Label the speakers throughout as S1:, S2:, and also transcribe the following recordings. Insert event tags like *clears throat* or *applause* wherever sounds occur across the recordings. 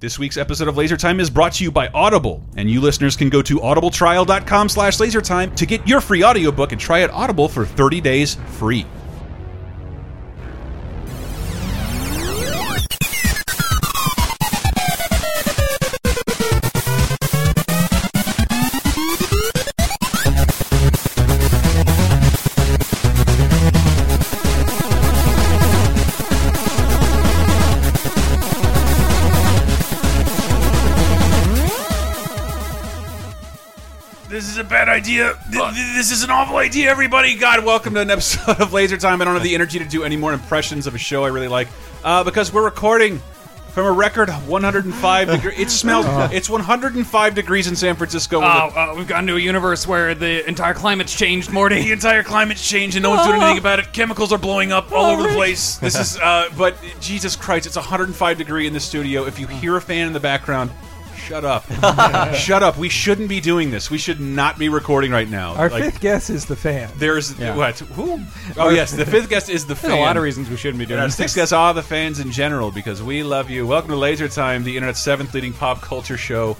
S1: This week's episode of Laser Time is brought to you by Audible, and you listeners can go to audibletrial.com slash lasertime to get your free audiobook and try it Audible for 30 days free. This is a bad idea. Th- th- This is an awful idea, everybody. God, welcome to an episode of Laser Time. I don't have the energy to do any more impressions of a show I really like uh, because we're recording from a record 105 degrees. It *laughs* smells. It's 105 degrees in San Francisco. with a-
S2: Oh, uh, we've gotten to a universe where the entire climate's changed, Morty.
S1: the entire climate's changed and no one's
S3: Ah.
S1: doing anything about it. Chemicals are blowing up
S3: Oh,
S1: all over the place. This is,
S3: *laughs*
S1: uh, but Jesus Christ, it's 105 degree in the studio. If you
S3: Mm.
S1: hear a fan in the background, shut
S3: *laughs*
S1: up, shut up. We shouldn't be doing this. We should not be recording right now.
S3: Our
S1: Like,
S3: fifth guess is the fan.
S1: There's what? Who?
S3: *laughs*
S1: Oh yes, the fifth guest is the fan.
S2: There's a lot of reasons we shouldn't be
S1: And
S2: doing
S1: our
S2: this.
S1: sixth guest are the fans in general because we love you. Welcome to Laser Time, the internet's seventh leading pop culture show.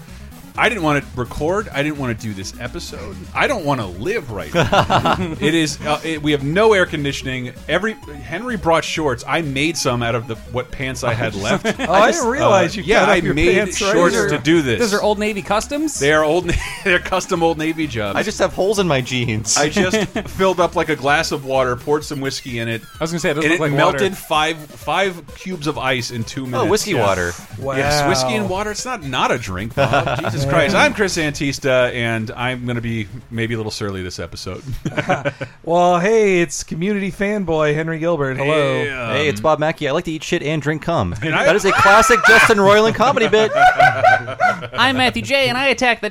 S1: I didn't want to record. I didn't want to do this episode. I don't want to live right now. it is. Uh, it, we have no air conditioning. Every Henry brought shorts. I made some out of the what pants I *laughs* had
S2: *laughs*
S1: left.
S3: Oh, I, didn't realize you
S1: yeah,
S3: cut
S1: I
S3: up your
S1: made
S3: pants right
S1: shorts
S3: here.
S1: to do this.
S2: uh, Those are Old Navy customs.
S1: They are old. *laughs* They're custom old Navy jobs.
S4: I just have holes in my
S1: *laughs*
S4: jeans.
S1: I
S4: *laughs*
S1: just filled up like a glass of water, poured some whiskey in it.
S2: I was gonna say, it doesn't
S1: and it
S2: look like water.
S1: melted five five cubes of ice in two minutes.
S4: oh, whiskey water.
S3: Wow.
S1: Yes, whiskey and water. It's not not a drink,
S2: *laughs*
S1: Bob. Jesus Christ! I'm Chris Antista, and I'm going to be maybe a little surly this episode.
S3: Well, hey, it's community fanboy Henry Gilbert. Hello.
S1: Hey, um,
S4: hey, it's Bob Mackey. I like to eat shit and drink cum.
S1: I-
S4: that is a classic Justin Roiland comedy bit.
S2: I'm Matthew J, and I attack the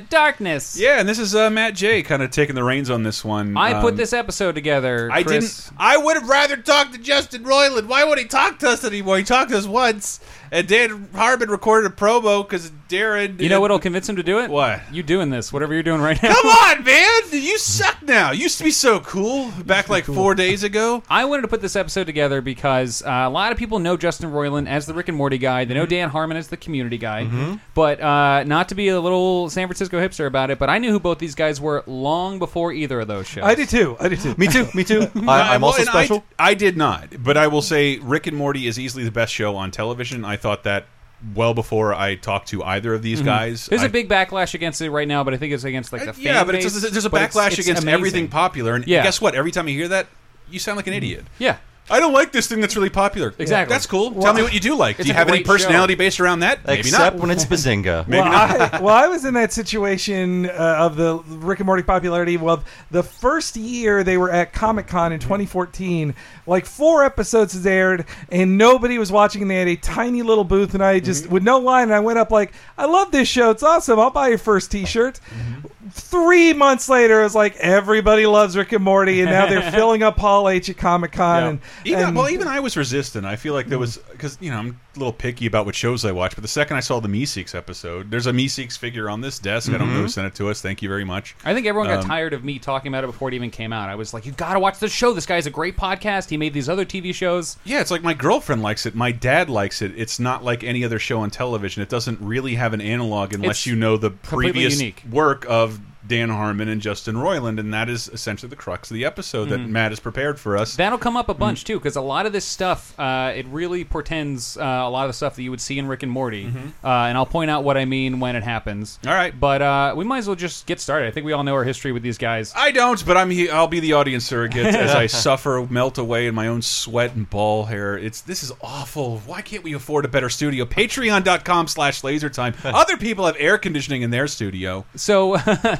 S1: *laughs*
S2: darkness.
S1: yeah, and this is uh, Matt J. kind of taking the reins on this one.
S2: I
S1: Um,
S2: put this episode together.
S1: I
S2: Chris.
S1: didn't. I would have rather talked to Justin Roiland. Why would he talk to us anymore? He talked to us once, and Dan Harbin recorded a promo because Darren.
S2: You know what'll convince him to do it?
S1: What?
S2: You doing this? Whatever you're doing right now.
S1: Come on, man! You suck now. You used to be so cool back like
S2: *laughs*
S1: four days ago.
S2: I wanted to put this episode together because uh, a lot of people know Justin Roiland as the Rick and Morty guy. They
S1: Mm-hmm.
S2: know Dan Harmon as the Community guy. But uh, not to be a little San Francisco hipster about it, but I knew who both these guys were long before either of those shows.
S3: I did too. I did too.
S4: me too. Me too. I, I'm
S1: Well,
S4: also
S1: and I-
S4: special.
S1: I, did not, but I will say Rick and Morty is easily the best show on television. I thought that well before I talked to either of these guys.
S2: Mm-hmm. There's
S1: I- Uh,
S2: a big backlash against it right now, but I think it's against like the fan
S1: yeah, but it's,
S2: base,
S1: just- there's a
S2: but it's-
S1: backlash
S2: it's
S1: against
S2: amazing.
S1: everything popular, and
S2: Yeah.
S1: guess what? Every time you hear that, you sound like an idiot.
S2: Yeah,
S1: I don't like this thing that's really popular.
S2: Exactly.
S1: That's cool. Tell me what you do like. Do
S2: It's
S1: you
S2: a
S1: have any
S2: great show.
S1: personality based around that? Maybe
S4: Except
S1: not.
S4: when it's Bazinga.
S1: Maybe
S3: well,
S1: not.
S3: I, well, I was in that situation uh, of the Rick and Morty popularity. Well, the first year they were at Comic Con in 2014, like four episodes had aired, and nobody was watching. And they had a tiny little booth, and I
S1: Mm-hmm.
S3: just with no line, and I went up like, "I love this show. It's awesome. I'll buy your first T-shirt."
S1: Mm-hmm.
S3: Three months later, it was like everybody loves Rick and Morty, and now
S1: *laughs*
S3: they're filling up Hall H at Comic Con.
S2: Yeah.
S3: And,
S1: Even
S3: and-
S1: well, even I was resistant. I feel like there was because you know I'm a little picky about what shows I watch. But the second I saw the Meeseeks episode, there's a Meeseeks figure on this desk. I don't know who sent it to us. Thank you very much.
S2: Mm-hmm. I think everyone got
S1: Um,
S2: tired of me talking about it before it even came out. I was like, "You got to watch this show. This guy's a great podcast. He made these other TV shows."
S1: Yeah, it's like my girlfriend likes it. My dad likes it. It's not like any other show on television. It doesn't really have an analog unless
S2: It's
S1: you know the
S2: completely
S1: previous
S2: unique.
S1: work of Dan Harmon and Justin Roiland, and that is essentially the crux of the episode that Matt has prepared for us.
S2: Mm.
S1: Mm.
S2: That'll come up a bunch too, because a lot of this stuff uh, it really portends uh, a lot of the stuff that you would see in Rick and Morty, uh, and I'll point out what I mean when it happens.
S1: Mm-hmm. All right.
S2: but uh, we might as well just get started. I think we all know our history with these guys.
S1: I don't, but I'm. he- I'll be the audience surrogate as
S2: *laughs*
S1: I suffer, melt away in my own sweat and ball hair. It's this is awful. Why can't we afford a better studio? Patreon.com/slash
S2: *laughs*
S1: LaserTime. Other people have air conditioning in their studio.
S2: So *laughs*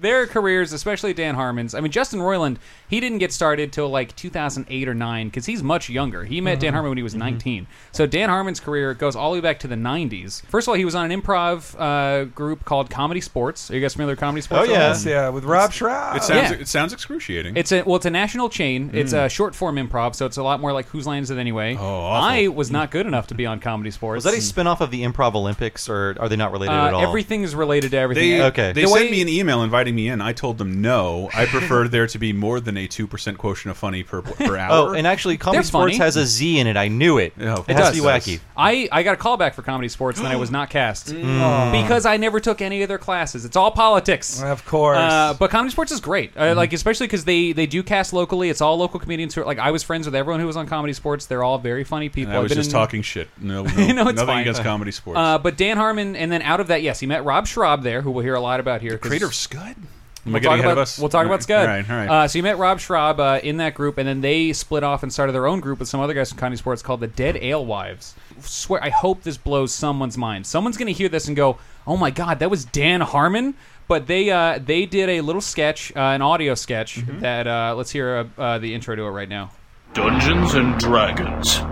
S2: their careers, especially Dan Harmon's. I mean, Justin Roiland, he didn't get started till like 2008 or 9 because he's much younger. He met Dan Harmon when he was 19. So Dan Harmon's career goes all the way back to the 90s. First of all, he was on an improv uh, group called Comedy Sports. Are you guys familiar with Comedy Sports?
S4: Oh, yeah.
S3: Yes, yeah, with Rob
S4: Ah.
S3: Schraub.
S1: It sounds.
S2: yeah.
S1: It sounds excruciating.
S2: It's a well, it's a national chain. It's
S4: Mm.
S2: a short form improv, so it's a lot more like whose line is it anyway? Oh,
S1: awful.
S2: I was not good enough to be on Comedy Sports.
S4: Was that a spin off of the Improv Olympics, or are they not related at
S2: uh,
S4: all?
S2: everything's related to everything.
S1: they
S4: Okay.
S1: They
S2: The
S1: sent
S2: way-
S1: me an email inviting me in. I told them no.
S2: *laughs*
S1: I prefer there to be more than a two percent quotient of funny per
S2: *laughs*
S1: per hour.
S4: Oh, and actually, Comedy
S2: They're
S4: Sports
S2: funny.
S4: has a Z in it. I knew it.
S1: Yeah, of
S4: it has to be
S1: course.
S4: wacky.
S2: I, I got a call back for comedy sports and then I was not cast
S1: Mm.
S3: Mm.
S2: because I never took any of their classes. It's all politics.
S3: Of course.
S2: Uh, but comedy sports is great,
S1: Mm-hmm.
S2: uh, like especially because they they do cast locally. It's all local comedians who are like I was friends with everyone who was on comedy sports. They're all very funny people.
S1: I
S2: I've
S1: was
S2: been
S1: just
S2: in-
S1: talking shit.
S2: *laughs*
S1: No, no,
S2: No, it's
S1: nothing
S2: fine.
S1: against comedy sports.
S2: Uh, but Dan Harmon, and then out of that, yes, he met Rob Schraub there, who we'll hear a lot about here. 'cause-
S1: Creator of Scud. Am I
S2: We'll
S1: getting
S2: talk,
S1: ahead
S2: about,
S1: of us?
S2: we'll talk
S1: All
S2: about
S1: right,
S2: Scud.
S1: All right, all right.
S2: Uh, so you met Rob Schraub uh, in that group, and then they split off and started their own group with some other guys from Comedy Sports called the Dead Alewives. Swear, I hope this blows someone's mind. Someone's going to hear this and go, "Oh my God, that was Dan Harmon." But they uh, they did a little sketch, uh, an audio sketch that uh, let's hear uh, uh, the intro to it right now.
S5: Dungeons and Dragons.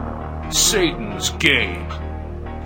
S5: Satan's game.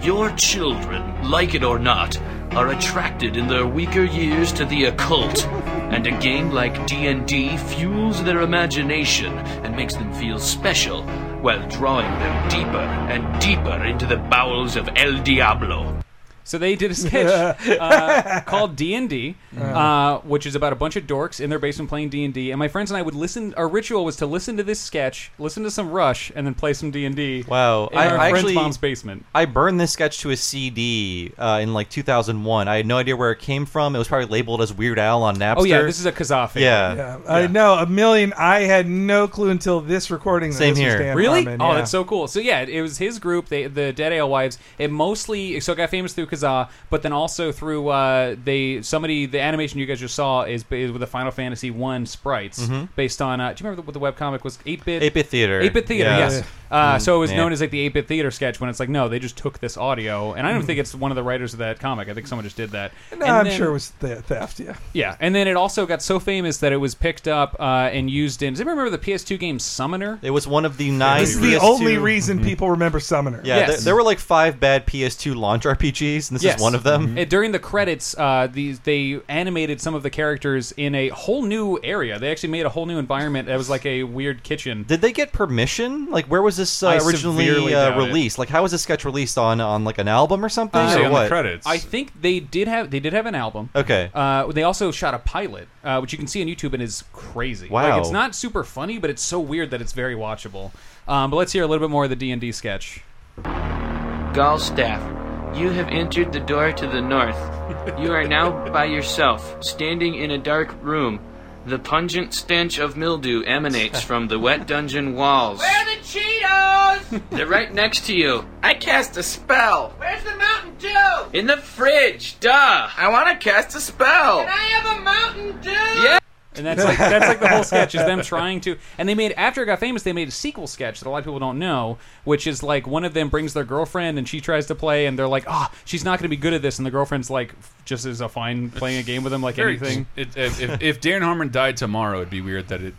S5: Your children, like it or not, are attracted in their weaker years to the occult, and a game like D&D fuels their imagination and makes them feel special while drawing them deeper and deeper into the bowels of El Diablo.
S2: So they did a sketch uh, called D and D, uh, which is about a bunch of dorks in their basement playing D and D. And my friends and I would listen. Our ritual was to listen to this sketch, listen to some Rush, and then play some D and D.
S4: Wow.
S2: in
S4: I-
S2: our
S4: I
S2: friend's
S4: actually-
S2: mom's basement.
S4: I burned this sketch to a CD uh, in like 2001. I had no idea where it came from. It was probably labeled as Weird Al on Napster.
S2: Oh yeah, this is a Kazafi.
S4: yeah.
S3: Yeah, I know a million. I had no clue until this recording. That
S4: Same
S3: this
S4: here.
S3: Was Dan
S2: Really?
S3: Harmon,
S2: oh,
S3: yeah.
S2: that's so cool. So yeah, it, it was his group, they, the Dead Alewives. It mostly so it got famous through Kazaa, but then also through uh, they somebody the animation you guys just saw is, is with the Final Fantasy One sprites
S3: Mm-hmm.
S2: based on. Uh, do you remember what the webcomic was? Eight bit.
S4: 8-Bit Theater.
S2: 8-bit theater,
S4: Yeah.
S2: yes. Uh, so it was
S4: man.
S2: known as like the 8-bit theater sketch when it's like, no, they just took this audio, and I don't think it's one of the writers of that comic. I think someone just did that.
S3: Mm-hmm. No,
S2: And
S3: I'm
S2: then-
S3: sure it was the theft. Yeah.
S2: Yeah, and then it also got so famous that it was picked up uh, and used in. Does anybody remember the PS2 game Summoner?
S4: It was one of the nine.
S3: This is the
S4: PS2
S3: only reason people remember Summoner.
S4: Yeah,
S2: Yes.
S4: there, there were like five bad PS2 launch RPGs, and this
S2: Yes.
S4: is one of them.
S2: Uh, during the credits, uh, these they animated some of the characters in a whole new area. They actually made a whole new environment that was like a weird kitchen.
S4: Did they get permission? Like, where was this
S2: I
S4: uh,
S2: severely
S4: originally
S2: doubt
S4: uh,
S2: it.
S4: released? Like, how was this sketch released on on like an album or something?
S1: See
S4: or
S1: on
S4: what?
S1: the credits.
S2: I think they did have they did have an album.
S4: Okay.
S2: Uh, they also shot a pilot, uh, which you can see on YouTube and is crazy.
S4: Wow.
S2: Like it's not super funny, but it's so weird that it's very watchable. Um, but let's hear a little bit more of the D and D sketch.
S5: Galstaff, you have entered the door to the north. You are now by yourself, standing in a dark room. The pungent stench of mildew emanates from the wet dungeon walls.
S6: Where are
S7: *laughs*
S6: the Cheetos?
S5: They're right next to you.
S6: I cast a spell. Where's the Mountain Dew? Can
S5: In the fridge, duh!
S6: I want to cast a spell. Can I have a Mountain Dew? Yeah.
S2: And that's like that's like the whole sketch is
S1: *laughs*
S2: them trying to. And they made after it got famous, they made a sequel sketch that a lot of people don't know, which is like one of them brings their girlfriend and she tries to play, and they're like, "Ah, she's not going to be good at this," and the girlfriend's like, "Just is a fine playing a game with them like
S1: Very-
S2: anything."
S1: *laughs* It, if, if- if Darren Harmon died tomorrow, it'd be weird that it.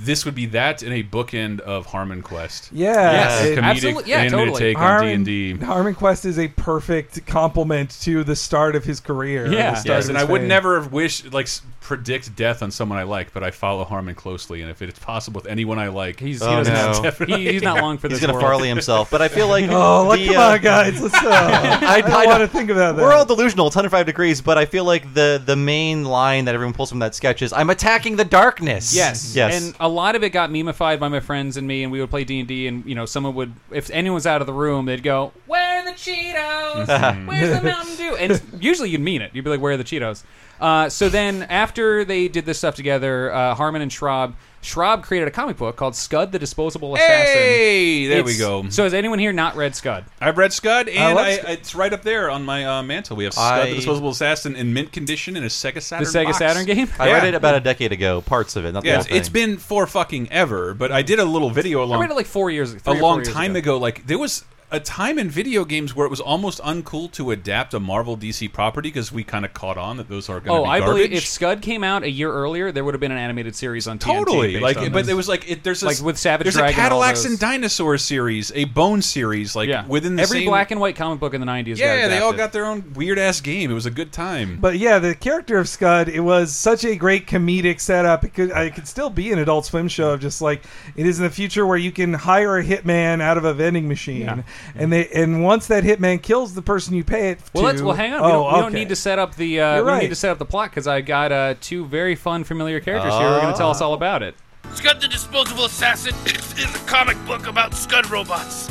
S1: This would be that in a bookend of Harmon Quest.
S3: Yeah.
S2: Yes.
S1: a comedic
S2: Absolutely. Yeah,
S1: animated
S2: totally.
S1: take on
S3: Harmon,
S1: D and D.
S3: Harmon Quest is a perfect complement to the start of his career.
S2: Yeah.
S3: the start
S1: Yes,
S3: of
S1: and I
S3: his
S1: would
S3: fame.
S1: never have wished like s- predict death on someone I like, but I follow Harmon closely, and if it's possible with anyone I like,
S2: He's
S4: Oh,
S2: he doesn't
S4: no.
S2: have- he- he's not long for this.
S4: *laughs* He's gonna
S2: world.
S4: Farley himself, but I feel
S1: *laughs*
S2: *laughs*
S4: like
S3: Oh, like,
S4: the,
S3: come
S4: uh,
S3: on, guys. Let's.
S4: *laughs*
S3: Uh, I
S4: I- I
S3: don't want to think about that.
S4: We're all delusional. It's 105 degrees, but I feel like the the main line that everyone pulls from that sketch is, "I'm attacking the darkness."
S2: Yes.
S4: yes.
S2: And a lot of it got memeified by my friends and me, and we would play D and D, and you know, someone would, if anyone's out of the room, they'd go, "Where are the *laughs* Cheetos? Where's the Mountain Dew?" And it's- usually you'd mean it. You'd be like, "Where are the Cheetos?" Uh, so then, after they did this stuff together, uh, Harmon and Schraub, Schraub created a comic book called Scud the Disposable Assassin.
S1: hey, there we
S2: It's-
S1: go.
S2: So has anyone here not read Scud?
S1: I've read Scud, and
S3: love
S1: I
S3: Scud.
S1: it's right up there on my uh, mantle. We have Scud,
S4: Oh, I-
S1: the Disposable Assassin, in mint condition in a Sega Saturn.
S2: The Sega
S1: box.
S2: Saturn game?
S4: I
S1: Yeah.
S4: read it about a decade ago, parts of it. Not the
S1: Yeah,
S4: whole
S1: it's, it's
S4: thing.
S1: been for fucking ever. But I did a little video
S2: I
S1: along
S2: read it like four years,
S1: a
S2: three or four
S1: long
S2: years
S1: time ago. Like there was a time in video games where it was almost uncool to adapt a Marvel DC property because we kind of caught on that those are going to
S2: Oh,
S1: be
S2: I
S1: garbage.
S2: believe if Scud came out a year earlier, there would have been an animated series on TNT
S1: totally
S2: based
S1: like,
S2: on
S1: but
S2: this.
S1: it was like it, there's a,
S2: Like with Savage
S1: there's
S2: Dragon
S1: a
S2: and all
S1: Cadillacs
S2: those.
S1: and Dinosaur series, a Bone series, like
S2: yeah.
S1: within the
S2: every
S1: same-
S2: black and white comic book in the nineties.
S1: yeah,
S2: got
S1: they all
S2: adapted.
S1: got their own weird ass game. It was a good time.
S3: But yeah, the character of Scud, it was such a great comedic setup. It could, it could still be an Adult Swim show of just like it is in the future where you can hire a hitman out of a vending machine, and they and once that hitman kills the person you pay it
S2: Well,
S3: to,
S2: let's, well, hang on.
S3: Oh,
S2: we, don't, we don't
S3: okay.
S2: need to set up the. Uh,
S3: You're
S2: we don't
S3: right.
S2: need to set up the plot because I got uh, two very fun, familiar characters here. who are going to tell us
S3: Ah.
S2: all about it.
S8: Scud the Disposable Assassin is a comic book about Scud robots.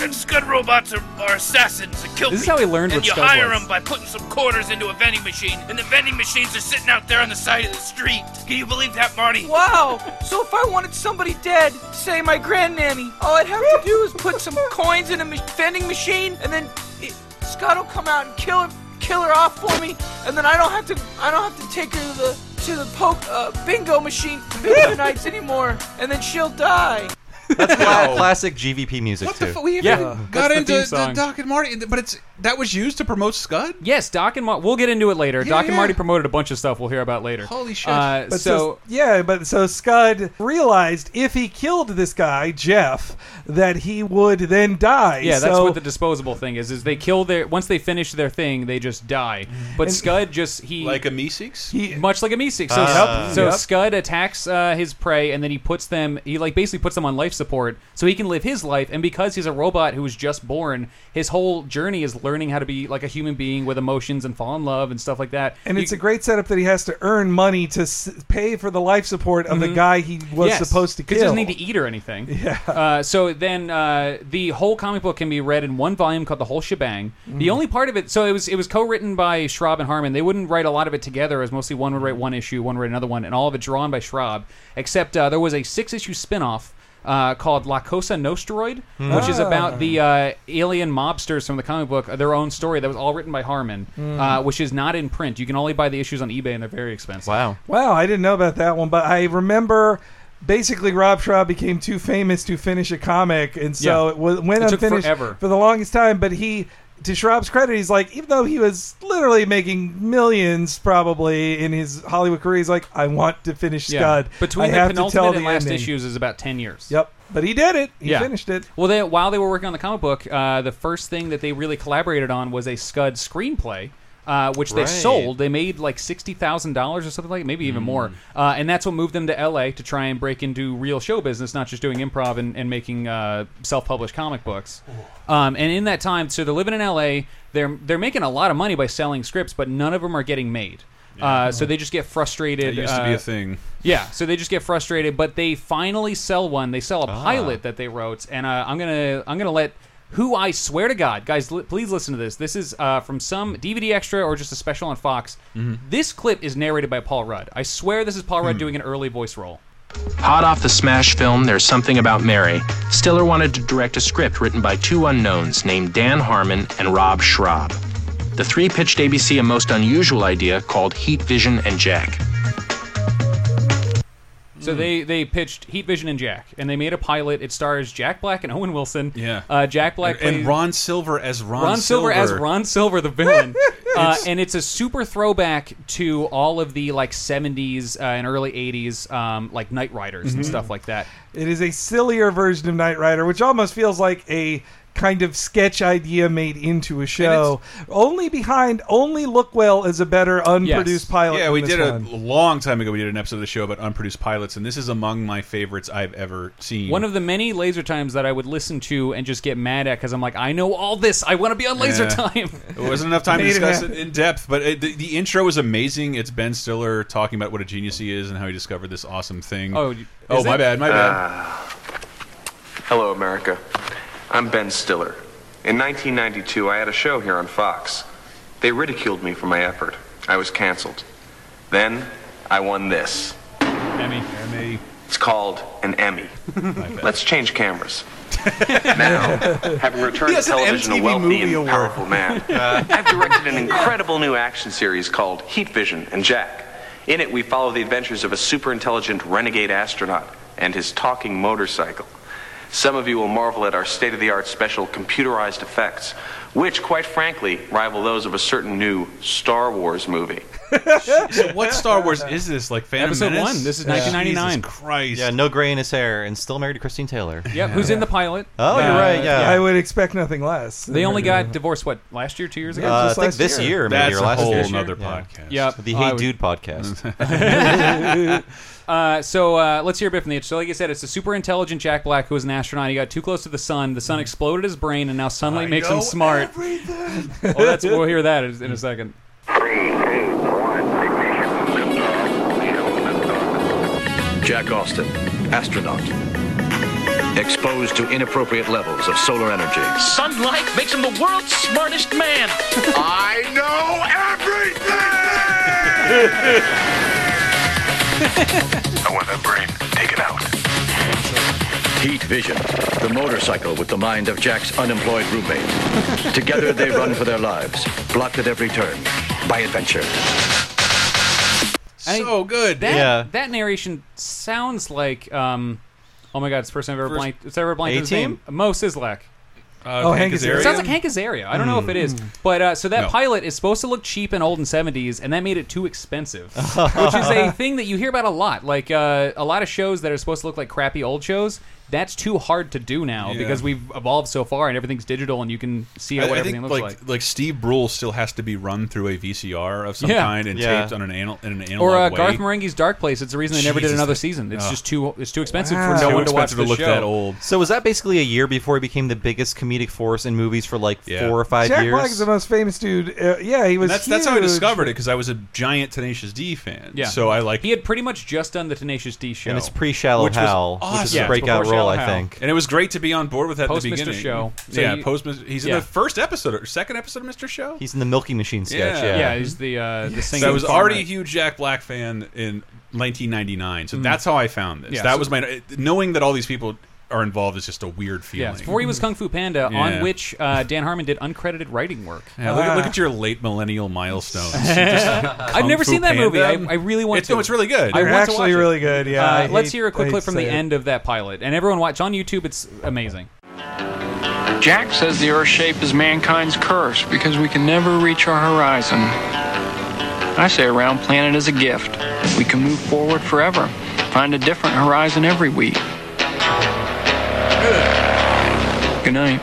S8: And Scud robots are, are assassins that kill
S2: This is
S8: people.
S2: how he learned
S8: And
S2: what
S8: you
S2: Scud
S8: hire
S2: was.
S8: them by putting some quarters into a vending machine, and the vending machines are sitting out there on the side of the street. Can you believe that, Marty?
S7: Wow! So if I wanted somebody dead, say my grandnanny, all I'd have to do is put some coins in a ma- vending machine, and then it, Scott will come out and kill her, kill her off for me, and then I don't have to, I don't have to take her to the to the poke uh, bingo machine for
S8: *laughs*
S7: bingo nights anymore, and then she'll die.
S4: That's cla- classic GVP music
S1: What
S4: too.
S1: the fuck? We haven't
S2: Yeah.
S1: even
S2: That's
S1: got
S2: the
S1: into
S2: theme
S1: the
S2: song.
S1: Doc and Marty, but it's that was used to promote Scud.
S2: Yes, Doc and Marty. We'll get into it later.
S1: Yeah,
S2: Doc and
S1: yeah.
S2: Marty promoted a bunch of stuff we'll hear about later.
S1: Holy shit.
S2: Uh,
S3: But
S2: so
S3: yeah, but so Scud realized if he killed this guy Jeff, that he would then die.
S2: yeah, that's
S3: So-
S2: what the disposable thing is. Is they kill their once they finish their thing, they just die. But Scud just he
S1: Like a Meeseeks?
S3: he,
S2: much like a Meeseeks. So,
S3: Ah.
S2: so
S3: Yep.
S2: Scud attacks uh, his prey, and then he puts them. He like basically puts them on life support, so he can live his life. And because he's a robot who was just born, his whole journey is learning how to be like a human being with emotions and fall in love and stuff like that.
S3: and it's
S2: You-
S3: a great setup that he has to earn money to s- pay for the life support of the guy he
S2: Mm-hmm.
S3: was
S2: Yes,
S3: supposed to
S2: 'cause
S3: kill.
S2: He doesn't need to eat or
S3: *laughs*
S2: anything. Yeah. Uh, so then uh, the whole comic book can be read in one volume called the whole shebang.
S3: Mm.
S2: The only part of it, so it was it was co-written by Schraub and Harmon. They wouldn't write a lot of it together, as mostly one would write one issue, one would write another one, and all of it drawn by Schraub. Except uh, there was a six-issue spin-off. Uh, called La Cosa Nostroid,
S3: Hmm.
S2: which is
S3: Ah.
S2: about the uh, alien mobsters from the comic book, their own story that was all written by Harmon,
S3: Hmm.
S2: uh, which is not in print. You can only buy the issues on eBay, and they're very expensive.
S4: Wow.
S3: Wow, I didn't know about that one, but I remember basically Rob Schraub became too famous to finish a comic, and so
S2: Yeah.
S3: it was when
S2: It took
S3: unfinished
S2: forever.
S3: for the longest time. But he, to Schraub's credit, he's like, even though he was literally making millions probably in his Hollywood career, he's like, I want to finish Scud.
S2: Between
S3: I
S2: the
S3: have to
S2: penultimate
S3: tell
S2: and
S3: the
S2: last
S3: ending."
S2: issues is about ten years.
S3: Yep, but he did it. He
S2: Yeah.
S3: finished *laughs* it.
S2: Well, they, while they were working on the comic book, uh, the first thing that they really collaborated on was a Scud screenplay. Uh, which they
S4: Right.
S2: sold. They made like sixty thousand dollars or something like, maybe even more.
S1: Hmm.
S2: Uh, and that's what moved them to L.A. to try and break into real show business, not just doing improv and, and making uh, self-published comic books. Um, and in that time, so they're living in L.A. They're they're making a lot of money by selling scripts, but none of them are getting made. Uh, so they just get frustrated.
S1: It used to be
S2: uh,
S1: a thing.
S2: yeah, so they just get frustrated, but they finally sell one. They sell a
S1: Ah.
S2: pilot that they wrote, and uh, I'm gonna I'm gonna let who I swear to God, guys, li- please listen to this. This is uh, from some DVD extra or just a special on Fox.
S9: Mm-hmm.
S2: This clip is narrated by Paul Rudd. I swear this is Paul
S1: Hmm.
S2: Rudd doing an early voice role.
S10: Hot off the smash film There's Something About Mary, Stiller wanted to direct a script written by two unknowns named Dan Harmon and Rob Schraub. The three pitched ABC a most unusual idea called Heat Vision and Jack.
S2: So
S1: Hmm.
S2: they they pitched Heat Vision and Jack, and they made a pilot. It stars Jack Black and *laughs* Owen Wilson.
S1: Yeah.
S2: uh, Jack Black
S1: and,
S2: plays-
S1: Ron Silver as Ron,
S2: Ron Silver, as Ron Silver,
S1: *laughs*
S2: the villain, uh, and it's a super throwback to all of the like '70s uh, and early '80s, um, like Knight Riders
S1: Mm-hmm.
S2: and stuff like that.
S3: It is a sillier version of Knight Rider, which almost feels like a kind of sketch idea made into a show. Only behind, only Lookwell is a better unproduced
S2: Yes.
S3: pilot.
S1: Yeah,
S3: than
S1: we
S3: this
S1: did a
S3: one.
S1: long time ago. We did an episode of the show about unproduced pilots, and this is among my favorites I've ever seen.
S2: One of the many Laser Times that I would listen to and just get mad at because I'm like, I know all this. I want to be on Laser
S1: Yeah.
S2: Time.
S1: *laughs* It wasn't enough time to
S3: *laughs* Made it
S1: discuss it
S3: happen.
S1: in depth, but it, the, the intro was amazing. It's Ben Stiller talking about what a genius he is and how he discovered this awesome thing.
S2: Oh, you-
S1: oh,
S2: is
S1: my
S2: it?
S1: bad, my bad.
S11: Uh, Hello, America. I'm Ben Stiller. In 1992, I had a show here on Fox. They ridiculed me for my effort. I was canceled. Then, I won this.
S2: Emmy.
S1: Emmy.
S11: It's called
S2: *laughs*
S11: an Emmy. Let's change cameras. *laughs* now, having returned
S1: He has
S11: to
S1: an
S11: television a
S1: MTV
S11: wealthy
S1: Movie
S11: and
S1: Award. *laughs*
S11: powerful man, I've directed an incredible new action series called Heat Vision and Jack. In it, we follow the adventures of a super intelligent renegade astronaut and his talking motorcycle. Some of you will marvel at our state of the art
S7: *laughs*
S11: special computerized effects, which, quite frankly, rival those of a certain new Star Wars movie.
S4: Ah.
S1: *laughs* so what Star Wars is this? Like Phantom
S2: Episode
S1: Menace?
S2: one. This is
S1: Yeah.
S2: 1999.
S1: Jesus Christ.
S4: Yeah, no gray in his hair, and still married to Christine Taylor.
S2: Yep, who's in the pilot? Uh,
S4: Oh, you're right. Yeah,
S3: I would expect nothing less.
S2: They only got divorced what last year, two years ago.
S4: Uh, I think this year, maybe
S1: That's
S4: or
S1: a
S4: last
S1: whole
S4: year.
S1: nother
S4: Yeah.
S1: podcast.
S2: Yep. Oh,
S4: The
S2: I *laughs*
S4: Hey
S2: would-
S4: Dude podcast.
S1: *laughs*
S2: Uh, so uh, let's hear a bit from the itch. So, like I said, it's a super intelligent Jack Black who was an astronaut. He got too close to the sun. The sun exploded his brain, and now sunlight makes him
S1: know
S2: smart. oh, that's *laughs* we'll hear that in in a second.
S12: Jack Austin, astronaut. Exposed to inappropriate levels of solar energy.
S5: Sunlight makes him the world's smartest man. I know
S7: *laughs*
S12: I want that brain taken out. Heat Vision, the motorcycle with the mind of Jack's unemployed roommate. Together they run for their lives, blocked at every turn by adventure.
S1: so good.
S2: That,
S4: Yeah.
S2: that narration sounds like. Um, oh my god, it's the person I've ever
S1: First-
S2: blanked. It's ever blanked. on His
S4: A-Team?
S2: name Mo Sizlak.
S1: Uh,
S3: Oh, Hank Azaria? Hmm.
S2: It sounds like Hank Azaria. I don't know if it is, but uh, so that
S1: No.
S2: pilot is supposed to look cheap and old and seventies, and that made it too
S4: *laughs*
S2: expensive, which is a thing that you hear about a lot. Like uh, a lot of shows that are supposed to look like crappy old shows. That's too hard to do now
S1: Yeah.
S2: because we've evolved so far and everything's digital, and you can see
S1: I,
S2: how what
S1: I
S2: everything
S1: think
S2: looks
S1: like,
S2: like.
S1: like Steve Brule still has to be run through a VCR of some
S2: Yeah.
S1: kind and
S4: Yeah.
S1: taped on an anal in an analog
S2: Or uh,
S1: way.
S2: Garth Marenghi's Dark Place. It's the reason they never did
S1: Jesus,
S2: another
S1: that-
S2: season. It's
S1: Ugh.
S2: just too it's too expensive
S3: Wow.
S2: for no
S1: Too
S2: one to watch
S1: expensive
S2: the
S1: to look
S2: show.
S1: that old.
S4: so was that basically a year before he became the biggest comedic force in movies for like
S1: Yeah.
S4: four or five
S3: Jack
S4: years?
S3: Black is the most famous dude. Uh, yeah, he was.
S1: That's that's how I
S3: huge.
S1: discovered it because I was a giant Tenacious D fan.
S2: Yeah.
S1: So I like
S2: He had pretty much just done the Tenacious D show.
S4: and it's pre Shallow
S1: Which was
S4: Hal, which is
S1: awesome. Yeah,
S4: a
S1: it's
S4: breakout
S2: before
S4: role,
S2: Shallow
S4: I
S2: Hal.
S4: think.
S1: And it was great to be on board with that
S2: Post
S1: at
S2: Mr.
S1: the beginning.
S2: Show. So
S1: yeah,
S2: you-
S1: post. He's
S2: yeah.
S1: in the first episode, or second episode of Mr. Show.
S4: He's in the Milking Machine sketch.
S1: Yeah.
S4: Yeah,
S2: yeah, he's the uh, the singer.
S1: so I was
S2: former-
S1: already a huge Jack Black fan in 1999. So that's how I found this.
S2: Mm. Yeah,
S1: that
S2: so-
S1: was my knowing that all these people are involved is just a weird feeling.
S2: Yeah, it's before he was Kung Fu Panda, on
S1: Yeah.
S2: which uh, Dan Harmon did uncredited writing work.
S1: Yeah, look, at- look at
S2: *laughs*
S1: your late millennial milestones. I've
S2: never seen that movie. I- I really want
S1: it's,
S2: to.
S1: No, it's really good.
S2: I
S3: They're
S2: want to watch
S3: actually
S2: it.
S3: really good. Yeah. I
S2: Uh, let's
S3: hate-
S2: hear a quick
S3: I
S2: clip
S3: hate
S2: from
S3: to
S2: the
S3: say it.
S2: end of that pilot, and everyone watch on YouTube. It's amazing.
S9: Jack says the Earth shape is mankind's curse because we can never reach our horizon. I say a round planet is a gift. We can move forward forever, find a different horizon every week. Good night.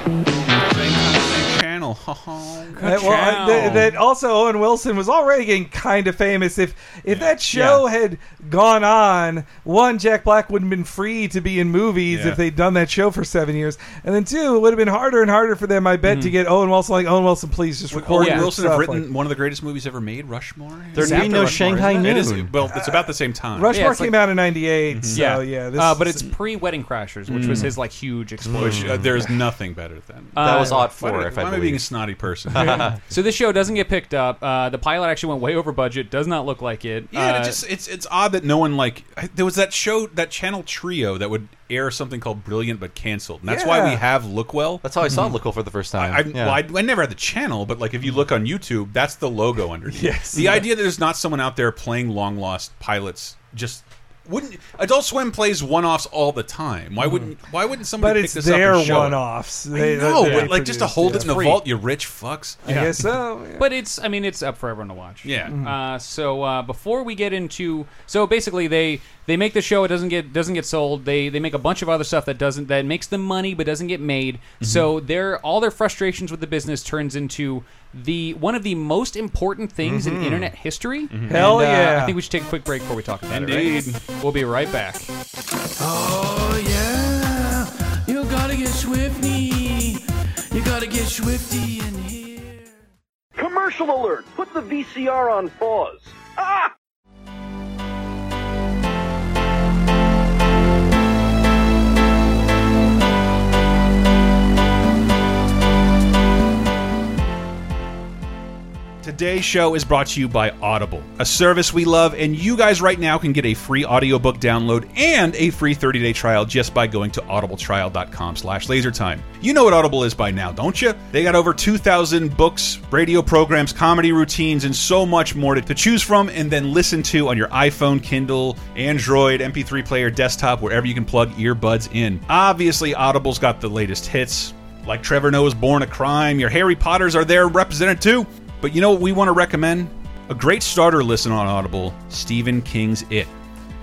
S2: *laughs*
S1: channel.
S3: Uh, well, I- th- that also Owen Wilson was already getting kind of famous. If if that show had gone on, one Jack Black would have been free to be in movies
S1: Yeah.
S3: if they'd done that show for seven years, and then two, it would have been harder and harder for them. I bet
S1: Mm-hmm.
S3: to get Owen Wilson like Owen Wilson, please just
S1: Would
S3: record
S1: Owen
S3: your
S1: Wilson have
S3: stuff,"
S1: written
S3: like-
S1: one of the greatest movies ever made, Rushmore?
S4: There'd
S1: It's
S4: be
S1: after
S4: no
S1: Rushmore,
S4: Shanghai
S1: isn't it? It is-
S4: Noon.
S1: well, it's about the same time.
S3: Rushmore
S2: Yeah, it's
S3: came
S2: like-
S3: out in '98, so yeah, this
S2: uh,
S3: is-
S2: but it's pre-Wedding Crashers, which was his like huge explosion.
S1: Which uh, there's nothing better than.
S4: Hmm. that was
S2: Uh,
S4: odd
S1: why
S4: four,
S1: did-
S4: if
S1: why am
S4: I
S1: I being a
S4: believe.
S1: snotty
S4: *laughs*
S1: person?
S2: *laughs* So this show doesn't get picked up. Uh, the pilot actually went way over budget. Does not look like it.
S1: Yeah, and
S2: Uh,
S1: it just it's it's odd that no one like I- there was that show that channel trio that would air something called Brilliant but canceled. And that's why we
S3: Yeah.
S1: have Lookwell.
S4: That's how I saw Lookle for the first time.
S1: I,
S4: yeah.
S1: well, I, I never had the channel, but like if you look on YouTube, that's the logo underneath.
S3: Yes.
S1: The idea that there's not someone out there playing long lost pilots just wouldn't Adult Swim plays one offs all the time.
S4: Hmm.
S1: Why wouldn't Why wouldn't somebody
S3: but
S1: pick
S3: it's
S1: this
S3: their
S1: up and show it?
S3: one-offs. They,
S1: I know,
S3: they-
S1: but
S3: they
S1: like just to
S3: produced,
S1: hold
S3: yeah.
S1: it in the
S2: Free.
S1: vault, you rich fucks.
S3: I
S1: *laughs*
S3: guess so. yeah. Mm-hmm.
S2: But it's, I mean, it's up for everyone to watch.
S1: Yeah. Mhm.
S2: Uh, so uh, before we get into, so basically they they make the show. It doesn't get doesn't get sold. They they make a bunch of other stuff that doesn't that makes them money but doesn't get made.
S1: Mm-hmm.
S2: So their all their frustrations with the business turns into the one of the most important things
S1: Mm-hmm.
S2: in internet history.
S3: Hell
S2: And, uh,
S3: yeah.
S2: I think we should take a quick break before we talk about it.
S1: Indeed.
S2: Indeed. We'll be right back.
S8: Oh yeah, you gotta get swifty. You gotta get swifty in here.
S13: Commercial alert! Put the VCR on pause.
S1: Today's show is brought to you by Audible, a service we love, and you guys right now can get a free audiobook download and a free 30-day trial just by going to audibletrial.com slash lasertime. You know what Audible is by now, don't you? They got over 2,000 books, radio programs, comedy routines, and so much more to, to choose from and then listen to on your iPhone, Kindle, Android, MP3 player, desktop, wherever you can plug earbuds in. Obviously, Audible's got the latest hits, like Trevor Noah's Born a Crime, your Harry Potters are there represented too. But you know what we want to recommend? A great starter listen on Audible, Stephen King's It.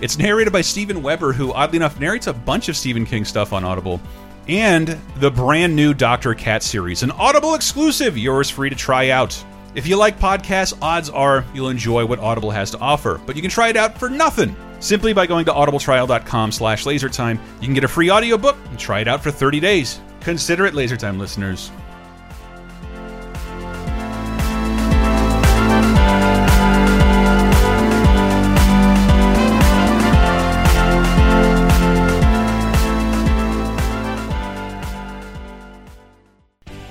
S1: It's narrated by Stephen Weber, who oddly enough narrates a bunch of Stephen King stuff on Audible, and the brand new Dr. Cat series, an Audible exclusive, yours free to try out. If you like podcasts, odds are you'll enjoy what Audible has to offer, but you can try it out for nothing. Simply by going to audibletrial.com slash lasertime, you can get a free audiobook and try it out for 30 days. Consider it Lasertime listeners.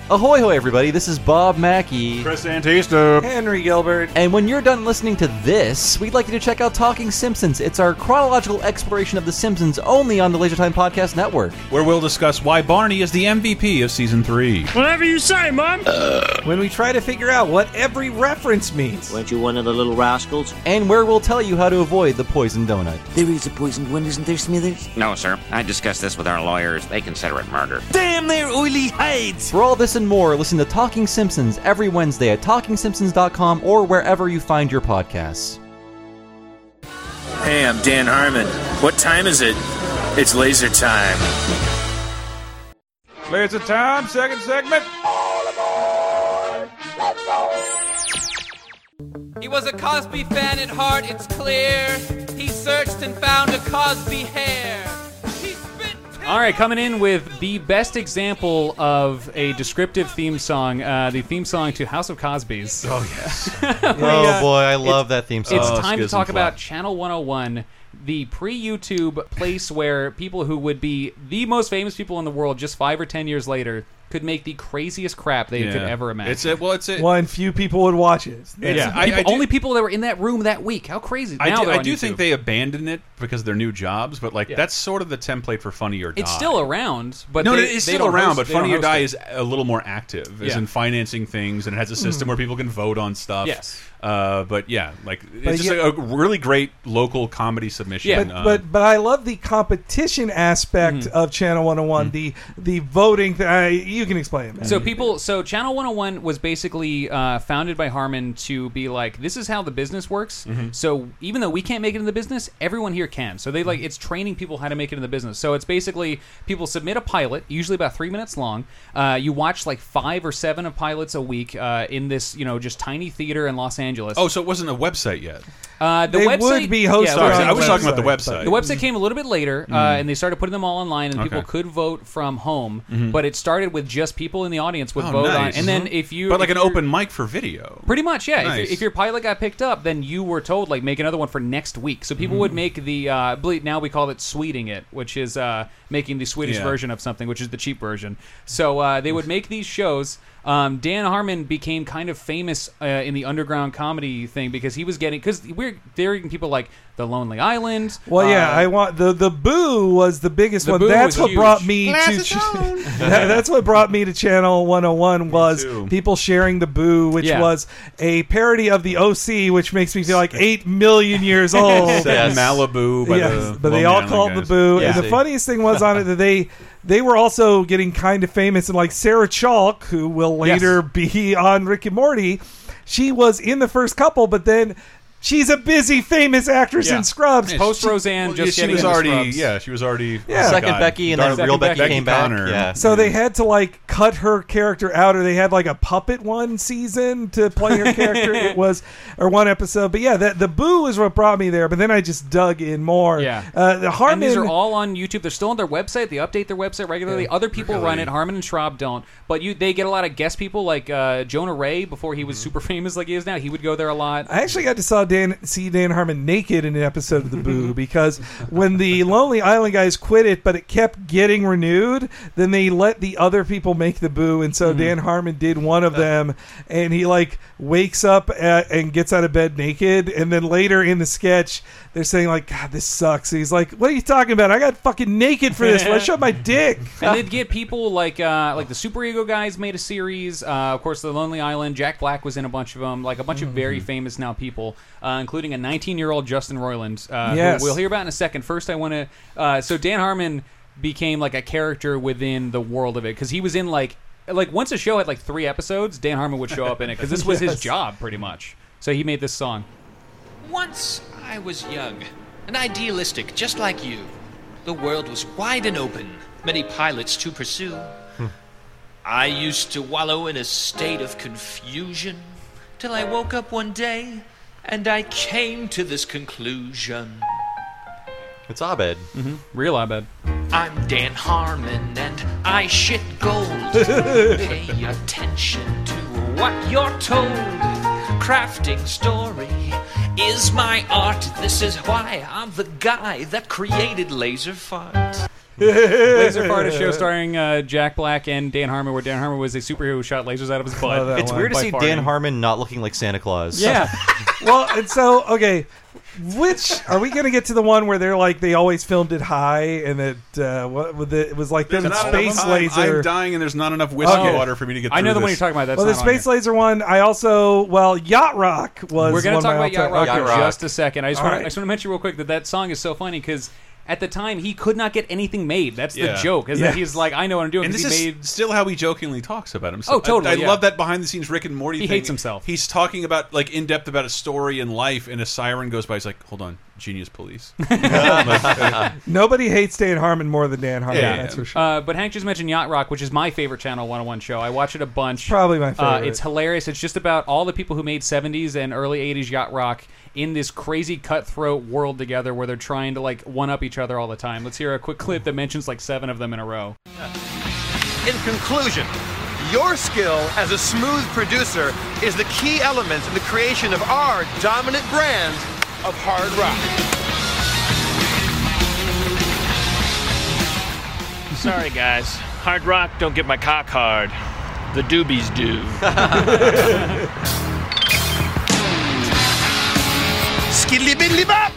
S4: Ahoy, hoy, everybody! This is Bob Mackey,
S1: Chris Antista,
S3: Henry Gilbert,
S4: and when you're done listening to this, we'd like you to check out Talking Simpsons. It's our chronological exploration of the Simpsons, only on the Leisure Time Podcast Network.
S1: Where we'll discuss why Barney is the MVP of season three.
S3: Whatever you say, Mom. Uh. when we try to figure out what every reference means.
S4: Weren't you one of the little rascals? And where we'll tell you how to avoid the poison donut.
S14: There is a poisoned one, isn't there, Smithers?
S15: No, sir. I discussed this with our lawyers. They consider it murder.
S4: Damn their oily hides! For all this and more, listen to Talking Simpsons every Wednesday at TalkingSimpsons.com or wherever you find your podcasts.
S16: Hey, I'm Dan Harmon. What time is it? It's laser time.
S1: Laser time, second segment.
S7: He was a Cosby fan at heart, it's clear. He searched and found a Cosby hair.
S2: All right, coming in with the best example of a descriptive theme song, uh, the theme song to House of Cosby's. uh,
S1: Oh
S2: *laughs*
S1: yes.
S4: Oh, boy, I love that theme song.
S2: It's
S4: Oh,
S2: time to
S4: Skids and
S2: talk
S4: Flop.
S2: about Channel 101, the pre-YouTube place where people who would be the most famous people in the world just five or ten years later could make the craziest crap they could
S1: Yeah.
S2: ever imagine.
S1: It's a, well, it's a,
S3: Well, and few people would watch it.
S1: Yeah, I-
S2: People-
S1: I do-
S2: only people that were in that room that week. How crazy!
S1: I
S2: now
S1: do,
S2: they're
S1: I
S2: on
S1: do
S2: YouTube.
S1: think they abandoned it because of their new jobs, but like
S2: Yeah.
S1: that's sort of the template for Funny or Die.
S2: it's still around, but
S1: no,
S2: they,
S1: no, it's
S2: they
S1: still
S2: don't
S1: around.
S2: host-
S1: but
S2: they don't
S1: Funny or
S2: host
S1: Die
S2: it.
S1: is a little more active, is
S2: Yeah.
S1: in financing things, and it has a system
S2: Mhm.
S1: where people can vote on stuff.
S2: Yes.
S1: uh, but yeah, like it's
S3: But
S1: just
S3: yet-
S1: a, a really great local comedy submission.
S3: But,
S1: uh,
S3: but but I love the competition aspect
S1: Mm-hmm.
S3: of Channel 101. The the voting. Th- I, you can explain it. man.
S2: So people, so Channel 101 was basically uh, founded by Harmon to be like, this is how the business works. So even though we can't make it in the business, everyone here can. So they like it's training people how to make it in the business. So it's basically people submit a pilot, usually about three minutes long. Uh, you watch like five or seven of pilots a week uh, in this, you know, just tiny theater in Los Angeles.
S1: oh, so it wasn't a website yet.
S2: Uh, the
S1: They
S2: website,
S1: would be hosted Sorry, on I was the talking about the website, website.
S2: The website came a little bit later, uh,
S1: Mm.
S2: and they started putting them all online, and
S1: Okay.
S2: people could vote from home.
S1: Mhm.
S2: But it started with just people in the audience would
S1: Oh,
S2: vote
S1: nice.
S2: on, and then
S1: Mhm.
S2: if you
S1: but like
S2: if
S1: an
S2: you're-
S1: open mic for video.
S2: Pretty much, yeah.
S1: Nice.
S2: If, if your pilot got picked up, then you were told like make another one for next week. So people
S1: Hmm.
S2: would make the uh, I believe now we call it sweeting it, which is uh, making the Swedish
S1: Yeah.
S2: version of something, which is the cheap version. So uh, they would make these shows. Um, Dan Harmon became kind of famous uh, in the underground comedy thing because he was getting because we're hearing people like The Lonely Island.
S3: Well, yeah,
S2: uh,
S3: I want the the boo was the biggest
S2: The
S3: one.
S2: Boo
S3: That's
S2: was
S3: what
S2: huge.
S3: brought me to
S2: Glasses
S3: ch- *laughs* that- that's what brought me to Channel 101 was people sharing the boo, which
S1: Yeah.
S3: was a parody of the OC, which makes me feel like eight
S1: *laughs*
S3: million years old.
S1: Set in Malibu by
S3: Yes,
S1: the
S3: but they
S1: Lonely
S3: all
S1: Island
S3: called the
S1: guys.
S3: boo.
S1: Yeah.
S3: And the funniest thing was on it that they they were also getting kind of famous. And like Sarah Chalk, who will later be on Rick and Morty, she was in the first couple, but then. She's a busy, famous actress in Scrubs.
S2: Post
S3: She-
S2: Roseanne,
S1: Well,
S2: just
S1: yeah, she
S2: getting
S1: was
S2: in the
S1: already.
S2: scrubs.
S1: Yeah, she was already.
S3: Yeah.
S1: oh,
S3: Second
S1: God.
S4: Becky, and then
S1: Darn-
S4: real Becky came back,
S1: Connor.
S4: yeah.
S3: So they had to like cut her character out, or they had like a puppet one season to play her
S2: *laughs*
S3: character. it was or one episode, but yeah, that the boo is what brought me there. But then I just dug in more.
S2: Yeah.
S3: uh, the
S2: And these are
S3: Harmon.
S2: all on YouTube. They're still on their website. They update their website regularly. Other people run it. Harmon and Schraub don't. But you, they get a lot of guest people like uh, Jonah Ray before he was super *laughs* famous like he is now. He would go there a lot.
S3: I actually got to saw Dan see Dan Harmon naked in an episode of The Boo because when the Lonely Island guys quit it, but it kept getting renewed, then they let the other people make The Boo, and so Dan Harmon did one of them, and he like wakes up uh and gets out of bed naked, and then later in the sketch they're saying like God this sucks, and he's like What are you talking about? I got fucking naked for this. Let's show my dick.
S2: and they'd get people like uh, like the Super Ego guys made a series. Uh, of course, The Lonely Island. Jack Black was in a bunch of them. Like a bunch of very famous now people, uh, including a 19 year old Justin Roiland, uh, who
S3: Yes.
S2: we'll hear about in a second. First, I want to. Uh, so Dan Harmon became like a character within the world of it because he was in like like once a show had like three episodes, Dan Harmon would show up in it because this was his
S3: Yes.
S2: job pretty much. So he made this song.
S17: Once I was young, and idealistic just like you. The world was wide and open, many pilots to pursue. I used to wallow in a state of confusion till I woke up one day and I came to this conclusion.
S4: It's Abed.
S2: Mm-hmm. Real Abed.
S17: I'm Dan Harmon and I shit gold. Pay attention to what you're told. Crafting story is my art. This is why I'm the guy that created laser fart.
S2: Laser Fart, a show starring uh, Jack Black and Dan Harmon, where Dan Harmon was a superhero who shot lasers out of his butt.
S4: it's weird to
S2: by
S4: see
S2: farting.
S4: Dan Harmon not looking like Santa Claus. *laughs*
S3: Yeah. *laughs* well, and so okay, which are we going to get to the one where they're like they always filmed it high and it uh, what with it, it was like them
S1: There's
S3: and
S1: not enough
S3: space
S1: time.
S3: laser.
S1: I'm dying, and there's not enough whiskey
S3: Okay.
S1: water for me to get.
S2: I know
S1: through
S2: the one
S1: this.
S2: you're talking about. That's
S3: well, the
S2: not on
S3: space laser one. I also well, yacht rock was.
S2: We're going
S3: one
S2: to talk
S3: of my
S2: about Yacht
S3: all-time-
S2: Rock in
S3: Okay.
S2: just a second. I just
S3: All
S2: want
S3: right.
S2: to mention real quick that that song is so funny because at the time he could not get anything made. That's the
S1: Yeah.
S2: joke. Is
S1: Yeah.
S2: that he's like, I know what I'm doing.
S1: And
S2: 'cause
S1: this
S2: he
S1: is
S2: made
S1: still how he jokingly talks about himself.
S2: Oh, totally,
S1: I, I
S2: yeah.
S1: love that behind the scenes Rick and Morty.
S2: He
S1: thing. *laughs*
S2: hates himself.
S1: He's talking about like in depth about a story in life, and a siren goes by. He's like, "Hold on, genius
S2: *laughs*
S1: police." *laughs* Like, uh,
S3: *laughs* Nobody hates Dan Harmon more than Dan Harmon. That's for sure.
S2: Uh, but Hank just mentioned Yacht Rock, which is my favorite Channel 101 show. I watch it a bunch.
S3: probably my
S2: Uh,
S3: favorite.
S2: it's hilarious. It's just about all the people who made 70s and early 80s yacht rock in this crazy cutthroat world together where they're trying to like one up each other all the time. Let's hear a quick clip that mentions like seven of them in a row.
S18: In conclusion, your skill as a smooth producer is the key element in the creation of our dominant brand of hard rock.
S16: Sorry, guys. Hard rock don't get my cock hard. The doobies do.
S18: Skiddly biddly bop!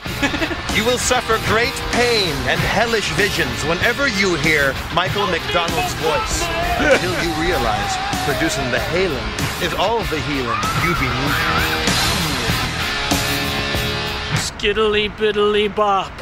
S18: you will suffer great pain and hellish visions whenever you hear Michael McDonald's voice until you realize producing the hailing is all the healing you beneath.
S16: Skiddly biddly bop.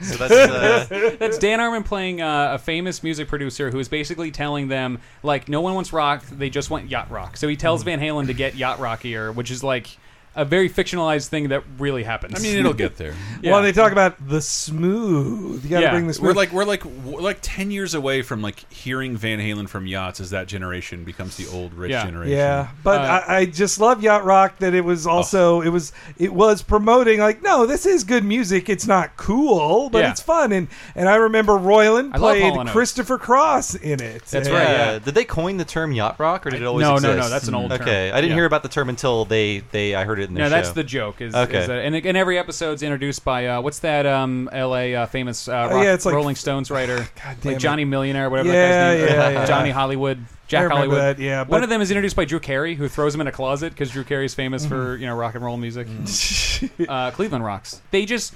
S4: So
S2: *laughs* That's Dan Harmon playing uh, a famous music producer who is basically telling them like no one wants rock, they just want yacht rock. So he tells
S1: Hmm.
S2: Van Halen to get yacht rockier, which is like a very fictionalized thing that really happens.
S1: I mean,
S2: *laughs*
S1: it'll get there.
S2: Yeah.
S3: Well, they talk about the smooth. You got to
S1: yeah.
S3: bring the smooth.
S1: we're like we're like we're like ten years away from like hearing Van Halen from yachts as that generation becomes the old rich generation.
S3: Yeah, but
S2: Uh,
S1: Uh,
S3: I, I just love yacht rock that it was also it was it was promoting like no, this is good music. It's not cool, but
S4: Yeah.
S3: it's fun. And and I remember Royland
S4: I love
S3: played
S4: Hall and Oates.
S3: Christopher Cross in it. And-
S4: Did they coin the term yacht rock, or did it always
S2: no, no,
S4: exist? Mm.
S2: no, that's an old term.
S4: Okay, I didn't
S2: Yeah.
S4: hear about the term until they they I heard it in the
S2: no,
S4: show.
S2: that's the joke. Is,
S4: okay.
S2: is that, and, and every episode's introduced by uh, what's that um, L.A. Uh, famous uh, rock,
S3: Oh, yeah, it's like-
S2: Rolling Stones
S3: *sighs*
S2: writer,
S3: damn
S2: like
S3: it.
S2: Johnny Millionaire, whatever
S3: Yeah,
S2: that guy's name.
S3: yeah,
S2: is.
S3: yeah.
S2: Johnny Hollywood,
S3: I
S2: Jack
S3: remember
S2: Hollywood.
S3: that, yeah, but-
S2: one of them is introduced by Drew Carey, who throws him in a closet because Drew Carey is famous
S3: Mm-hmm.
S2: for you know rock and roll music.
S3: Mm.
S2: *laughs* uh, Cleveland rocks. They just.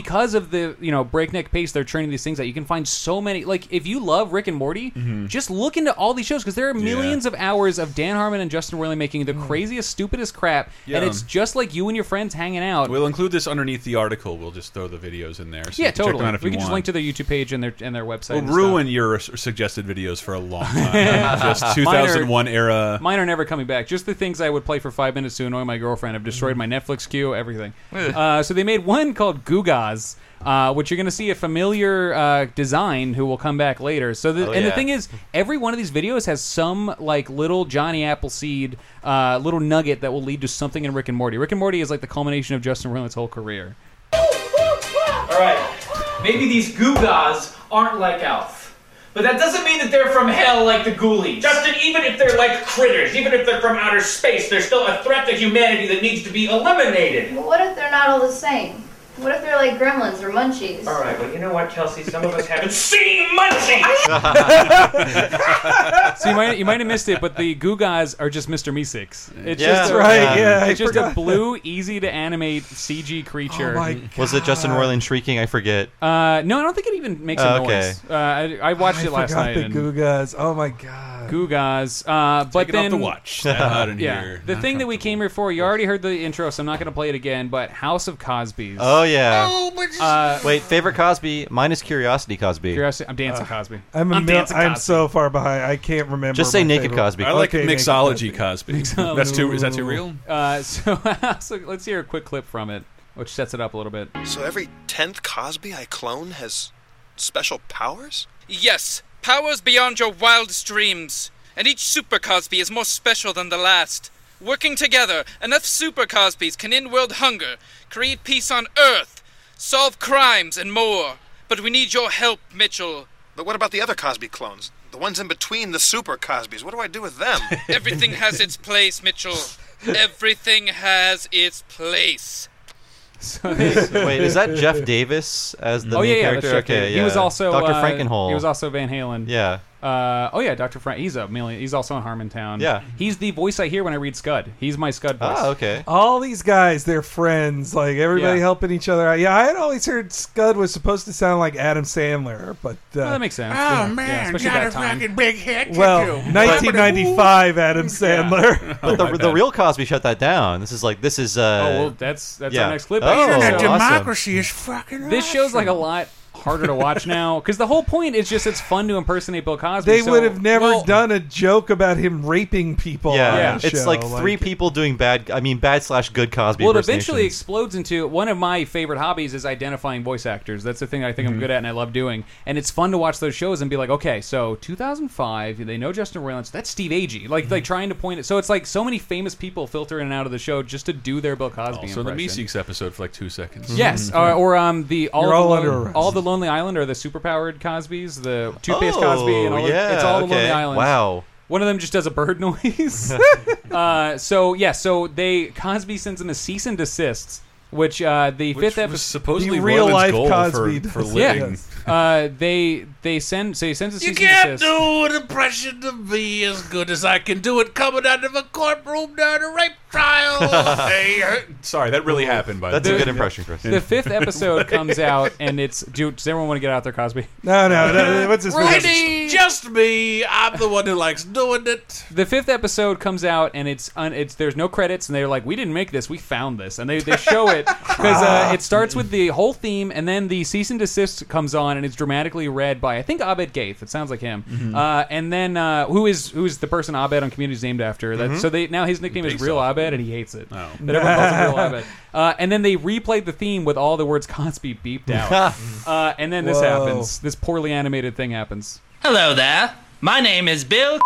S2: Because of the you know breakneck pace, they're churning these things out. You can find so many. Like if you love Rick and Morty,
S4: Mm-hmm.
S1: Mhm.
S2: just look into all these shows because there are millions of hours of Dan Harmon and Justin Roiland making
S3: Mm.
S2: the craziest, stupidest crap, and
S1: Yeah.
S2: it's just like you and your friends hanging out.
S1: We'll include this underneath the article. We'll just throw the videos in there. So
S2: yeah,
S1: you can check them
S2: totally.
S1: out if
S2: we
S1: you
S2: can just
S1: want.
S2: link to their YouTube page and their and their website.
S1: We'll
S2: and *laughs*
S1: ruin your s- suggested videos for a long time.
S2: stuff.
S1: just 2001
S2: Mine are-
S1: era.
S2: Mine are never coming back. Just the things I would play for five minutes to annoy my girlfriend have destroyed my Netflix queue. Everything.
S1: Ugh.
S2: uh, so they made one called Gugas, uh, which you're going to see a familiar uh, design who will come back later. So the,
S4: Oh,
S2: and the
S4: yeah.
S2: thing is, every one of these videos has some like little Johnny Appleseed uh, little nugget that will lead to something in Rick and Morty. Rick and Morty is like the culmination of Justin Roiland's whole career.
S19: All right. Maybe these Googas aren't like Alf, but that doesn't mean that they're from hell like the Ghoulies.
S8: Justin, even if they're like critters, even if they're from outer space, there's still a threat to humanity that needs to be eliminated.
S20: But what if they're not all the same? What if they're like gremlins or munchies?
S8: All right, well, you know what, Kelsey? Some of
S16: *laughs*
S8: us haven't seen Munchie!
S3: *laughs*
S2: so you might you might have missed it, but the Goo Guys are just Mr. Meeseeks. It's
S4: Yeah.
S2: just a, um,
S4: Right, yeah, I
S2: it's just a
S4: forgot.
S2: blue, easy to animate CG
S3: Oh
S2: creature.
S4: Was it Justin Roiland shrieking? I forget.
S2: Uh, no, I don't think it even makes a
S4: Oh, okay.
S2: noise. Uh, I, I watched
S3: I
S2: it last
S3: forgot
S2: night.
S3: The
S2: and-
S3: Gugas. Oh my god.
S2: Gugas. Uh, but
S1: Take it off
S2: then
S1: the watch. That hot in
S2: *laughs* yeah,
S1: here.
S2: the
S1: Not
S2: thing that we came here for. You already heard the intro, so I'm not going to play it again. But House of Cosby's. Uh,
S4: Oh, Oh yeah.
S20: Oh, but-
S4: Wait, favorite Cosby minus curiosity Cosby.
S2: Curiosity. I'm dancing Cosby.
S3: Uh, I'm, a
S2: I'm
S3: mil-
S2: dancing
S3: I'm
S2: Cosby.
S3: so far behind. I can't remember.
S4: Just say
S3: my
S4: Naked
S3: favorite.
S4: Cosby.
S1: I like
S3: Okay, Naked
S1: mixology Cosby.
S2: *laughs*
S1: *laughs*
S2: Mixology.
S1: That's too. Is that too real?
S2: Uh, so, *laughs* so let's hear a quick clip from it, which sets it up a little bit.
S21: So every tenth Cosby I clone has special powers?
S22: Yes, powers beyond your wildest dreams. And each Super Cosby is more special than the last. Working together, enough Super Cosbys can end world hunger, create peace on Earth, solve crimes, and more. But we need your help, Mitchell.
S21: But what about the other Cosby clones? The ones in between the super Cosbys. What do I do with them?
S22: *laughs* Everything has its place,
S21: *laughs*
S22: Mitchell. Everything has its place.
S4: Wait, is that Jeff Davis as the
S2: oh
S4: main
S2: yeah, yeah,
S4: character?
S2: that's Jeff
S4: okay,
S2: Davis.
S4: yeah.
S2: He was also
S4: Dr.
S2: uh,
S4: Frankenhole.
S2: He was also
S4: *laughs*
S2: Van Halen.
S4: Yeah.
S2: Uh, oh yeah, Dr. Frank. He's a million. He's also in Harmontown.
S4: Yeah. Ah,
S2: He's the voice I hear when I read Scud. He's my Scud voice.
S4: okay.
S3: All these guys, they're friends. Like everybody
S2: Yeah.
S3: helping each other out. Yeah, I had always heard Scud was supposed to sound like Adam Sandler, but uh,
S2: that makes sense.
S4: Ah,
S8: Oh,
S3: yeah.
S8: big hit.
S3: Well, 1995 Adam Sandler.
S4: But the, the real Cosby shut that down. This is like this is. Uh,
S2: Oh, well, that's- that's
S4: yeah.
S2: our next clip,
S4: Oh,
S2: actually. Internet
S4: awesome.
S2: democracy
S8: is fucking.
S2: This show's like a lot harder to watch now because the whole point is just it's fun to impersonate Bill Cosby.
S3: They
S2: so-
S3: would have never done a joke about him raping people.
S4: Yeah,
S3: on the
S4: it's
S3: show.
S4: like three people doing bad. I mean, bad slash good Cosby.
S2: Well, it
S4: impersonations.
S2: eventually explodes into one of my favorite hobbies is identifying voice actors. That's the thing I think I'm
S4: Mhm.
S2: good at and I love doing. And it's fun to watch those shows and be like, okay, so 2005, they know Justin Roiland. so That's Steve Agee. Like,
S4: Mm-hmm.
S2: like trying to point it. So it's like so many famous people filter in and out of the show just to do their Bill Cosby.
S1: Also, the
S2: impression.
S1: Meeseeks episode for like two seconds.
S2: Yes,
S4: Mm-hmm.
S2: or, or um, the all,
S1: Mm-hmm. You're
S2: the
S1: all
S2: Lon-
S1: under arrest.
S2: all the Lonely Island are the superpowered Cosbys, the toothpaste
S4: Oh,
S2: Cosby, and all the,
S4: yeah,
S2: it's all the Lonely
S4: okay.
S2: Islands.
S4: Wow.
S2: One of them just does a bird
S1: *laughs*
S2: *laughs* noise. uh, so yeah, so they Cosby sends them a cease and desists, which uh, the fifth episode
S1: supposedly The real Roiland's life goal Cosby for- for does living.
S2: Yeah. Uh, they they send so he sends a
S8: You
S2: cease and
S8: can't
S2: desist.
S8: do an impression of me as good as I can do it coming out of a courtroom during a rape
S23: *laughs*
S8: trial. hey, uh,
S1: Sorry, that really happened. By
S4: That's
S1: the
S4: a
S1: way.
S4: good impression, Chris.
S2: The
S1: *laughs*
S2: fifth episode comes out and it's dude. Does everyone want to get out there, Cosby?
S3: No, no, no. What's his
S8: Right,
S6: *laughs*
S8: it's just me. I'm the one who likes doing it.
S2: The fifth episode comes out and it's un- it's there's no credits and they're like we didn't make this we found this and they, they show
S8: *laughs*
S2: it because
S8: Ah.
S2: uh, it starts with the whole theme and then the cease and desist comes on and it's dramatically read by I think Abed Gaith it sounds like him
S8: Mm-hmm.
S17: Mhm.
S2: uh, and then uh, who is who is the person Abed on Community is named after that
S8: Mm-hmm.
S17: Mhm.
S2: so they now his nickname is
S17: Based
S2: Real
S17: off.
S2: Abed and he hates it
S8: Oh.
S2: that everyone calls him
S8: *laughs*
S2: Real Abed uh, and then they replayed the theme with all the words Cosby beeped
S8: *laughs*
S2: out uh, and then this
S17: Whoa.
S2: happens this poorly animated thing happens
S17: Hello there. My name is Bill. well,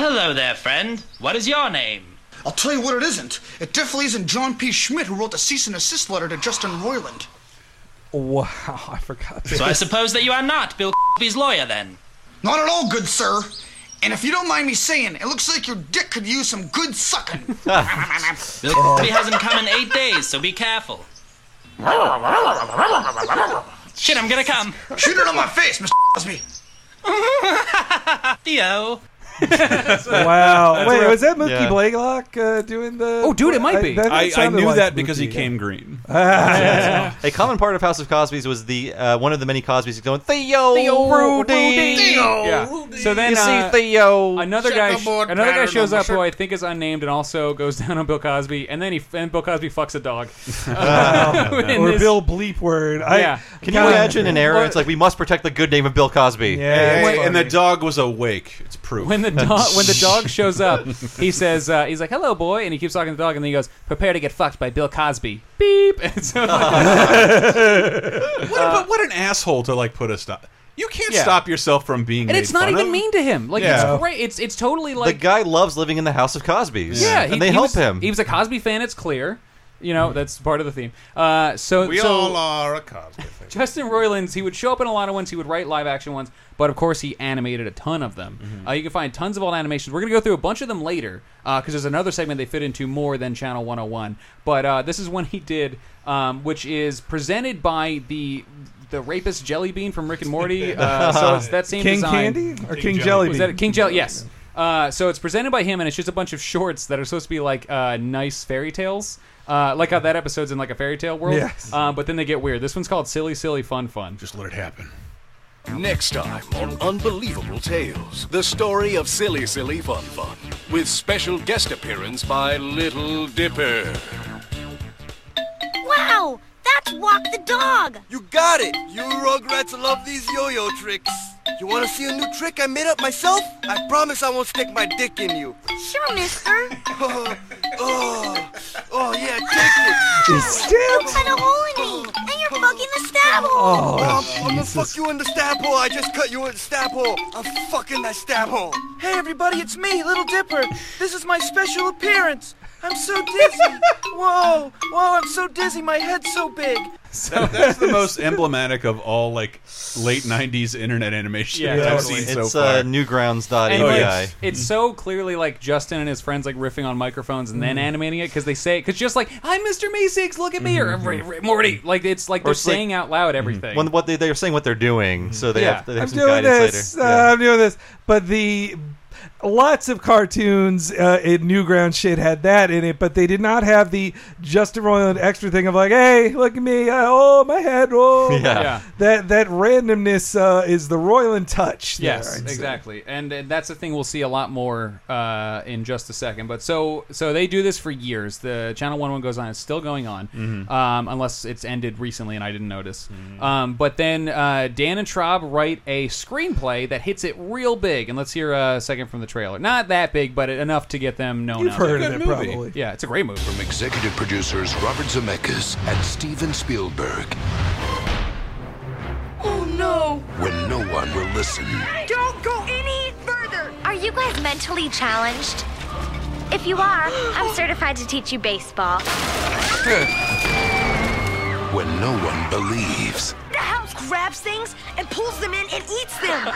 S17: hello there, friend. What is your name?
S24: I'll tell you what it isn't. It definitely isn't John P. Schmidt who wrote the cease and desist letter to Justin Roiland.
S3: Wow, I forgot.
S17: So I suppose that you are not Bill Cosby's lawyer then.
S24: Not at all good, sir. And if you don't mind me saying, it looks like your dick could use some good sucking.
S17: Bill Cosby hasn't come in eight days, so be careful. *laughs* Shit, I'm gonna come.
S24: Shoot it on my face, Mr. Cosby.
S17: Theo.
S3: Wow.
S1: That's
S3: Wait,
S1: where-
S3: was that Mookie
S1: Yeah.
S3: Blaylock uh, doing the?
S2: Oh, dude, it might be.
S1: I, I
S3: sounded
S1: knew
S3: like
S1: that because he
S3: Mookie.
S1: came green.
S4: a common part of House of Cosby's was the uh, one of the many Cosbys going Theo,
S2: Theo
S4: Rudy,
S2: Rudy. Theo Yeah. So then,
S4: you
S2: uh,
S4: see Theo,
S2: Another guy,
S4: Checkerboard
S2: another guy
S4: pattern
S2: shows
S4: on
S2: up
S4: the
S2: who I think is unnamed and also goes *laughs* down on Bill Cosby, and then he and Bill Cosby fucks a
S4: *laughs*
S2: dog. Uh, *laughs*
S3: Wow.
S2: In
S3: or
S2: this-
S3: Bill Bleepword. I,
S2: Yeah.
S4: Can you
S3: God.
S4: imagine an era? It's like we must protect the good name of Bill Cosby.
S1: and, and the dog was awake. It's proof.
S2: When the
S1: *laughs*
S2: dog when the dog shows up, he says uh, he's like "Hello, boy," and he keeps talking to the dog, and then he goes, "Prepare to get fucked by Bill Cosby." Beep. *laughs* And so,
S4: *laughs*
S2: Uh,
S1: what, but what an asshole to like put a stop. You can't
S2: Yeah.
S1: stop yourself from being.
S2: and it's
S1: made
S2: not
S1: fun
S2: even
S1: of.
S2: mean to him. Like
S1: Yeah.
S2: it's great. It's it's totally
S4: the
S2: like
S4: guy loves living in the House of Cosbys.
S2: yeah.
S4: and they help
S2: was,
S4: him.
S2: He was a Cosby fan. It's clear. You know that's part of the theme. Uh, so
S1: We
S2: so-
S1: all are a Cosby.
S2: Justin Roiland's, he would show up in a lot of ones, he would write live action ones, but of course he animated a ton of them.
S3: Mm-hmm.
S2: Uh, you can find tons of old animations. We're going to go through a bunch of them later because there's another segment they fit into more than Channel 101. But uh, this is one he did, um, which is presented by the the rapist jelly bean from Rick and
S3: *laughs*
S2: Morty. Uh, so it's that same
S3: King
S2: design.
S3: Candy or King King Jelly
S2: Was
S3: Bean?
S2: that King Jelly? Yes. Uh, so it's presented by him, and it's just a bunch of shorts that are supposed to be like uh, nice fairy tales, uh, like how that episode's in like a fairy tale world.
S23: Yes.
S2: Um, but then they get weird. This one's called Silly Silly Fun Fun.
S1: Just let it happen.
S23: Next time on Unbelievable Tales, the story of Silly Silly Fun Fun, with special guest appearance by Little Dipper.
S5: walk the dog.
S6: You got it! You rugrats love these yo-yo tricks. You wanna see a new trick I made up myself? I promise I won't stick my dick in you.
S5: Sure, mister.
S6: *laughs* Oh, oh, oh yeah, take it.
S5: You cut a hole in me, and you're fucking the stab hole.
S6: Oh, I'm, I'm gonna fuck you in the stab hole. I just cut you in the stab hole. I'm fucking that stab hole.
S7: Hey everybody, it's me, Little Dipper. This is my special appearance. I'm so
S6: *laughs*
S7: dizzy. Whoa, whoa, I'm so dizzy. My head's so big.
S1: That- that's the
S2: *laughs*
S1: most emblematic of all like late '90s internet animation
S4: Yeah,
S1: that I've
S4: totally.
S1: seen so
S4: It's,
S1: far.
S4: uh, Newgrounds.ai.
S2: And, like,
S4: Oh, Yeah.
S2: It's so clearly like Justin and his friends like riffing on microphones and then
S4: Mm.
S2: animating it because they say because just like I'm Mr. Meeseeks, look at me or "Ray- Ray- Morty, like it's like
S4: Mm-hmm.
S2: they're
S4: Or it's like- Mm-hmm.
S2: saying out loud everything.
S4: When, what they, they're saying what they're doing, so they
S2: Yeah.
S4: have, they have
S2: I'm
S4: some
S2: doing
S4: guidance
S3: this.
S4: later.
S3: uh, I'm doing this. But the lots of cartoons uh, in Newground shit had that in it, but they did not have the Justin Roiland extra thing of like, hey, look at me, uh, oh my head, oh.
S2: Yeah. Yeah.
S3: That that randomness uh, is the Roiland touch. there,
S2: Yes,
S3: I'd say.
S2: exactly, and, and that's the thing we'll see a lot more uh, in just a second. But so so they do this for years. The Channel One One goes on; it's still going on,
S23: Mm-hmm.
S10: Mhm.
S2: um, unless it's ended recently and I didn't notice. Um, but then uh, Dan and Traub write a screenplay that hits it real big, and let's hear a second from the trailer. Not that big, but enough to get them known.
S23: *laughs* You've
S2: out there.
S23: heard of Good it, movie. probably.
S2: Yeah, it's a great movie.
S23: From executive producers Robert Zemeckis and Steven Spielberg,
S5: Oh no!
S23: when no one will listen.
S5: Don't go any further. Are you guys mentally challenged? If you are, *gasps* I'm certified to teach you baseball.
S23: When no one believes.
S5: The house grabs things and pulls them in and eats them.
S2: *laughs*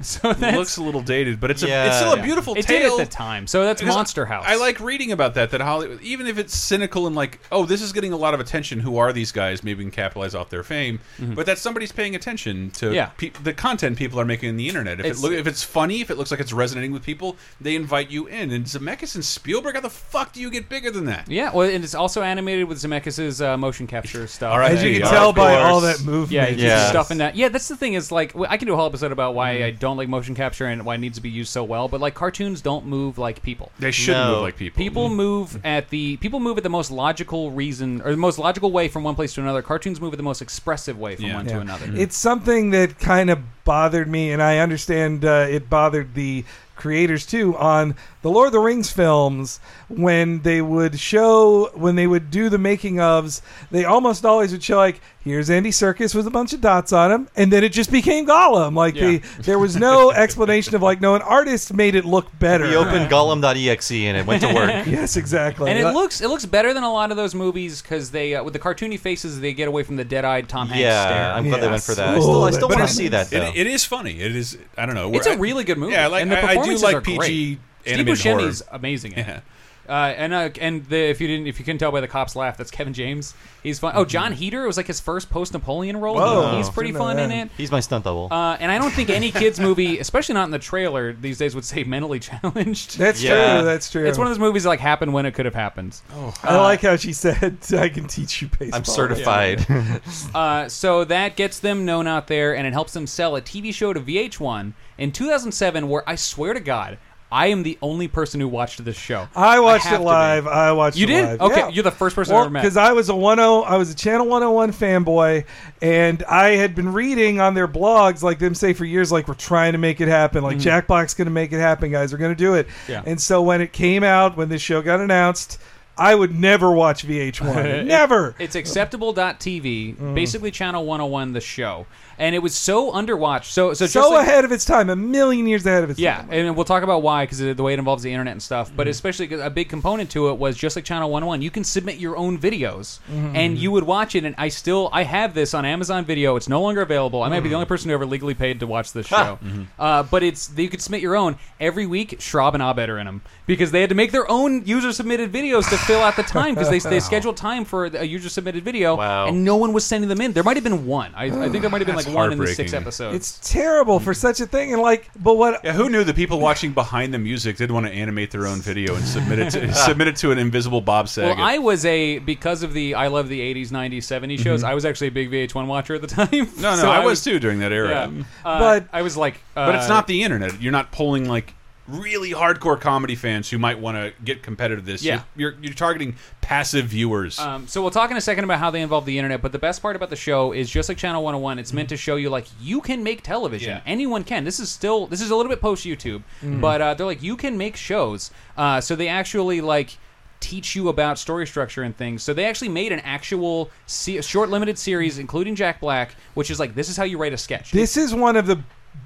S2: So
S1: that looks a little dated, but it's a
S2: Yeah.
S1: it's still a
S2: Yeah.
S1: beautiful
S2: It did at
S1: tale
S2: the time, so that's
S1: Because
S2: Monster House.
S1: I like reading about that. That Hollywood, even if it's cynical and like, oh, this is getting a lot of attention. Who are these guys? Maybe we can capitalize off their fame. But that somebody's paying attention to
S2: Mm-hmm. Yeah.
S1: pe the content people are making on the internet. If
S2: It's-
S1: it look, if it's funny, if it looks like it's resonating with people, they invite you in. And Zemeckis and Spielberg, how the fuck do you get bigger than that?
S2: Yeah, well, and it's also animated with Zemeckis's uh, motion capture stuff.
S1: All right,
S3: As you
S1: there you
S3: can
S1: go.
S3: tell
S1: Of
S3: by
S1: course.
S3: all that movement.
S2: Yeah, he's
S1: Yes. Mm-hmm.
S2: just stuffing that. Yeah, that's the thing is like I can do a whole episode about why I don't like motion capture and why it needs to be used so well, but like cartoons don't move like people.
S1: They shouldn't No. move like people.
S3: Mm-hmm.
S2: People move at the people move at the most logical reason or the most logical way from one place to another. Cartoons move at the most expressive way from one to
S3: Yeah.
S2: another.
S3: It's something that kind of bothered me, and I understand uh, it bothered the creators too on the Lord of the Rings films when they would show when they would do the making ofs. They almost always would show like here's Andy Circus with a bunch of dots on him, and then it just became Gollum. Like the, *laughs* there was no explanation of like no, an artist made it look better.
S4: We opened Gollum.exe and E it went to
S3: *laughs*
S4: work.
S3: yes, exactly.
S2: and it
S3: Like-
S2: looks it looks better than a lot of those movies because they uh, with the cartoony faces they get away from the dead-eyed Tom Hanks
S4: Yeah,
S2: stare.
S4: I'm glad they went for that. I still, I still
S1: But
S4: want
S1: it-
S4: to see that though.
S1: It, it is funny. It is. I don't know.
S2: It's
S1: We're-
S2: a really good movie.
S1: Yeah, I like.
S2: and the
S1: I, I do
S2: performances
S1: like
S2: are
S1: PG
S2: great. Steve
S1: animated horror.
S2: Buscemi's amazing. in it. Uh, and uh, and the, if you didn't if you couldn't tell by the cops laugh, that's Kevin James. He's fun. Oh,
S1: Mm-hmm.
S2: John Heater it was like his first post Napoleon role. *laughs*
S4: Whoa.
S2: He's pretty
S4: Didn't know
S2: fun in
S4: that.
S2: it.
S4: Oh. He's my stunt double.
S2: Uh, and I don't think any kids movie, *laughs* especially not in the trailer these days, would say mentally *laughs* challenged.
S3: That's Yeah. true, that's true.
S2: It's one of those movies that like happened when it could have happened.
S1: Oh,
S3: I
S2: Uh,
S3: like how she said, "I can teach you baseball." *laughs*
S2: Yeah. *laughs* uh, so that gets them known out there, and it helps them sell a TV show to VH1 in 2007, where I swear to God, I am the only person who watched this show.
S3: I watched
S2: have
S3: it
S2: to be.
S3: live. I watched
S2: You
S3: it
S2: did?
S3: live.
S2: Okay,
S3: yeah.
S2: you're the first person I ever met. *laughs*
S3: Because I *laughs* was a 10, I was a Channel 101 fanboy, and I had been reading on their blogs, like them say for years, like, we're trying to make it happen. Like,
S2: Mm.
S11: Mhm.
S3: Jack Black's going to make it happen, guys. We're going to do it.
S11: Yeah.
S3: And so when it came out, when this show got announced, I would never
S2: *laughs*
S3: watch VH1. never. Mm.
S2: It's acceptable.tv, basically channel 101 the show. And it was so underwatched. So so,
S3: So,
S2: just like-
S3: ahead of its time, a million years ahead of its
S2: yeah,
S3: time.
S2: and we'll talk about why because the way it involves the internet and stuff.
S1: Mm-hmm.
S2: But especially 'cause a big component to it was just like Channel 101, you can submit your own videos
S1: Mm-hmm.
S10: Mhm.
S2: and you would watch it. And I still I have this on Amazon Video. It's no longer available. I might
S1: Mm-hmm.
S2: be the only person who ever legally paid to watch this show. uh, but it's you could submit your own every week. Schraub and Abed are in them because they had to make their own user submitted videos to fill out the time because they
S1: *laughs*
S2: they
S10: Wow.
S2: scheduled time for a user submitted video and no one was sending them in. There might have been one. I, I think there might have been
S1: That's
S2: like one in the six
S1: heartbreaking.
S2: episodes.
S3: It's terrible for such a thing. And, like, but what.
S1: Yeah, who knew the people watching behind the music did want to animate their own video and submit it
S2: *laughs*
S1: to, submit it to an invisible Bob Saget?
S2: Well, I was a because of the I love the '80s, '90s, '70s shows.
S1: Mhm.
S2: I was actually a big VH1 watcher at the *laughs* time.
S1: No, no,
S2: So
S1: I was too during that era. Mm-hmm.
S2: Yeah. Uh,
S1: But-
S2: I was like, uh,
S1: but it's not the internet. You're not pulling like really hardcore comedy fans who might want to get competitive this.
S2: Yeah.
S1: You're, you're, you're targeting passive viewers.
S2: Um, so we'll talk in a second about how they involve the internet, but the best part about the show is just like Channel 101, it's meant to show you like you can make television.
S1: Mm-hmm. Yeah.
S2: Anyone can. This is still this is a little bit post YouTube,
S1: Mhm.
S2: but uh, they're like you can make shows. Uh, so they actually like teach you about story structure and things. So they actually made an actual se- short limited series including Jack Black, which is like this is how you write a sketch.
S3: This is one of the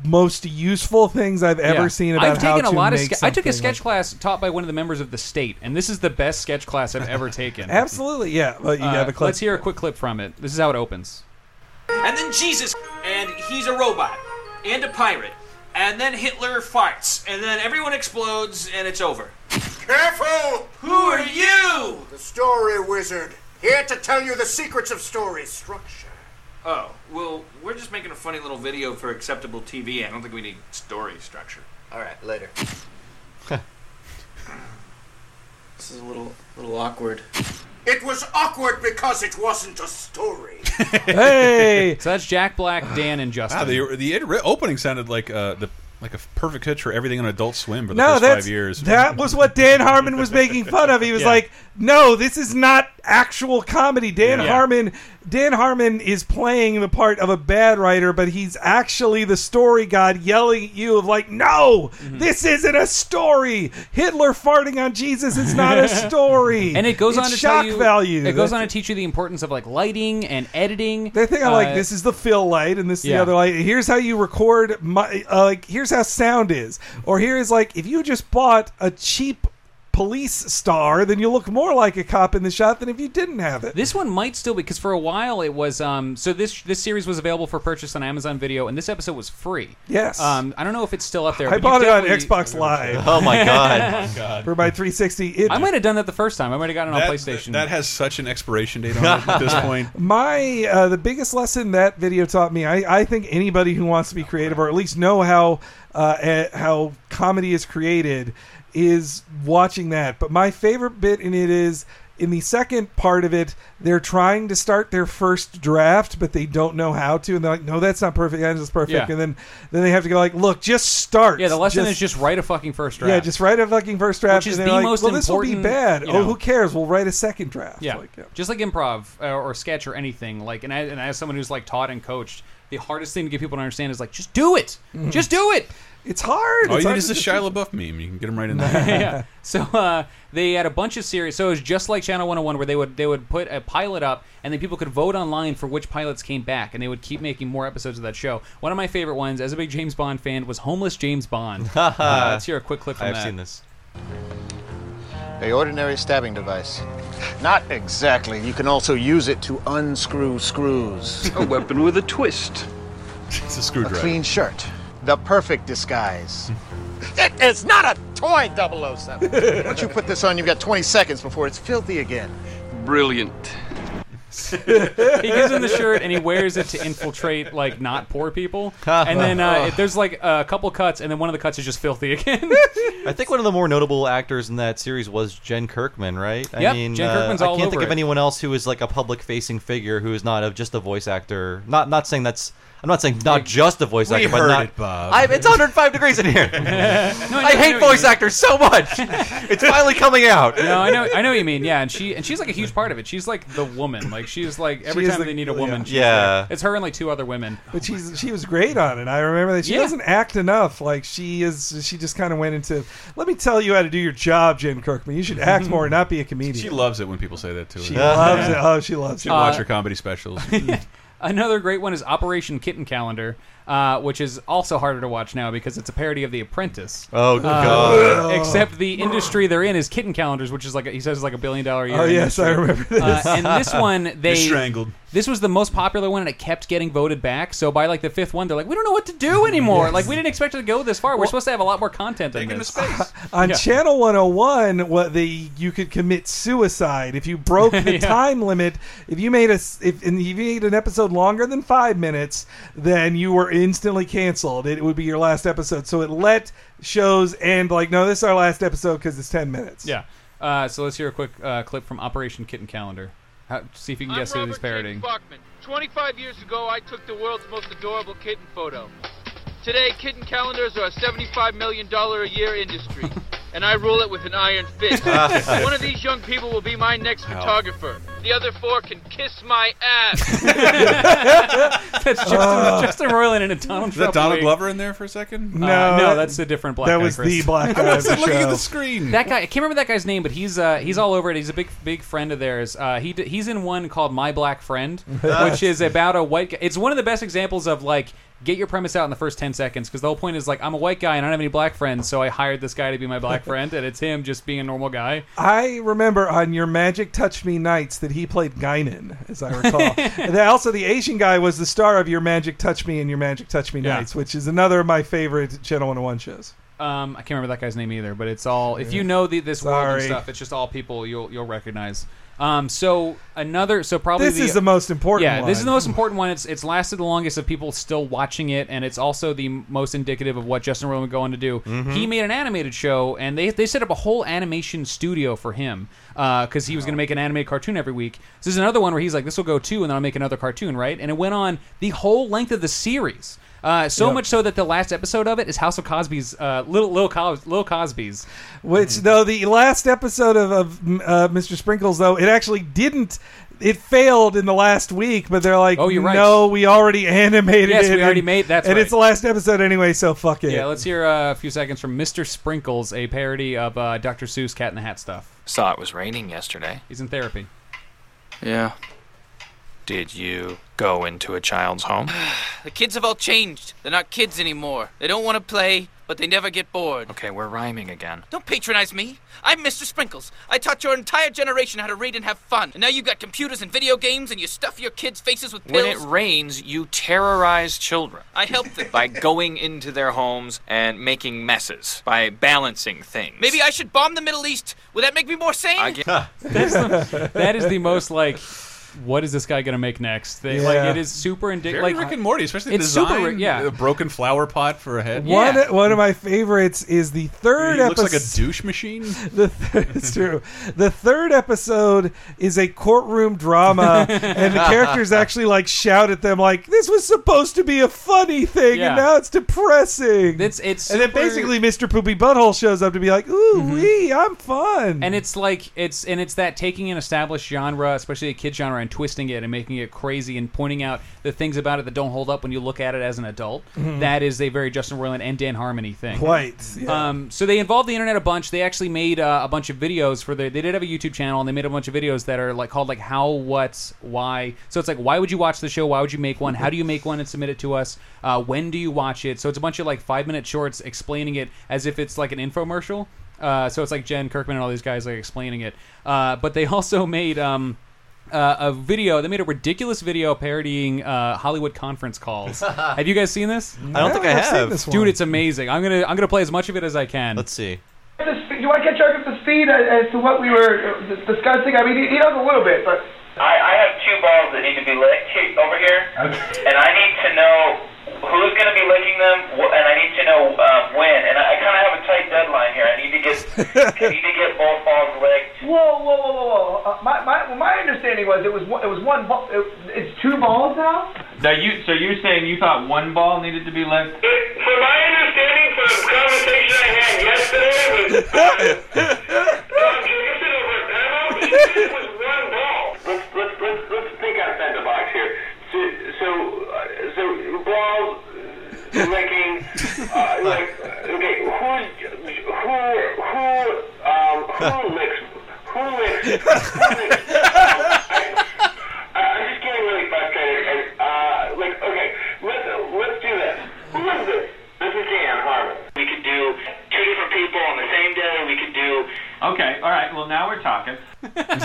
S3: most useful things I've ever
S2: Yeah.
S3: seen about
S2: I've taken a
S3: how to
S2: lot of
S3: make
S2: ske- I took a
S3: something.
S2: sketch class taught by one of the members of the state, and this is the best sketch class I've ever taken.
S3: Absolutely, yeah. Well, you
S2: Uh,
S3: have a clip.
S2: Let's hear a quick clip from it. This is how it opens.
S10: And then Jesus, and he's a robot, and a pirate. And then Hitler farts, and then everyone explodes, and it's over.
S11: Careful!
S10: Who are you?
S11: The story wizard. Here to tell you the secrets of story structure.
S10: Oh, well, we're just making a funny little video for acceptable TV. I don't think we need story structure. All right, later.
S11: *laughs* This is a little, little awkward. It was awkward because it wasn't a story.
S2: Hey! *laughs* so that's Jack Black, Dan, and Justin.
S1: Wow, the the it- opening sounded like uh, the like a perfect pitch for everything on Adult Swim for the
S3: no,
S1: first
S3: that's
S1: five years. *laughs*
S3: that was what Dan Harmon was making fun of. He was
S1: Yeah.
S3: like, "No, this is not actual comedy." Dan
S1: Yeah.
S3: Harmon, Dan Harmon is playing the part of a bad writer, but he's actually the story god yelling at you of like, "No,
S1: Mm-hmm.
S3: this isn't a story. Hitler farting on Jesus is
S1: *laughs*
S3: not a story."
S2: And it goes
S3: It's
S2: on to
S3: shock
S2: tell you,
S3: value.
S2: It goes on
S3: That's-
S2: to teach you the importance of like lighting and editing. Uh,
S3: They think I'm like, this is the fill light and this is the
S2: yeah.
S3: other light. Here's how you record my uh, like. Here's how sound is, or here is like if you just bought a cheap police star, then you look more like a cop in the shot than if you didn't have it.
S2: This one might still be because for a while it was. Um, so this this series was available for purchase on Amazon Video, and this episode was free.
S3: Yes.
S2: Um, I don't know if it's still up there.
S3: I
S2: but you
S3: bought it on
S2: definitely-
S3: Xbox
S2: *laughs*
S3: Live.
S2: Oh my God. Oh my God.
S3: For my 360, it,
S2: I might have done that the *laughs* first time. I might have gotten it on
S1: That-
S2: PlayStation.
S1: that has such an expiration date on it at
S2: *laughs*
S1: this point.
S3: My uh, the biggest lesson that video taught me, I, I think anybody who wants to be creative or at least know how uh, eh, how comedy is created is watching that. But my favorite bit in it is in the second part of it, they're trying to start their first draft, but they don't know how to, and they're like, "No, that's not perfect. That's just perfect."
S2: Yeah.
S3: And then then they have to go like, "Look, just start."
S2: yeah, the lesson is just write a fucking first draft.
S3: yeah, just write a fucking first draft.
S2: Which is
S3: and they're
S2: the
S3: like,
S2: most
S3: well, this will be
S2: important,
S3: bad.
S2: you
S3: Oh,
S2: know.
S3: who cares? We'll write a second draft.
S2: yeah.
S3: Like,
S2: just like improv uh, or sketch or anything. Like, and I, and as someone who's like taught and coached, the hardest thing to get people to understand is like, just do it,
S1: Mhm.
S2: just do it.
S3: Mm-hmm. It's hard.
S1: All you need is a Shia LaBeouf meme. You can get him
S3: *laughs*
S1: right in there. *laughs*
S2: *laughs* yeah. So uh, they had a bunch of series. So it was just like Channel 101, where they would they would put a pilot up, and then people could vote online for which pilots came back, and they would keep making more episodes of that show. One of my favorite ones, as a big James Bond fan, was Homeless James
S1: *laughs*
S2: Bond. uh, let's hear a quick clip from
S12: I've
S2: that.
S12: seen
S2: this.
S12: A ordinary stabbing device. Not exactly. You can also use it to unscrew screws. *laughs* a weapon with a twist.
S1: It's a
S12: A
S1: screwdriver.
S12: clean shirt. The
S1: *laughs*
S12: perfect disguise. *laughs* it is not a toy 007. Once you put this on, you've got 20 seconds before it's filthy again.
S10: Brilliant.
S2: *laughs* he gives him the shirt and he wears it to infiltrate like not poor people.
S4: Uh-huh.
S2: And then uh, it- there's like a couple cuts, and then one of the cuts is just filthy again. *laughs*
S4: I think one of the more notable actors in that series was Jen Kirkman, right? I
S2: Yep,
S4: mean,
S2: Jen
S4: uh,
S2: Kirkman's
S4: I
S2: all
S4: can't think
S2: over
S4: of
S2: it.
S4: anyone else who is like a public-facing figure who is not of just a voice actor. Not not saying that's. I'm not saying not just a voice
S2: we
S4: actor, but
S2: heard
S4: not.
S2: it, Bob.
S4: I, it's 105 degrees
S1: *laughs*
S4: in here.
S2: *laughs* No, I know- I
S4: I
S2: know
S4: hate
S2: what you
S4: voice
S2: mean.
S4: actors
S2: *laughs*
S4: so much. it's finally coming out.
S2: No, I know, I know what you mean. Yeah, and she and she's like a huge part of it. She's like the woman. Like she's like every
S3: She is
S2: time
S3: the-
S2: they need a woman.
S3: yeah.
S2: She's
S4: Yeah.
S2: there. it's her and like two other women.
S3: But she's she was great on it. I remember that she
S2: Oh, Yeah.
S3: doesn't act enough. Like she is, she just kind of went into. Let me tell you how to do your job, Jen Kirkman. You should act more, and not be a comedian.
S1: She loves it *laughs* when people say that to her.
S3: She
S2: *laughs*
S3: loves it. Oh, she loves
S1: Should
S2: it.
S1: watch
S2: Uh,
S1: her comedy
S2: *laughs*
S1: specials.
S2: Another great one is Operation Kitten Calendar, uh, which is also harder to watch now because it's a parody of The Apprentice.
S4: Oh,
S2: Uh,
S4: God.
S2: *laughs* Except the industry they're in is kitten calendars, which is like a, he says is like a billion dollar a year.
S3: Oh, yes,
S2: industry.
S3: I remember this.
S2: Uh, and
S3: *laughs*
S2: this one they
S3: You're strangled.
S2: This was the most popular one, and it kept getting voted back. So by like the fifth one, they're like, we don't know what to do
S3: *laughs*
S2: anymore. Like we didn't expect it to go this far. We're supposed to have a lot more content than this. *laughs*
S3: on
S2: Yeah.
S3: Channel 101, what the you could commit suicide if you
S2: *laughs*
S3: broke
S2: Yeah.
S3: the time limit. If you made a s- if, and if you made an episode longer than five minutes, then you were instantly canceled. It would be your last episode. So it let shows end like, no, this is our last episode because it's ten minutes.
S2: Yeah. Uh, so let's hear a quick uh, clip from Operation Kitten Calendar. How, see if you can guess who he's parodying.
S9: Buckman. 25 years ago, I took the world's most adorable kitten photo.
S19: Today, kitten calendars are a $75 million a year
S2: *laughs*
S19: industry, and I rule it with an iron fist.
S2: Ah.
S19: *laughs* One of these young people will be my next
S2: Ow.
S19: photographer. The other four can kiss my ass.
S2: *laughs* *laughs* that's Justin, Justin Roiland and a Donald
S1: Oh. Is that
S2: Trump
S1: Donald
S2: wig.
S1: Glover in there for a second?
S2: No, Uh, no, that's a different black
S1: That
S2: guy,
S1: was
S2: Chris.
S1: the *laughs*
S2: *laughs*
S1: black guy I wasn't of the looking at the show. screen.
S2: That guy, I can't remember that guy's name, but he's uh, he's all over it. He's a big big friend of theirs. Uh, he d- he's in one called My
S1: *laughs*
S2: Black Friend, which is about a white guy. It's one of the best examples of like get your premise out in the first 10 seconds because the whole point is like I'm a white guy and I don't have any black friends, so I hired this guy to be
S1: *laughs*
S2: my black friend and it's him just being a normal guy.
S3: I remember on your Magic Touch Me Nights that he played Guinan, as
S2: *laughs*
S3: I recall. and then also, the Asian guy was the star of your Magic Touch Me and your Magic Touch Me
S2: Yeah.
S3: Nights, which is another of my favorite Channel 101 shows.
S2: Um, I can't remember that guy's name either, but it's all if
S3: Yeah.
S2: you know the, this world and
S3: Sorry.
S2: stuff, it's just all people you'll you'll recognize. Um, so another, so probably
S3: This is the most important
S2: Yeah, this
S3: one.
S2: is the most important one. It's it's lasted the longest of people still watching it, and it's also the most indicative of what Justin Roiland would go on to do.
S3: Mm-hmm.
S2: He made an animated show, and they they set up a whole animation studio for him because he was going to make an animated cartoon every week. So there's another one where he's like, "This will go two, and then I'll make another cartoon," right? And it went on the whole length of the series. Uh, so
S3: Yep.
S2: much so that the last episode of it is House of Cosby's uh, little little, Cos- little Cosby's.
S3: Which
S2: Mm-hmm.
S3: though the last episode of, of uh, Mr. Sprinkles though it actually didn't. It failed in the last week, but they're like,
S2: Oh, you're right.
S3: No, we already *laughs* animated
S2: Yes,
S3: it.
S2: we already
S3: and-
S2: made- that's
S3: and
S2: right.
S3: it's the last episode anyway, so fuck it.
S2: Yeah, let's hear uh, a few seconds from Mr. Sprinkles, a parody of uh, Dr. Seuss Cat in the Hat stuff.
S17: Saw it was raining yesterday.
S2: He's in therapy.
S17: Yeah. Did you go into a child's home?
S19: the kids have all changed. They're not kids anymore. They don't want to play, but they never get bored.
S17: okay, we're rhyming again.
S19: Don't patronize me. I'm Mr. Sprinkles. I taught your entire generation how to read and have fun. And now you got computers and video games and you stuff your kids' faces with
S17: When
S19: pills.
S17: it rains, you terrorize children.
S19: I helped them.
S17: by going into their homes and making messes, by balancing things.
S19: Maybe I should bomb the Middle East. Would that make me more sane?
S17: I get-
S2: *laughs* That's the, that is the most like. What is this guy gonna make next? They,
S1: Yeah.
S2: Like it is super indicative.
S1: Very
S2: Like
S1: Rick and Morty, especially
S2: it's
S1: design.
S2: super. Yeah,
S1: a broken flower pot for a head.
S3: One one of my favorites is the third
S1: He looks
S3: episode.
S1: like a douche machine.
S3: *laughs* The th- it's true. The third episode is a
S1: *laughs*
S3: courtroom drama, and the characters actually like shout at them like, "This was supposed to be a funny thing,
S2: Yeah.
S3: and now it's depressing."
S2: It's it's
S3: and then
S2: super-
S3: basically Mr. Poopy Butthole shows up to be like, "Ooh
S1: Mm-hmm.
S3: wee, I'm fun."
S2: and it's like it's and it's that taking an established genre, especially a kid genre, and twisting it and making it crazy and pointing out the things about it that don't hold up when you look at it as an adult.
S3: Mhm.
S2: That is a very Justin Roiland and Dan Harmony thing.
S3: Quite, yeah.
S2: Um, so they involved the internet a bunch. They actually made uh, a bunch of videos for their. They did have a YouTube channel and they made a bunch of videos that are like called like how, what, why. So it's like why would you watch the show? Why would you make one? How do you make one and submit it to us? Uh, when do you watch it? So it's a bunch of like five minute shorts explaining it as if it's like an infomercial. Uh, so it's like Jen Kirkman and all these guys like explaining it. Uh, but they *laughs* also made um, uh, a video. They made a ridiculous video parodying uh, Hollywood conference calls. have you guys seen this?
S4: I don't think I I've seen have. this one.
S2: Dude, it's amazing. I'm gonna I'm gonna play as much of it as I can. Let's
S4: see.
S18: You want to catch up to speed as, as to what we were uh, dis- discussing? I mean, he, he knows a little bit, but
S7: I, I have two balls that need to be licked over here, and I need to know who's going to be licking them, wh- and I need to know um, when. And I, I kind of have a tight deadline here. I need to get, I need to get both balls licked.
S18: whoa, whoa, whoa, whoa, whoa! Uh, my, my, well, my understanding was it was one, it was one ball. It, it's two balls now.
S25: *laughs* Now you, so you're saying you thought one ball needed to be left?
S7: From my understanding, from the conversation I had yesterday with uh, Don Jason over at Paramount, he said it was one ball. Let's let's let's let's think outside the box here. So so uh, so balls
S18: *laughs*
S7: uh, licking, uh, like okay, who's who who um who licks who licks? Who licks? I, I'm just getting really frustrated. And, uh, like okay, let's let's do this. Who is this? This is Dan Harmon. We could do two different people on the same day. We could do
S25: Okay, all right. Well, now we're talking.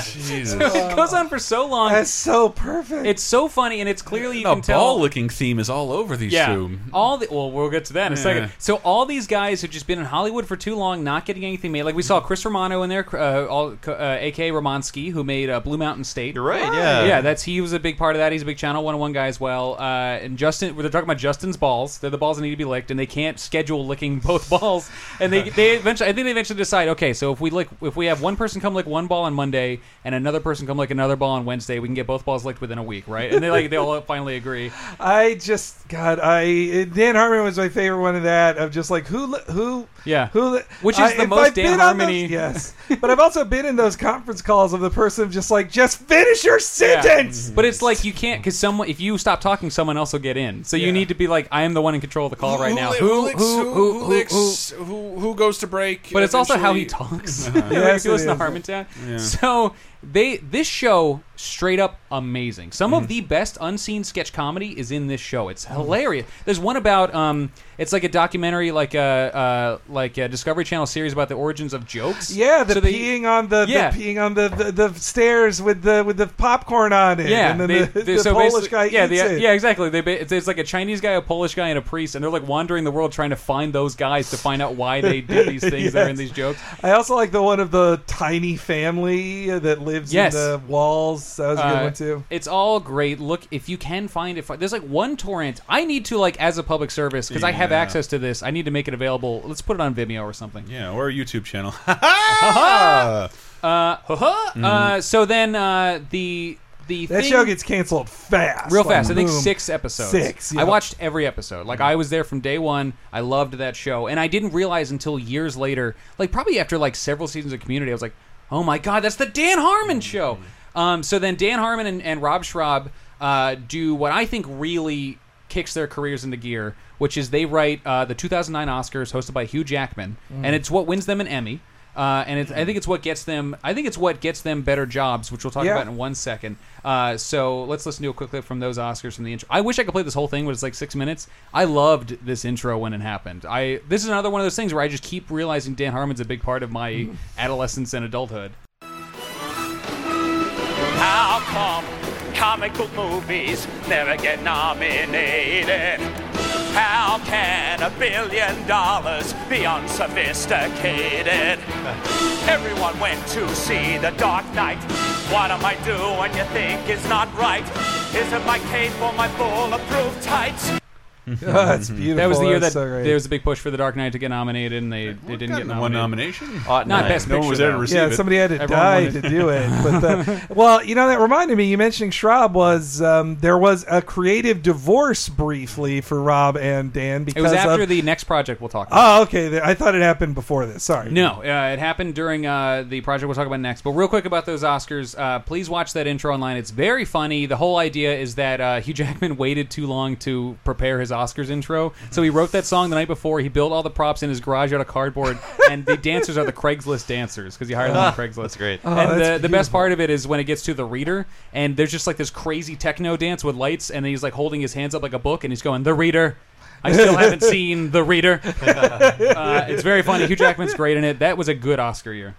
S2: So it goes on for so long.
S3: That's so perfect.
S2: It's so funny, and it's clearly you
S1: a
S2: can tell.
S1: ball-looking theme is all over these
S2: yeah,
S1: two.
S2: all the well, we'll get to that in a
S1: Yeah.
S2: second. So all these guys who've just been in Hollywood for too long, not getting anything made. Like we saw Chris Romano in there, uh, all, uh, aka Romansky, who made uh, Blue Mountain State. You're
S4: right, yeah.
S2: yeah. That's he was a big part of that. He's a big Channel 101 guy as well. Uh, and Justin, they're talking about Justin's balls. They're the balls that need to be licked, and they can't *laughs* schedule licking both balls. And they they eventually, I think they eventually decide, okay, so if we lick, if we have one person come lick lick one ball on Monday, and another person come lick another ball on Wednesday. We can get both balls licked within a week, right? And they like they all *laughs* finally agree.
S3: I just God, I Dan Harmon was my favorite one of that. Of just like who li- who
S2: Yeah.
S3: who li-
S2: Which is
S3: I-
S2: the
S3: if
S2: most
S3: I've
S2: Dan
S3: been on
S2: Harmon-y-
S3: those-
S2: *laughs*
S3: yes, but I've also been in those conference calls of the person just like just finish your sentence.
S2: Yeah. But it's like you can't because someone if you stop talking, someone else will get in. So you need to be like, I am the one in control of the call right now.
S1: li-
S2: Who
S1: licks-
S2: who who who,
S1: licks-
S2: who-
S1: who- who goes to break?
S2: But it's also how
S1: eventually?
S2: he talks. *laughs*
S1: Uh-huh.
S2: Like, if you listen to Harmontown.
S1: Yeah.
S2: So they this show straight up amazing. Some of the best unseen sketch comedy is in this show. It's hilarious. There's one about um, it's like a documentary, like a uh, like a Discovery Channel series about the origins of jokes.
S3: Yeah, the
S2: Mm-hmm. So they-
S3: peeing on the,
S2: Yeah.
S3: the peeing on the, the, the stairs with the with the popcorn on it.
S2: Yeah,
S3: and then
S2: they-
S3: the,
S2: they-
S3: *laughs* the
S2: so
S3: Polish
S2: basically-
S3: guy
S2: Yeah,
S3: eats
S2: they-
S3: it.
S2: yeah, exactly. They ba- it's, it's like a Chinese guy, a Polish guy, and a priest, and they're like wandering the world trying to find those guys to find out why they did
S3: *laughs*
S2: these things that are in
S3: Yes.
S2: these jokes.
S3: I also like the one of the tiny family that lives
S2: Yes.
S3: in the walls. That was a good
S2: Uh,
S3: one too.
S2: It's all great. Look, if you can find it, fi- there's like one torrent. I need to like as a public service because I have
S1: Yeah.
S2: access to this. I need to make it available. Let's put it on Vimeo or something.
S1: Yeah, or a YouTube
S2: *laughs*
S1: channel. *laughs*
S2: Ha-ha! uh, ha-ha!
S1: Mm.
S2: uh, so then uh, the the
S3: Mm-hmm. That
S2: thing-
S3: show gets canceled fast,
S2: real
S3: like,
S2: fast. I think
S3: boom.
S2: six episodes.
S3: Six.
S2: I
S3: yeah.
S2: watched every episode. Like I was there from day one. I loved that show, and I didn't realize until years later, like probably after like several seasons of Community, I was like, oh my god, that's the Dan Harmon show.
S3: Mm-hmm.
S2: Um, so then Dan Harmon and, and Rob Schraub uh, do what I think really kicks their careers into gear, which is they write uh, the 2009 Oscars, hosted by Hugh Jackman,
S10: Mm.
S2: and it's what wins them an Emmy. Uh, and it's, I think it's what gets them. I think it's what gets them better jobs, which we'll talk
S10: Yeah.
S2: about in one second. Uh, so let's listen to a quick clip from those Oscars from the intro. I wish I could play this whole thing, but it's like six minutes. I loved this intro when it happened. I this is another one of those things where I just keep realizing Dan Harmon's a big part of my
S3: *laughs*
S2: adolescence and adulthood.
S16: How come comic book movies never get nominated? How can a billion dollars be unsophisticated? Everyone went to see The Dark Knight. What am I doing you think is not right? Is it my cape or my bulletproof tights?
S3: that's beautiful.
S2: That was the year that
S3: That's so great.
S2: there was a big push for The Dark Knight to get nominated, and they, they didn't get nominated.
S1: gotten one nomination?
S2: Not
S1: Ought not.
S2: best.
S1: No one
S2: Picture,
S1: was there to
S2: though.
S1: receive
S3: yeah, somebody had to
S2: Everyone *laughs*
S3: die
S2: wanted-
S3: to do it. But the, well, you know that reminded me. You mentioning Schraub was um, there was a creative divorce briefly for Rob and Dan
S2: it
S3: because
S2: was after
S3: of,
S2: the next project we'll talk about.
S3: Oh, okay. there- I thought it happened before this. Sorry.
S2: No, uh, it happened during uh, the project we'll talk about next. But real quick about those Oscars, uh, please watch that intro online. It's very funny. The whole idea is that uh, Hugh Jackman *laughs* waited too long to prepare his Oscars intro, so he wrote that song the night before. He built all the props in his garage out of cardboard, *laughs* and the dancers are the Craigslist dancers because he hired them on
S4: Ah,
S2: Craigslist.
S4: that's great. Oh,
S2: and
S4: that's
S2: the, the best part of it is when it gets to the reader, and there's just like this crazy techno dance with lights, and he's like holding his hands up like a book, and he's going, "The reader." I still
S3: *laughs*
S2: haven't seen The Reader. Uh, it's very funny. Hugh Jackman's great in it. That was a good Oscar year.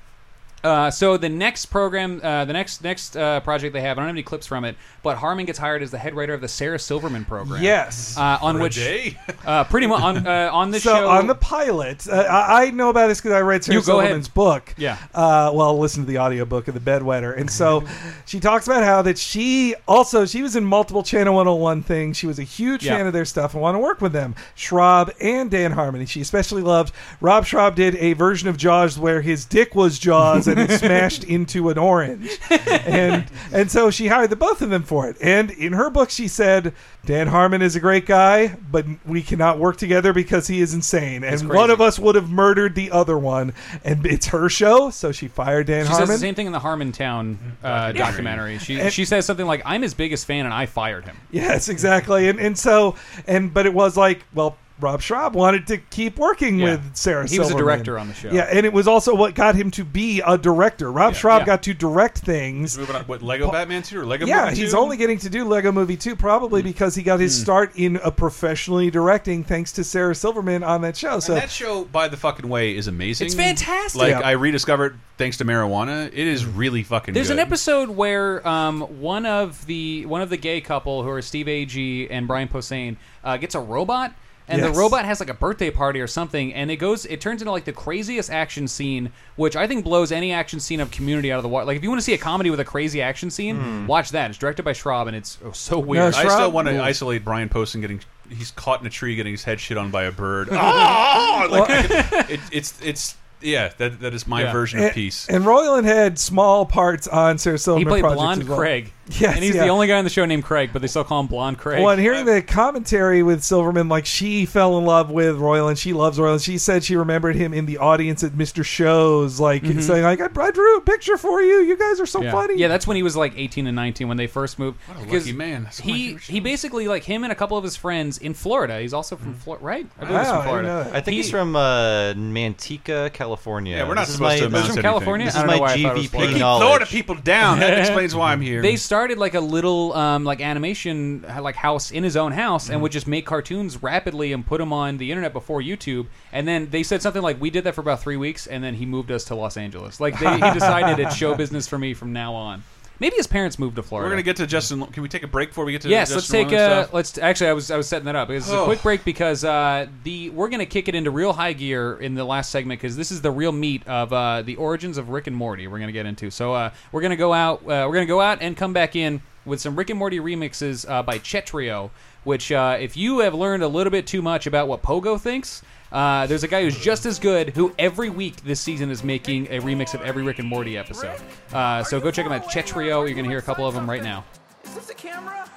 S2: Uh, so the next program, uh, the next next uh, project they have, I don't have any clips from it, but Harmon gets hired as the head writer of the Sarah Silverman program.
S3: Yes.
S2: uh, on
S3: For a
S2: which
S3: day?
S2: Uh, pretty much on uh, on this
S3: so
S2: show
S3: on the pilot, uh, I, I know about this because I read Sarah
S2: You go ahead.
S3: Silverman's book.
S2: Yeah.
S3: Uh, well, listen to the audiobook of the bedwetter, and so she talks about how that she also she was in multiple Channel 101 things. She was a huge
S2: Yeah.
S3: fan of their stuff and wanted to work with them, Schraub and Dan Harmon. And she especially loved Rob Schraub did a version of Jaws where his dick was Jaws and it
S2: *laughs*
S3: smashed into an orange, and and so she hired the both of them for it. And in her book, she said Dan Harmon is a great guy, but we cannot work together because he is insane,
S2: That's
S3: and
S2: crazy.
S3: one of us would have murdered the other one. And it's her show, so she fired Dan
S2: She
S3: Harmon.
S2: says the same thing in the Harmontown uh, documentary. She
S3: And-
S2: she says something like, "I'm his biggest fan, and I fired him."
S3: Yes, exactly. And and so and but it was like, well, Rob Schraub wanted to keep working
S2: Yeah.
S3: with Sarah.
S2: He was a
S3: Silverman.
S2: director on the show.
S3: Yeah, and it was also what got him to be a director. Rob Schraub got to direct things.
S1: Moving on, what Lego Batman two Hmm. or Lego?
S3: yeah,
S1: Movie
S3: he's
S1: 2?
S3: only getting to do Lego Movie 2 probably because he got his start in a professionally directing thanks to Sarah Silverman on that show. So
S1: And that show, by the fucking way, is amazing.
S2: It's fantastic.
S1: Like
S2: Yeah. Mm.
S1: I rediscovered thanks to marijuana. It is really fucking.
S2: There's
S1: good.
S2: an episode where um, one of the one of the gay couple who are Steve Agee and Brian Posehn uh, gets a robot. And
S10: Yes.
S2: the robot has like a birthday party or something, and it goes. It turns into like the craziest action scene, which I think blows any action scene of Community out of the water. Like if you want to see a comedy with a crazy action scene,
S1: Hmm.
S2: watch that. It's directed by Schraub, and it's oh, so
S1: Weird.
S2: weird.
S1: I still want to isolate Brian Poston getting.
S2: *laughs*
S1: He's caught in a tree getting his head shit on by a bird. Ah! Like, I could- it, it's it's yeah, that that is my
S3: Yeah.
S1: version
S3: And-
S1: of peace.
S3: And Royland had small parts on Sarah Silverman.
S2: He played
S3: Project
S2: Blonde
S3: as well.
S2: Craig.
S3: *laughs* Yes,
S2: and he's
S3: yeah.
S2: the only guy on the show named Craig, but they still call him Blonde Craig.
S3: Well, and hearing the commentary with Silverman, like she fell in love with Royland. She loves Royland. She said she remembered him in the audience at Mr. Shows, like
S2: Mhm.
S3: saying, "Like I, I drew a picture for you. You guys are so
S2: yeah.
S3: funny."
S2: Yeah, that's when he was like 18 and 19 when they first moved.
S1: What a
S2: Because
S1: lucky man. That's one of my
S2: He he basically like him and a couple of his friends in Florida. He's also
S1: Mm-hmm.
S2: from Florida, right? I believe he's
S4: I,
S2: from Florida.
S4: think
S2: He-
S4: he's from uh, Manteca, California.
S1: Yeah, we're not
S4: This is
S1: supposed
S4: my-
S1: to announce
S4: This is
S1: anything.
S4: from California. This
S2: I
S4: is
S2: don't
S4: my
S2: know why I thought it was
S4: GVP
S2: Florida. They keep
S4: knowledge.
S1: Florida people down. That explains why I'm here.
S2: They started like a little um, like animation uh, like house in his own house
S1: Mm-hmm.
S2: and would just make cartoons rapidly and put them on the internet before YouTube. And then they said something like, "We did that for about three weeks, and then he moved us to Los Angeles." Like they, he decided it's show business for me from now on. Maybe his parents moved to Florida.
S1: We're gonna get to Justin. Can we take a break before we get to
S2: yes,
S1: Justin
S2: let's take
S1: Roiland
S2: a
S1: stuff?
S2: let's actually I was I was setting that up. It's a
S1: Oh.
S2: quick break because uh, the we're gonna kick it into real high gear in the last segment because this is the real meat of uh, the origins of Rick and Morty. We're gonna get into so uh, we're gonna go out uh, we're gonna go out and come back in with some Rick and Morty remixes uh, by Chetrio. Which uh, if you have learned a little bit too much about what Pogo thinks. Uh, there's a guy who's just as good who every week this season is making a remix of every Rick and Morty episode. Uh, so go check him out, Chetrio. You're going to hear a couple of them right now.
S7: Is this a camera?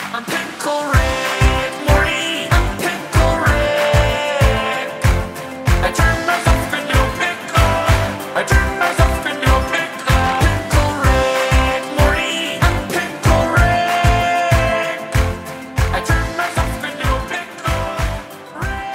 S16: I'm Pickle Rick Morty. I'm Pickle Rick. I turn myself into a pickle. I turn myself into a pickle. Pickle Rick Morty. I'm Pickle Rick. I turn myself into a pickle.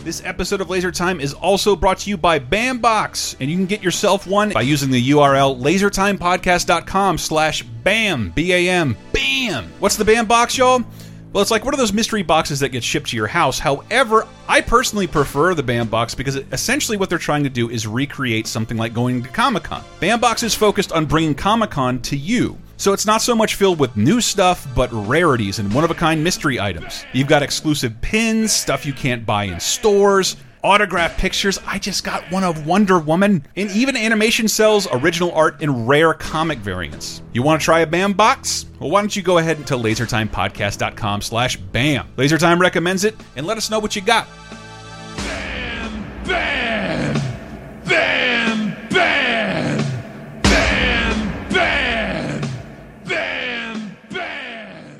S1: This episode of Laser Time is also brought to you by BAMBox, and you can get yourself one by using the URL lasertimepodcast.com slash BAM, B-A-M, BAM. What's the BAM box, y'all? Well, it's like one of those mystery boxes that gets shipped to your house. However, I personally prefer the BAM box because it, essentially what they're trying to do is recreate something like going to Comic-Con. BAM box is focused on bringing Comic-Con to you. So it's not so much filled with new stuff, but rarities and one of a kind mystery items. You've got exclusive pins, stuff you can't buy in stores. Autograph pictures. I just got one of Wonder Woman, and even animation sells original art and rare comic variants. You want to try a BAM box? Well, why don't you go ahead to LaserTimePodcast.com/bam. LaserTime recommends it, and let us know what you got.
S16: Bam! Bam! Bam! Bam! Bam! Bam! Bam!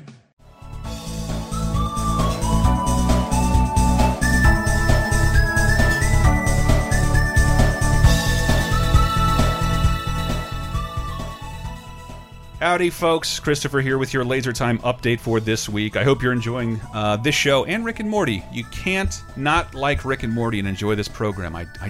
S1: Howdy, folks. Christopher here with your Laser Time update for this week. I hope you're enjoying uh, this show and Rick and Morty. You can't not like Rick and Morty and enjoy this program. I, I,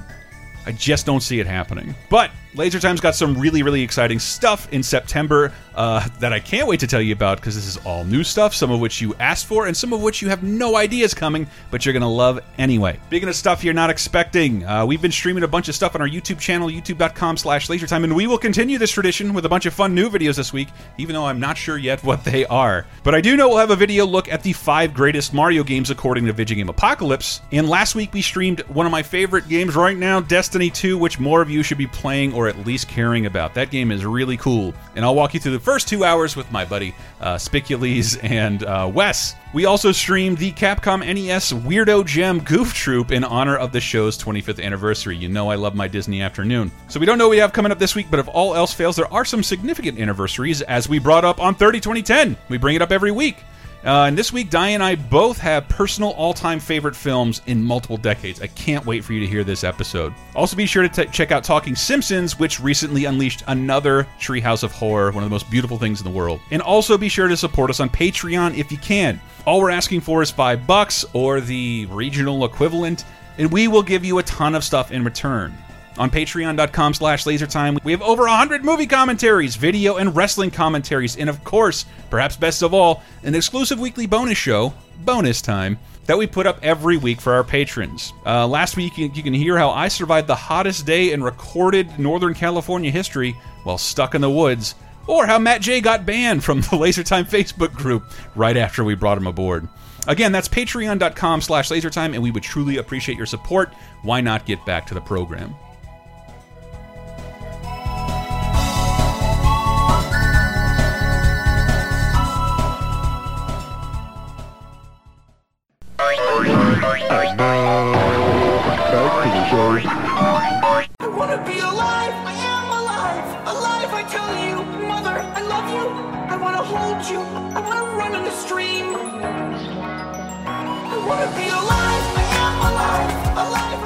S1: I just don't see it happening. But Laser Time's got some really, really exciting stuff in September uh, that I can't wait to tell you about because this is all new stuff, some of which you asked for and some of which you have no idea is coming, but you're going to love anyway. Speaking of stuff you're not expecting, uh, we've been streaming a bunch of stuff on our YouTube channel, youtube.com slash lasertime, and we will continue this tradition with a bunch of fun new videos this week, even though I'm not sure yet what they are. But I do know we'll have a video look at the five greatest Mario games according to Vigigame Apocalypse, and last week we streamed one of my favorite games right now, Destiny 2, which more of you should be playing or at least caring about. That game is really cool, and I'll walk you through the first two hours with my buddy uh, Spicules *laughs* and uh, Wes. We also streamed the Capcom NES Weirdo Gem Goof Troop in honor of the show's 25th anniversary. You know I love my Disney afternoon. So we don't know what we have coming up this week, but if all else fails, there are some significant anniversaries as we brought up on 30 2010. We bring it up every week. Uh, and this week, Di and I both have personal all time favorite films in multiple decades. I can't wait for you to hear this episode. Also, be sure to t- check out Talking Simpsons, which recently unleashed another Treehouse of Horror, one of the most beautiful things in the world. And also, be sure to support us on Patreon if you can. All we're asking for is five bucks or the regional equivalent, and we will give you a ton of stuff in return. On patreon.com slash lasertime, we have over 100 movie commentaries, video and wrestling commentaries, and of course, perhaps best of all, an exclusive weekly bonus show, Bonus Time, that we put up every week for our patrons. Uh, last week, you, you can hear how I survived the hottest day in recorded Northern California history while stuck in the woods, *laughs* or how Matt J got banned from the Lasertime Facebook group right after we brought him aboard. Again, that's patreon.com slash lasertime, and we would truly appreciate your support. Why not get back to the program?
S7: I want to be alive. I am alive. Alive, I tell you. Mother, I love you. I want to hold you. I want to run in the stream. I want to be alive. I am alive.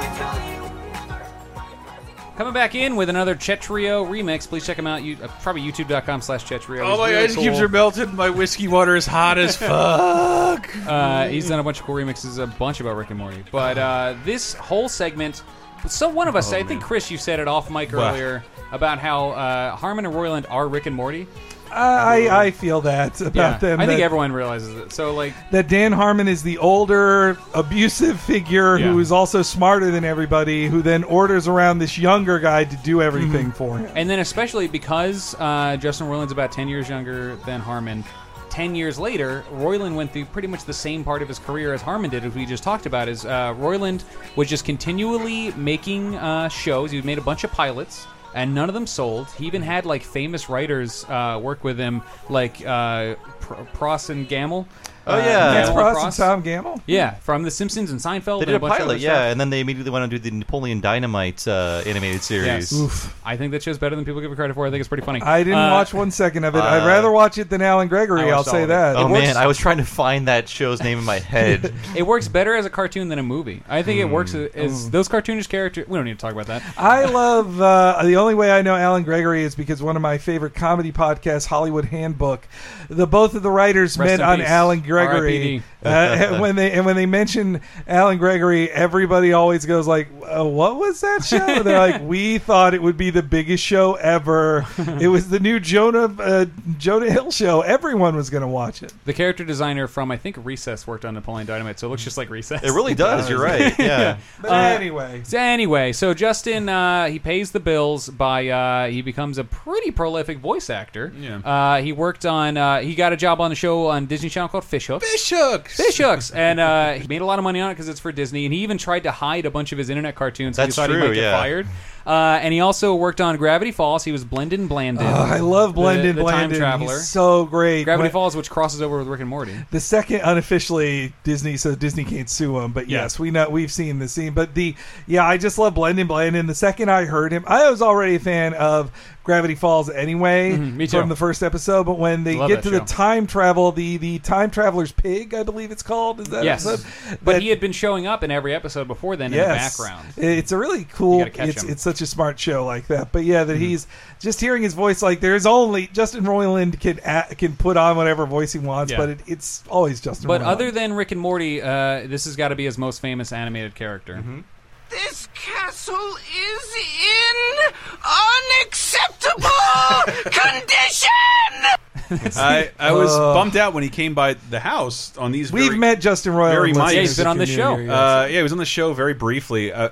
S7: Alive, I tell you.
S2: Coming back in with another Chetrio remix. Please check them out. You, uh, probably youtube.com slash Chetrio.
S1: Oh, my
S2: really
S1: ice cubes are melted. My whiskey water is hot as fuck.
S2: Uh, he's done a bunch of cool remixes, a bunch about Rick and Morty. But uh, this whole segment, so one of us,
S1: Oh,
S2: I think Chris, you said it off mic
S3: What?
S2: earlier about how uh, Harmon and Royland are Rick and Morty.
S3: I, I I feel that about
S2: yeah,
S3: them.
S2: I think
S3: that-
S2: everyone realizes it. So like,
S3: that Dan Harmon is the older, abusive figure who is also smarter than everybody, who then orders around this younger guy to do everything
S2: Mm-hmm.
S3: for him.
S2: and then especially because uh, Justin Roiland's about ten years younger than Harmon. Ten years later, Roiland went through pretty much the same part of his career as Harmon did, as we just talked about. Is uh, Roiland was just continually making uh, shows. He made a bunch of pilots, and none of them sold. He even had like famous writers uh, work with him, like uh, Pr- Pross and Gamble.
S4: Oh,
S2: Uh,
S4: yeah.
S2: Gamble
S4: That's
S2: and
S3: Ross and Tom Gamble.
S2: Yeah, from The Simpsons and Seinfeld.
S4: They
S2: and
S4: did a
S2: bunch of
S4: pilot,
S2: other
S4: yeah,
S2: stuff.
S4: and then they immediately went on to do the Napoleon Dynamite uh, animated series.
S2: Yes. I think that show's better than people give it credit for. I think it's pretty funny.
S3: I didn't
S2: Uh,
S3: watch one second of it.
S4: uh,
S3: I'd rather watch it than Alan
S2: I
S3: Gregory. I'll
S2: watched all
S3: say
S2: of it.
S3: that.
S4: Oh
S2: It works-
S4: man, I was trying to find that show's name in my head.
S2: *laughs*
S4: Hmm.
S2: It works better as a cartoon than a movie. I think it works as, as
S4: Oh.
S3: Mm.
S2: those cartoonish characters. We don't need to talk about that.
S3: I love uh, the only way I know Alan Gregory is because one of my favorite comedy podcasts, Hollywood Handbook, the both of the writers
S2: Rest
S3: met
S2: in
S3: on
S2: peace,
S3: Alan Gregory.
S2: RIPD.
S3: Uh, and when they and when they mention Alan Gregory, everybody always goes like, uh, "What was that show?" And they're like, "We thought it would be the biggest show ever. It was the new Jonah uh, Jonah Hill show. Everyone was going to watch it."
S2: The character designer from I think Recess worked on Napoleon Dynamite, so it looks just like Recess. Uh,
S4: It really
S2: *laughs*
S4: does, you're right, yeah.
S3: But anyway.
S2: So anyway, so Justin uh, he pays the bills by uh, he becomes a pretty prolific voice actor.
S1: Yeah.
S2: Uh, he worked on uh, he got a job on a show on Disney Channel called Fishhooks.
S1: Fishhooks.
S2: Fishhooks, and uh, he made a lot of money on it because it's for Disney. And he even tried to hide a bunch of his internet cartoons. 'cause
S4: That's
S2: he thought he
S4: true,
S2: might get
S4: yeah.
S2: fired. Uh, and he also worked on Gravity Falls. He was Blendon Blandin.
S3: Oh, I love
S2: the-
S3: Blendon
S2: the, time
S3: Blandin. He's
S2: traveler.
S3: so great.
S2: Gravity
S3: When-
S2: Falls, which crosses over with Rick and Morty.
S3: The second unofficially Disney, so Disney can't sue him. But
S2: Yeah.
S3: yes, we know we've seen the scene. But the yeah, I just love Blendon Blandon. The second I heard him, I was already a fan of Gravity Falls anyway
S2: Mhm, me too.
S3: from the first episode. But when they
S2: Love
S3: get
S2: that
S3: to
S2: show.
S3: the time travel, the the time traveler's pig, I believe it's called. Is that
S2: yes,
S3: episode?
S2: but
S3: That-
S2: he had been showing up in every episode before then
S3: Yes.
S2: in the background.
S3: It's a really cool.
S2: You gotta catch him.
S3: It's,
S2: Mm-hmm.
S3: it's such a smart show like that. But yeah, that he's just hearing his voice. Like there's only Justin Roiland can a can put on whatever voice he wants,
S2: Yeah.
S3: but it, it's always Justin.
S2: But
S3: Roiland.
S2: other than Rick and Morty, uh, this has got to be his most famous animated character.
S4: Mm-hmm.
S7: This castle is in
S16: *laughs*
S7: unacceptable condition!
S1: I, I was
S2: Uh,
S3: Ugh.
S1: bummed out when he came by the house on these.
S3: We've
S1: very-
S3: met Justin Roiland.
S1: Very
S3: Let's
S1: much.
S3: get his community here, yes.
S1: Uh, yeah, he was on the show very briefly. Uh,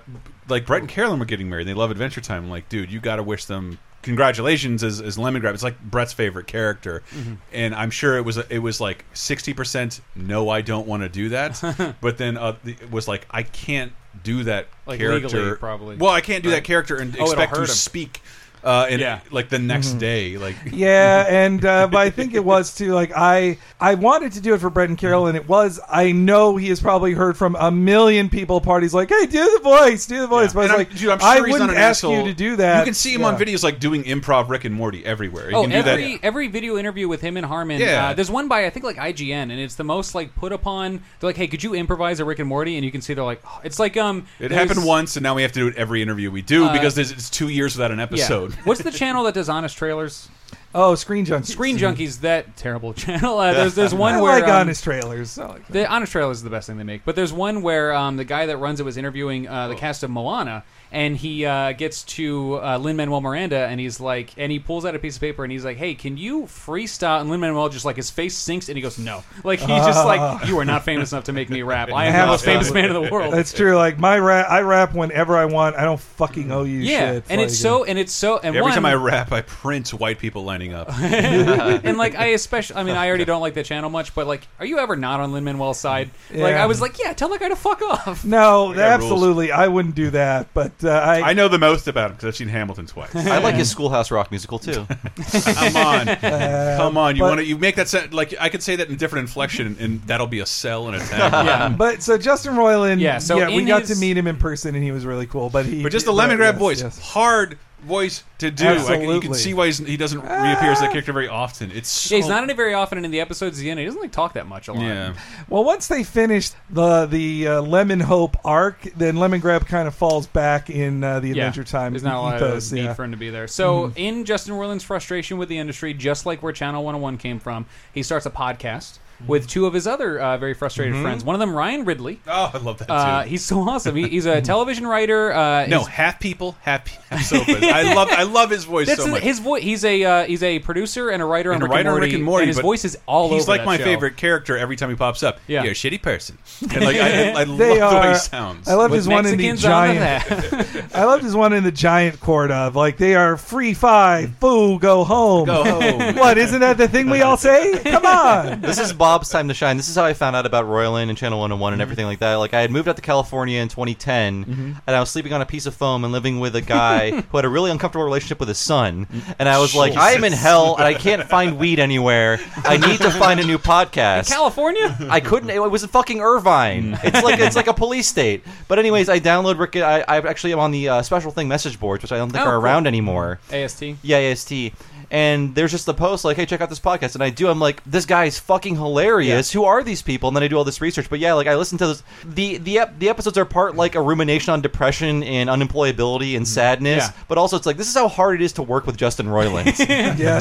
S1: like Brett and Carolyn were getting married. They love Adventure Time. I'm like, dude, you got to wish them congratulations as, as Lemon Grab. It's like Brett's favorite character,
S2: Mm-hmm.
S18: Mhm.
S1: and I'm sure it was it was like sixty percent. No, I don't want to do
S2: *laughs*
S1: that. but then uh, the- it was like, I can't do that
S2: Like
S1: character.
S2: legally, probably.
S1: Well, I can't do
S2: Right.
S1: that character and
S2: Oh, it'll
S1: expect to
S2: hurt him.
S1: speak. Uh, and
S2: Yeah.
S1: like the next
S3: Mm-hmm.
S1: day, like
S3: yeah, and uh, but I think it was too. Like I, I wanted to do it for Brett and Carol, and it was. I know he has probably heard from a million people. at Parties like, hey, do the voice, do the voice. But I was
S1: And
S3: like,
S1: I'm, dude, I'm sure
S3: I
S1: he's
S3: wouldn't
S1: not an
S3: ask
S1: asshole.
S3: you to do that.
S1: You can see him on
S3: Yeah.
S1: videos like doing improv Rick and Morty everywhere. You
S2: oh,
S1: can do
S2: every
S1: that.
S2: every video interview with him and Harmon.
S1: Yeah.
S2: Uh, there's one by I think like IGN, and it's the most like put upon. They're like, hey, could you improvise a Rick and Morty? And you can see they're like, oh, it's like um,
S1: It
S2: there's-
S1: happened once, and now we have to do it every interview we do
S2: Uh,
S1: because there's, it's two years without an
S2: Yeah.
S1: episode.
S2: *laughs* What's the channel that does honest trailers?
S3: Oh, Screen Junkies.
S2: Screen
S1: Mm-hmm.
S2: Junkies, that terrible *laughs* channel. Uh, there's
S3: *laughs*
S2: there's one
S3: I
S2: where
S3: like
S2: um,
S3: honest trailers. I like
S1: Oh.
S2: The honest trailer is the best thing they make, but there's one where um, the guy that runs it was interviewing uh, the cast of Moana, and he uh, gets to uh, Lin Manuel Miranda, and he's like, and he pulls out a piece of paper, and he's like, "Hey, can you freestyle?" And Lin Manuel just like his face sinks, and he goes, "No," like he's just
S1: *laughs*
S2: like, "You are not famous enough to make me rap. I am the most famous man in the world."
S3: That's true. Like my rap, I rap whenever I want. I don't fucking owe you
S2: Yeah,
S3: shit.
S2: and
S3: Like,
S2: it's so, and it's so, and
S1: uh, Every
S2: one,
S1: time I rap, I print white people lining up.
S2: *laughs*
S1: *laughs*
S2: and like I especially, I mean, I already don't like the channel much, but like, are you ever not on Lin Manuel's side? Like,
S3: Yeah.
S2: I was like, yeah, tell the guy to fuck off.
S3: No,
S1: That guy rules.
S3: absolutely, I wouldn't do that. But uh, I,
S1: I know the most about him because I've seen Hamilton twice.
S4: I like his Schoolhouse Rock musical too.
S1: *laughs* Come
S2: *laughs*
S1: on,
S3: Uh,
S1: come on. You
S3: but-
S1: want to? You make that sound like I could say that in different inflection, and that'll be a sell and a tag.
S2: *laughs*
S3: But so Justin Roiland,
S1: Yeah,
S3: yeah,
S1: so
S3: we
S1: in
S3: got
S1: his-
S3: to meet him in person, and he was really cool. But he,
S1: But just the lemon grab
S3: yes,
S1: voice,
S3: yes.
S1: *laughs* hard voice to do. I can- you can
S3: Absolutely.
S1: see why he's, he doesn't reappear as
S2: Ah.
S1: that character very often. It's so
S2: Yeah, he's not in it very often, and in the episodes he's in, he doesn't like talk that much a lot.
S1: Yeah.
S3: Well, once they finished the the uh, Lemon Hope arc, then Lemon Grab kind of falls back in uh, the Adventure Time
S2: There's not a lot
S3: ethos.
S2: of need
S3: yeah. Mm-hmm.
S2: for him to be there. So, in Justin Roiland's frustration with the industry, just like where Channel 101 came from, he starts a podcast
S1: Mm-hmm.
S2: with two of his other uh, very frustrated
S1: Mhm.
S2: friends. One of them, Ryan Ridley.
S1: Oh, I love that too. Mm-hmm.
S2: Uh, he's so awesome.
S1: *laughs*
S2: He, he's a television writer. Uh,
S1: no
S2: he's-
S1: half people, half, *laughs* half sofas. I love I love his voice
S2: That's
S1: so
S2: his-
S1: much.
S2: His voice. He's a uh, he's a producer and a writer
S1: and
S2: on
S1: a
S2: Rick,
S1: writer
S2: and
S1: on
S2: Morty,
S1: Rick and Morty,
S2: and his
S1: but
S2: voice is all
S1: he's
S2: over.
S1: like
S2: that
S1: my
S2: show.
S1: favorite character every time he pops up.
S2: Yeah.
S1: You're a shitty
S2: *laughs*
S1: person. And like I, I love
S3: Mm-hmm. They
S1: the way
S3: are-
S1: he sounds.
S3: I love his one in the
S2: Mexicans on the *laughs*
S3: giant. *laughs* I loved his one in the giant court of like they are free
S2: Mm-hmm.
S3: five, foo, go home.
S4: Go
S3: *laughs*
S4: home.
S3: what isn't that the thing we
S2: *laughs*
S3: all say? Come on.
S4: this is Bob's time to shine. This is how I found out about Royland and Channel 101 and everything like that. Like I had moved out to California in 2010, and I was sleeping on a piece of foam and living with a *laughs* guy who had a really uncomfortable relationship with his son. And I was like, I am in
S2: Jesus.
S4: hell, *laughs* and I can't find weed anywhere. I need to find a new podcast. Mm.
S2: California?
S4: I couldn't. It was in fucking Irvine. It's like it's like a police state. But anyways, I download Rick. I, I actually am on the uh, special thing message boards, which I don't think
S2: Oh,
S4: are
S2: cool.
S4: around anymore.
S2: AST.
S4: Yeah, AST. And there's just the post like, "Hey, check out this podcast." And I do. I'm like, "This guy is fucking hilarious. Who are these people?" And then I do all this research. But yeah, like I listen to this. the the ep- the episodes are part like a rumination on depression and unemployability and sadness.
S2: Mm-hmm. Yeah.
S4: But also, it's like this is how hard it is to work with
S2: *laughs*
S4: Justin Roiland.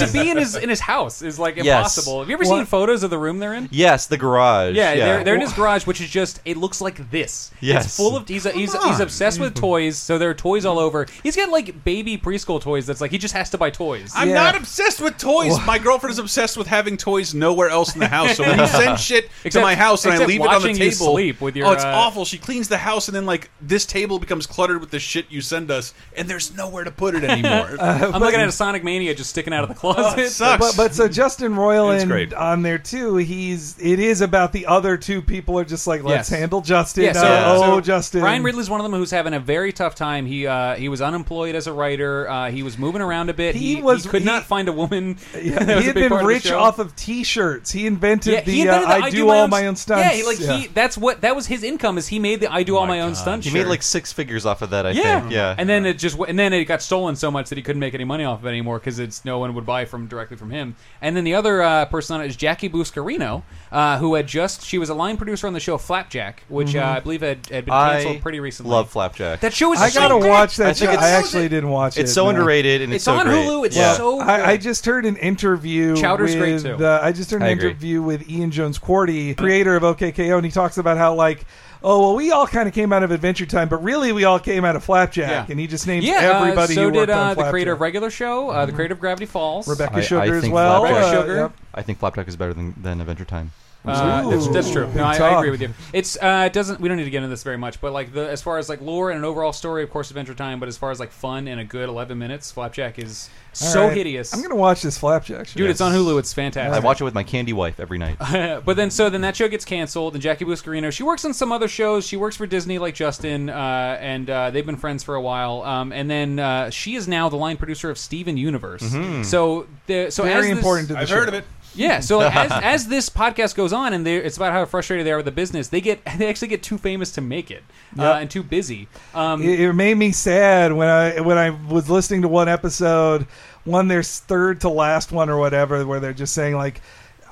S2: to be in his in his house is like
S4: Yes.
S2: impossible. Have you ever
S4: What?
S2: seen photos of the room they're in?
S4: yes, the garage.
S2: Yeah, They're, they're in his garage, which is just it looks like this.
S4: Yes.
S2: it's full of he's he's,
S4: Come
S2: he's
S4: on.
S2: obsessed with toys, so there are toys all over. He's got like baby preschool toys. That's like he just has to buy toys.
S1: I'm not obsessed with toys. My girlfriend is obsessed with having toys nowhere else in the house. So when
S3: *laughs*
S1: you send shit to
S2: Except-
S1: my house and I
S2: except
S1: leave it on the
S2: watching you
S1: table,
S2: sleep with your,
S1: oh, it's
S2: uh,
S1: awful. She cleans the house and then like this table becomes cluttered with the shit you send us, and there's nowhere to put it
S3: *laughs*
S1: anymore. Oh,
S2: I'm looking at a Sonic Mania just sticking out of the closet.
S1: it sucks.
S3: Uh, But, but so Justin
S1: It's great.
S3: Roiland on there too. He's it is about the other two people are just like let's
S2: Yes.
S3: handle Justin.
S2: Yeah, so-
S3: oh,
S2: so
S3: oh, Justin.
S2: Ryan Ridley's one of them who's having a very tough time. He uh, he was unemployed as a writer. Uh, he was moving around a bit. He, was could not find a woman. *laughs*
S3: Yeah,
S2: That was
S3: he
S2: a
S3: had
S2: big
S3: been
S2: part of the
S3: rich
S2: show.
S3: off of T-shirts. He invented the,
S2: he invented
S3: uh,
S2: the
S3: I, do, all my own stunts.
S2: Yeah, he, like he that's what that was his income is he made the I do all my own stunts.
S4: He made
S2: shirt.
S4: like six figures off of that. I
S2: yeah,
S4: think. Yeah.
S2: And then it just w- and then it got stolen so much that he couldn't make any money off of it anymore because it's no one would buy from directly from him. And then the other uh, person on it is Jackie Buscarino, uh, who had just she was a line producer on the show Flapjack, which uh,
S3: Mm-hmm.
S4: Mhm.
S2: I believe had, had been
S4: I
S2: canceled pretty recently.
S4: Love Flapjack.
S2: That show is
S3: I
S2: so
S3: gotta
S2: good.
S3: watch that show. I actually didn't watch it.
S4: It's so
S3: no.
S4: underrated and it's,
S2: It's on
S4: so great.
S2: Hulu, it's
S4: yeah.
S2: so
S3: I, I
S2: good.
S3: just heard an interview.
S2: Chowder's
S3: with,
S2: great, too.
S3: Uh, I just heard an
S4: I agree.
S3: interview with Ian Jones Quarty, creator of OKKO, and he talks about how like. Oh well, we all kind of came out of Adventure Time, but really we all came out of Flapjack,
S2: Yeah.
S3: and he just names
S2: yeah, uh,
S3: everybody
S2: so
S3: who worked
S2: did uh,
S3: on
S2: the
S3: Flapjack. Mm-hmm.
S2: creator of Regular Show, uh, the creator of Gravity Falls,
S3: Rebecca
S4: I- I
S3: Sugar as
S4: think
S3: well.
S4: Flapjack-
S3: uh,
S2: Sugar.
S3: yep.
S4: I think Flapjack is better than, than Adventure Time.
S2: Uh, that's, that's true. No, I, I
S3: talk.
S2: agree with you. It's uh, it doesn't. We don't need to get into this very much, but like the as far as like lore and an overall story, of course, Adventure Time. But as far as like fun and a good eleven minutes, Flapjack is
S3: All
S2: so
S3: right.
S2: hideous.
S3: I'm gonna watch this Flapjack, show.
S2: Dude, it's on Hulu. It's fantastic.
S4: I watch it with my candy wife every night.
S2: *laughs* but then, so then that show gets canceled, and Jackie Buscarino, she works on some other shows. She works for Disney, like Justin, uh, and uh, they've been friends for a while. Um, and then uh, she is now the line producer of Steven Universe.
S4: Mhm.
S2: So, the, so
S3: Very
S2: as this-
S3: important to the Mm-hmm. I've show. heard of it.
S2: Yeah. So
S3: *laughs*
S2: like, as, as this podcast goes on, and they- it's about how frustrated they are with the business, they get *laughs* they actually get too famous to make it uh,
S3: Yep.
S2: and too busy. Um,
S3: it, it made me sad when I when I was listening to one episode, one their third to last one or whatever, where they're just saying like.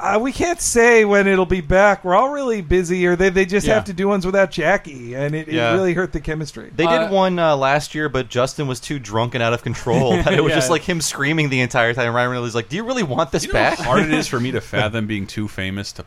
S3: uh, we can't say when it'll be back. We're all really busy, or they, they just
S4: Yeah.
S3: have to do ones without Jackie, and it, it
S4: Yeah.
S3: really hurt the chemistry.
S4: They *laughs* did one uh, last year, but Justin was too drunk and out of control that it was
S3: Yeah.
S4: just like him screaming the entire time. Ryan Reynolds was like, "Do you really want this
S1: You know how
S4: back?"
S1: hard
S4: *laughs*
S1: it is for me to fathom being too famous to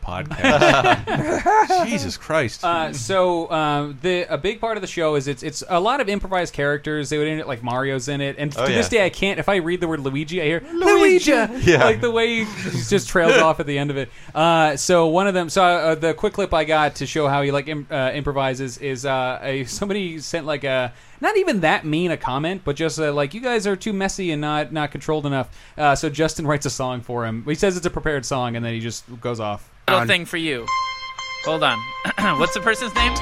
S1: podcast. *laughs* Jesus Christ.
S2: Uh, so um, the a big part of the show is it's it's a lot of improvised characters. They would end it like Mario's in it, and
S1: Oh,
S2: to this
S1: yeah.
S2: day I can't. If I read the word Luigi, I hear Luigi.
S1: Yeah.
S2: Like the way he just trails off at the end of it. Uh, so one of them. So uh, the quick clip I got to show how he like im- uh, improvises is uh, a, somebody sent like a not even that mean a comment, but just uh, like you guys are too messy and not not controlled enough. Uh, so Justin writes a song for him. He says it's a prepared song, and then he just goes off.
S18: Little thing for you. Hold
S19: *clears throat*
S18: on. What's the person's name?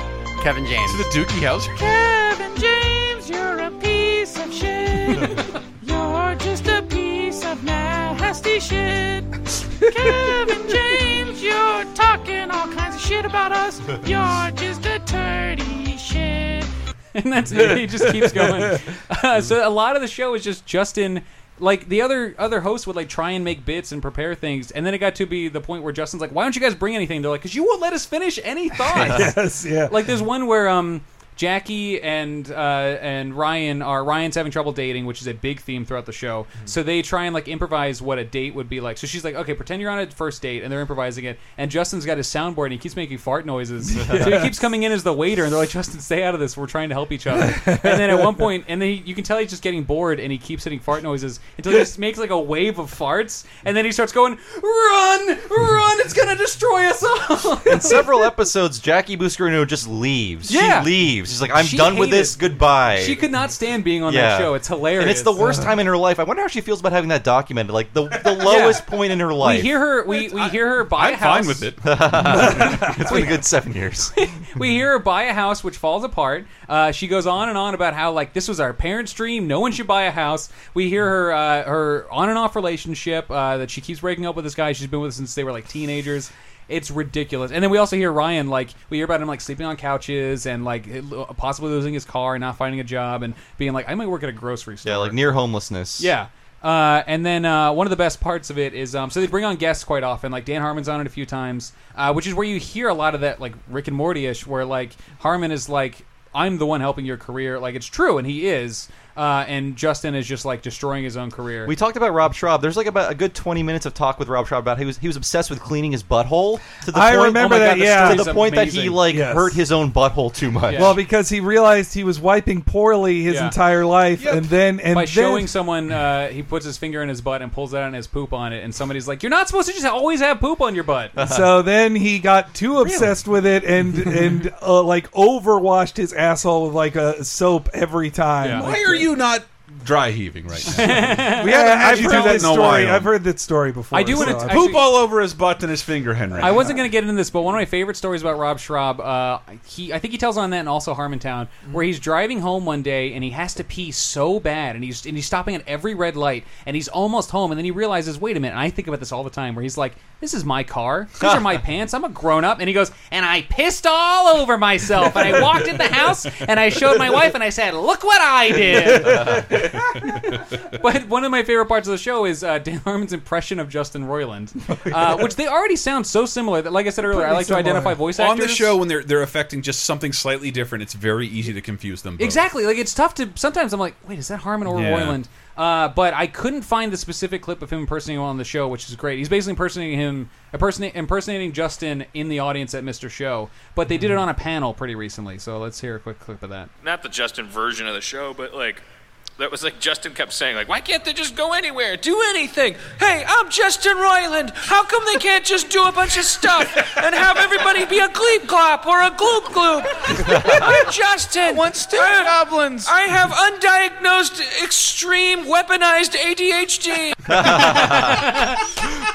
S18: Kevin James.
S1: the Dookie Howser?
S18: Kevin James, you're a piece of
S2: *laughs*
S18: shit. you're just a piece of nasty shit. Kevin James, you're talking all kinds of shit about us. You're just a turdy shit.
S2: *laughs* and that's it. He just keeps going. Uh, so a lot of the show is just Justin. Like the other other hosts would like try and make bits and prepare things, and then it got to be the point where Justin's like, "Why don't you guys bring anything?" They're like, "Cause you won't let us finish any
S3: *laughs*
S2: thoughts."
S3: yes, yeah.
S2: Like there's one where um Jackie and uh, and Ryan are Ryan's having trouble dating, which is a big theme throughout the show. So they try and like improvise what a date would be like. So she's like, "Okay, pretend you're on a first date," and they're improvising it. And Justin's got his soundboard, and he keeps making fart noises. So he keeps coming in as the waiter, and they're like, "Justin, stay out of this. We're trying to help each other." And then at one point, and then he, you can tell he's just getting bored, and he keeps hitting fart noises until he just makes like a wave of farts, and then he starts going, "Run, run! It's gonna destroy us all."
S4: In several episodes, Jackie Buscarino just leaves.
S2: Yeah.
S4: She leaves. She's like, "I'm
S2: She
S4: done with
S2: hated-
S4: this. Goodbye."
S2: She could not stand being on that show. It's hilarious.
S4: And it's the worst time in her life. I wonder how she feels about having that documented. Like the the lowest point in her life.
S2: We hear her. We, we hear her buy a house.
S4: it. *laughs* it's been a good seven years.
S2: we hear her buy a house, which falls apart. Uh, she goes on and on about how like this was our parents' dream. No one should buy a house. We hear her uh, her on and off relationship uh, that she keeps breaking up with this guy she's been with since they were like teenagers. It's ridiculous. And then we also hear Ryan like we hear about him like sleeping on couches and like possibly losing his car and not finding a job and being like I might work at a grocery store.
S4: Yeah, like near homelessness.
S2: Yeah. Uh, and then uh, one of the best parts of it is um, so they bring on guests quite often. Like Dan Harmon's on it a few times, uh, which is where you hear a lot of that like Rick and Morty ish, where like Harmon is like, "I'm the one helping your career." Like it's true, and he is. Uh, and Justin is just like destroying his own career.
S4: We talked about Rob Schraub. There's like about a good 20 minutes of talk with Rob Schraub about he was he was obsessed with cleaning his butthole to the
S3: I
S4: point
S3: remember
S4: oh my
S3: that,
S4: God, the
S3: yeah.
S4: story- to the point that he
S3: Amazing.
S4: like
S3: Yes.
S4: hurt his own butthole too much.
S3: Well, because he realized he was wiping poorly his
S2: Yeah.
S3: entire life, and then and
S2: by
S3: then
S2: showing someone, uh, he puts his finger in his butt and pulls out on his poop on it, and somebody's like, "You're not supposed to just always have poop on your butt."
S3: so then he got too obsessed with it and
S2: *laughs*
S3: and uh, like overwashed his asshole with like a soap every time. Like,
S1: Why are you not dry heaving right now?
S3: Yeah,
S1: haven't had
S3: I've
S1: you
S3: heard
S1: do that
S3: this
S1: in a
S3: story.
S1: while.
S3: I've heard that story before.
S2: I do wanna
S3: so
S2: t-
S3: I'm-
S1: Poop all over his butt and his finger, Henry.
S2: I wasn't going to get into this, but one of my favorite stories about Rob Schraub, uh, he I think he tells on that and also Harmontown, where he's driving home one day and he has to pee so bad, and he's and he's stopping at every red light, and he's almost home, and then he realizes, wait a minute, and I think about this all the time, where he's like, this is my car, these are my pants, I'm a grown up, and he goes, and I pissed all over myself, and I walked in the house, and I showed my wife, and I said, look what I did. but one of my favorite parts of the show is uh, Dan Harmon's impression of Justin Roiland, uh, which they already sound so similar that, like I said earlier, I like to identify voice
S1: on
S2: actors
S1: the show when they're they're affecting just something slightly different. It's very easy to confuse them. Both.
S2: Exactly, like it's tough to. Sometimes I'm like, wait, is that Harmon or
S1: Yeah.
S2: Roiland? Uh, but I couldn't find the specific clip of him impersonating him on the show, which is great. He's basically impersonating him, impersona- impersonating Justin in the audience at Mr. Show. But they did it on a panel pretty recently, so let's hear a quick clip
S1: *laughs*
S2: of that.
S18: Not the Justin version of the show, but like that was like Justin kept saying like, "Why can't they just go anywhere, do anything?"
S10: Hey, I'm Justin Roiland. How come they can't just do a bunch of stuff and have everybody be a gleep glop or a gloop gloop? I'm Justin. One still goblins. I have undiagnosed extreme weaponized ADHD.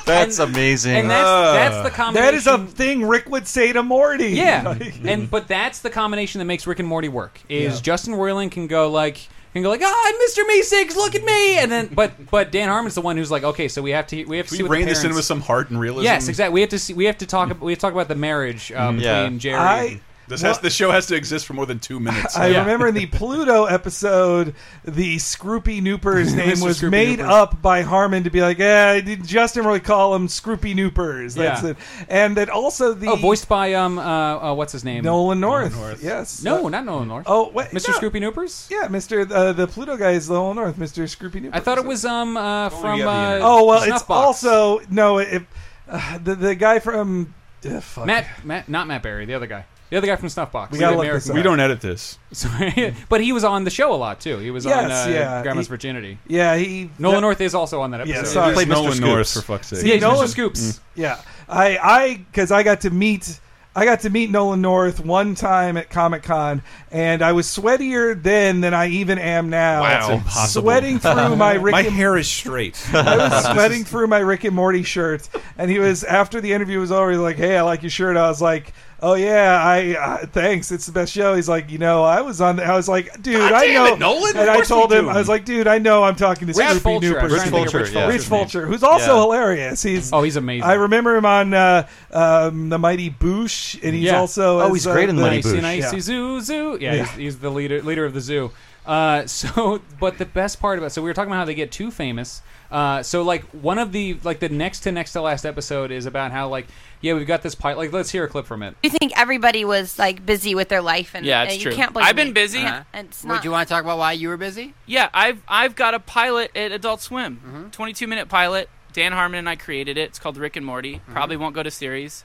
S4: That's amazing.
S2: and that's- that's the combination-
S3: That is a thing Rick would say to Morty.
S2: Yeah, and but that's the combination that makes Rick and Morty work. Is
S3: Yeah.
S2: Justin Roiland can go like can go like ah, I'm Mr. Meeseeks, look at me, and then but but Dan Harmon's the one who's like, okay, so we have to we have to
S1: Can
S2: see
S1: we
S2: what the
S1: rein this in
S2: parents-
S1: with some heart and realism?
S2: Yes, exactly. We have to see. We have to talk. ab- We have to talk about the marriage uh,
S1: Mhm. Yeah.
S2: between Jerry.
S3: I
S1: This
S3: What-
S1: has the show has to exist for more than two *laughs* minutes.
S3: I remember in the Pluto episode, the Scroopy
S2: *laughs*
S3: Nooper's name
S1: Mr.
S3: was
S1: Scroopy
S3: made
S1: Nooper.
S3: up by Harmon to be like, yeah, did Justin really call him Scroopy Noopers? That's
S2: Yeah.
S3: it. And that also the
S2: oh, voiced by um uh, uh what's his name?
S3: Nolan North. Yes.
S2: No,
S3: Uh,
S2: not Nolan North.
S3: Oh, wait,
S2: Mr.
S3: no.
S2: Scroopy Noopers.
S3: Yeah, Mr. Uh, the Pluto guy is Nolan North, Mr. Scroopy Noopers.
S2: I thought it was um uh, from uh,
S3: oh well, it's
S2: Snuffbox.
S3: also no. It, uh, the the guy from uh, fuck.
S2: Matt Matt not Matt Barry, the other guy, the other guy from Snuffbox.
S3: We gotta
S2: the
S3: look
S2: American
S3: this up.
S2: guy.
S3: We
S1: don't edit *laughs* this.
S2: Sorry. *laughs* but he was on the show a lot too. He was on
S3: Yes,
S2: uh,
S3: yeah.
S2: Grandma's
S3: He-
S2: Virginity.
S3: Yeah, he
S2: Nolan North is also on that episode.
S3: Yeah, sorry.
S1: He played Mr. Nolan North, Scoops. for fuck's sake.
S3: See,
S2: Yeah, he's
S3: Nolan Mm.
S2: Mr. Scoops.
S3: Yeah, I, I, because I got to meet, I got to meet Nolan North one time at Comic Con, and I was sweatier then than I even am now.
S1: Wow, That's impossible. *laughs*
S3: Sweating through my Rick
S1: My
S3: and-
S1: hair is *laughs* straight.
S3: I was *laughs*
S1: This is-
S3: sweating through my Rick and Morty shirt, and he was after the interview was over. He's like, "Hey, I like your shirt." I was like, "Oh yeah, I uh, thanks. It's the best show." He's like, "You know, I was on." The, I was like, "Dude,
S1: God
S3: I
S1: damn
S3: know."
S1: it, Nolan, of
S3: and I
S1: course
S3: told
S1: we
S3: him,
S1: do.
S3: "I was like, dude, I know I'm talking to
S1: Rich
S3: Scroopy
S1: Fulcher.
S3: Nooper."
S1: I was trying to think of Rich Rich Fulcher, Fulcher's yeah.
S3: Rich Fulcher,
S1: name.
S3: who's also
S1: Yeah.
S3: hilarious. He's
S2: oh, he's amazing.
S3: I remember him on uh, um, the Mighty Boosh, and he's
S2: Yeah.
S3: also as, uh, the-
S2: Nice and icy zoo zoo. Yeah,
S3: Yeah.
S2: He's, he's the leader leader of the zoo. Uh, *laughs* so, but the best part about so we were talking about how they get too famous. Uh, so like one of the like the next to next to last episode is about how like yeah we've got this pilot like let's hear a clip from it.
S8: You think everybody was like busy with their life, and
S2: Yeah,
S8: uh,
S2: it's
S8: you
S2: true.
S8: can't blame
S19: I've been
S8: me.
S19: busy.
S8: Yeah, it's
S19: Would
S8: not.
S19: you
S8: want to talk about why you were busy?
S19: Yeah, I've I've got a pilot at Adult Swim,
S1: Mm-hmm.
S19: 22 minute pilot. Dan Harmon and I created it. It's called Rick and Morty.
S1: Mm-hmm.
S19: Probably won't go to
S1: *laughs*
S19: series.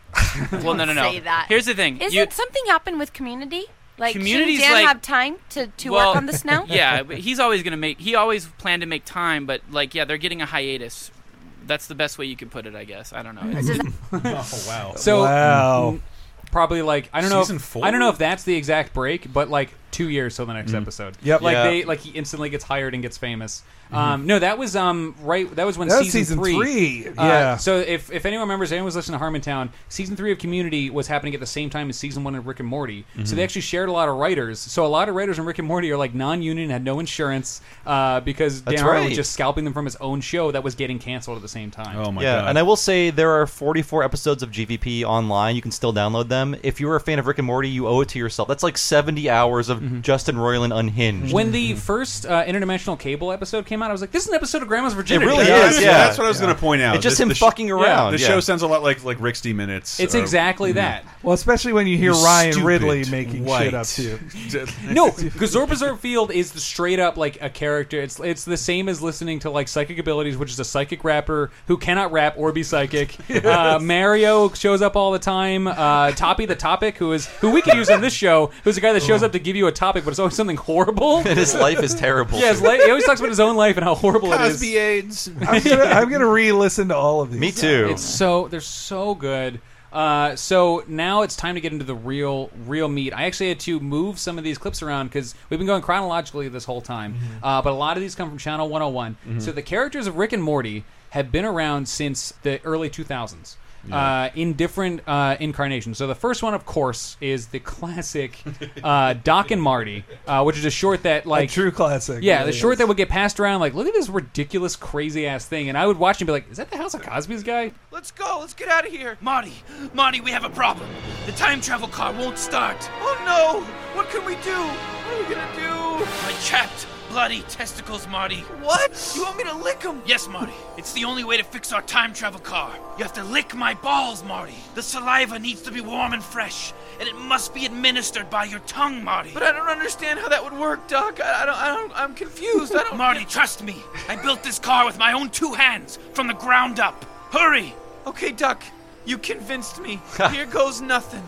S19: well, no, no, no.
S8: Say that.
S19: Here's the thing.
S8: Isn't
S19: You-
S8: something happen with community? Like,
S19: Community's
S8: should Dan
S19: like-
S8: have time to, to
S19: well,
S8: work on this now?
S19: *laughs* yeah, but he's always gonna make. He always planned to make time, but like, yeah, they're getting a hiatus. That's the best way you could put it, I guess. I don't
S1: *laughs*
S19: know. *laughs*
S2: *laughs*
S1: oh wow.
S2: So
S1: Wow.
S2: mm, probably like I don't know.
S1: Season
S2: if,
S1: four?
S2: I don't know if that's the exact break, but like two years till the next
S1: Mhm.
S2: episode.
S1: Yep.
S2: Like
S1: Yeah.
S2: they like he instantly gets hired and gets famous.
S1: Mhm.
S2: Um, no, that was um right. That was when
S3: That was
S2: season,
S3: season three,
S2: Uh,
S3: yeah.
S2: So if if anyone remembers, anyone was listening to Harmontown, season three of Community was happening at the same time as season one of Rick and Morty. So
S1: Mhm.
S2: they actually shared a lot of writers. So a lot of writers in Rick and Morty are like non-union, had no insurance uh, because Dan
S4: That's
S2: Harmon was
S4: right.
S2: just scalping them from his own show that was getting canceled at the same time. Oh
S4: yeah, and I will say there are 44 episodes of GVP online. You can still download them. If you're a fan of Rick and Morty, you owe it to yourself. That's like 70 hours of Justin Roiland unhinged.
S2: Mm-hmm. When the first uh, interdimensional cable episode came out, I was like, "This is an episode of Grandma's
S4: it
S2: Virginity."
S4: really
S1: That's-
S4: is, yeah.
S1: That's what I was going to point out.
S4: It's just
S1: This-
S4: him
S1: the sh-
S4: fucking around.
S1: The
S4: yeah.
S1: show sounds a lot like like Rick's D minutes.
S2: It's
S1: or-
S2: exactly
S1: Mhm.
S2: that.
S3: Well, especially when you hear
S1: You
S3: Ryan
S1: stupid
S3: Ridley making shit
S1: white. *laughs*
S3: up
S4: *laughs*
S3: too.
S2: no, because Zorbazer Field is the straight up like a character. It's it's the same as listening to like psychic abilities, which is a psychic rapper who cannot rap or be
S3: *laughs*
S2: psychic. Uh,
S19: Yes.
S2: Mario shows up all the time. Uh, Toppy the Topic, who is who we could use on this show, who's a guy that
S3: Oh.
S2: shows up to give you a topic, but it's always something
S4: *laughs*
S2: horrible. And
S4: his life is terrible.
S2: Yeah, his li- he always talks about his own life and how horrible it is.
S1: Cosby AIDS.
S2: *laughs*
S3: I'm gonna, I'm gonna re-listen to all of these.
S4: Me too.
S2: It's so they're so good. Uh, so now it's time to get into the real, real meat. I actually had to move some of these clips around because we've been going chronologically this whole time. Uh, but a lot of these come from Channel 101.
S1: Mhm.
S2: So the characters of Rick and Morty have been around since the early 2000s.
S1: Yeah.
S2: Uh, in different uh, incarnations. So the first one, of course, is the classic uh, Doc and Marty, uh, which is a short that like
S3: a true classic.
S2: yeah, the
S3: Really
S2: short that would get passed around, like, look at this ridiculous, crazy ass thing. And I would watch and be like, is that the House of Cosby's guy?
S7: Let's go. Let's get out of here.
S19: Marty, Marty, we have a problem. The time travel car won't start.
S7: Oh no! What can we do? What are we gonna do?
S19: My chapped, bloody testicles, Marty.
S7: What? You want me to lick him?
S19: Yes, Marty. It's the only way to fix our time travel car. You have to lick my balls, Marty. The saliva needs to be warm and fresh, and it must be administered by your tongue, Marty.
S7: But I don't understand how that would work, Doc. I, I don't. I don't. I'm confused. I don't.
S19: Marty, trust me. I built this car with my own two hands from the ground up. Hurry!
S7: Okay, Doc. You convinced me. Here goes nothing.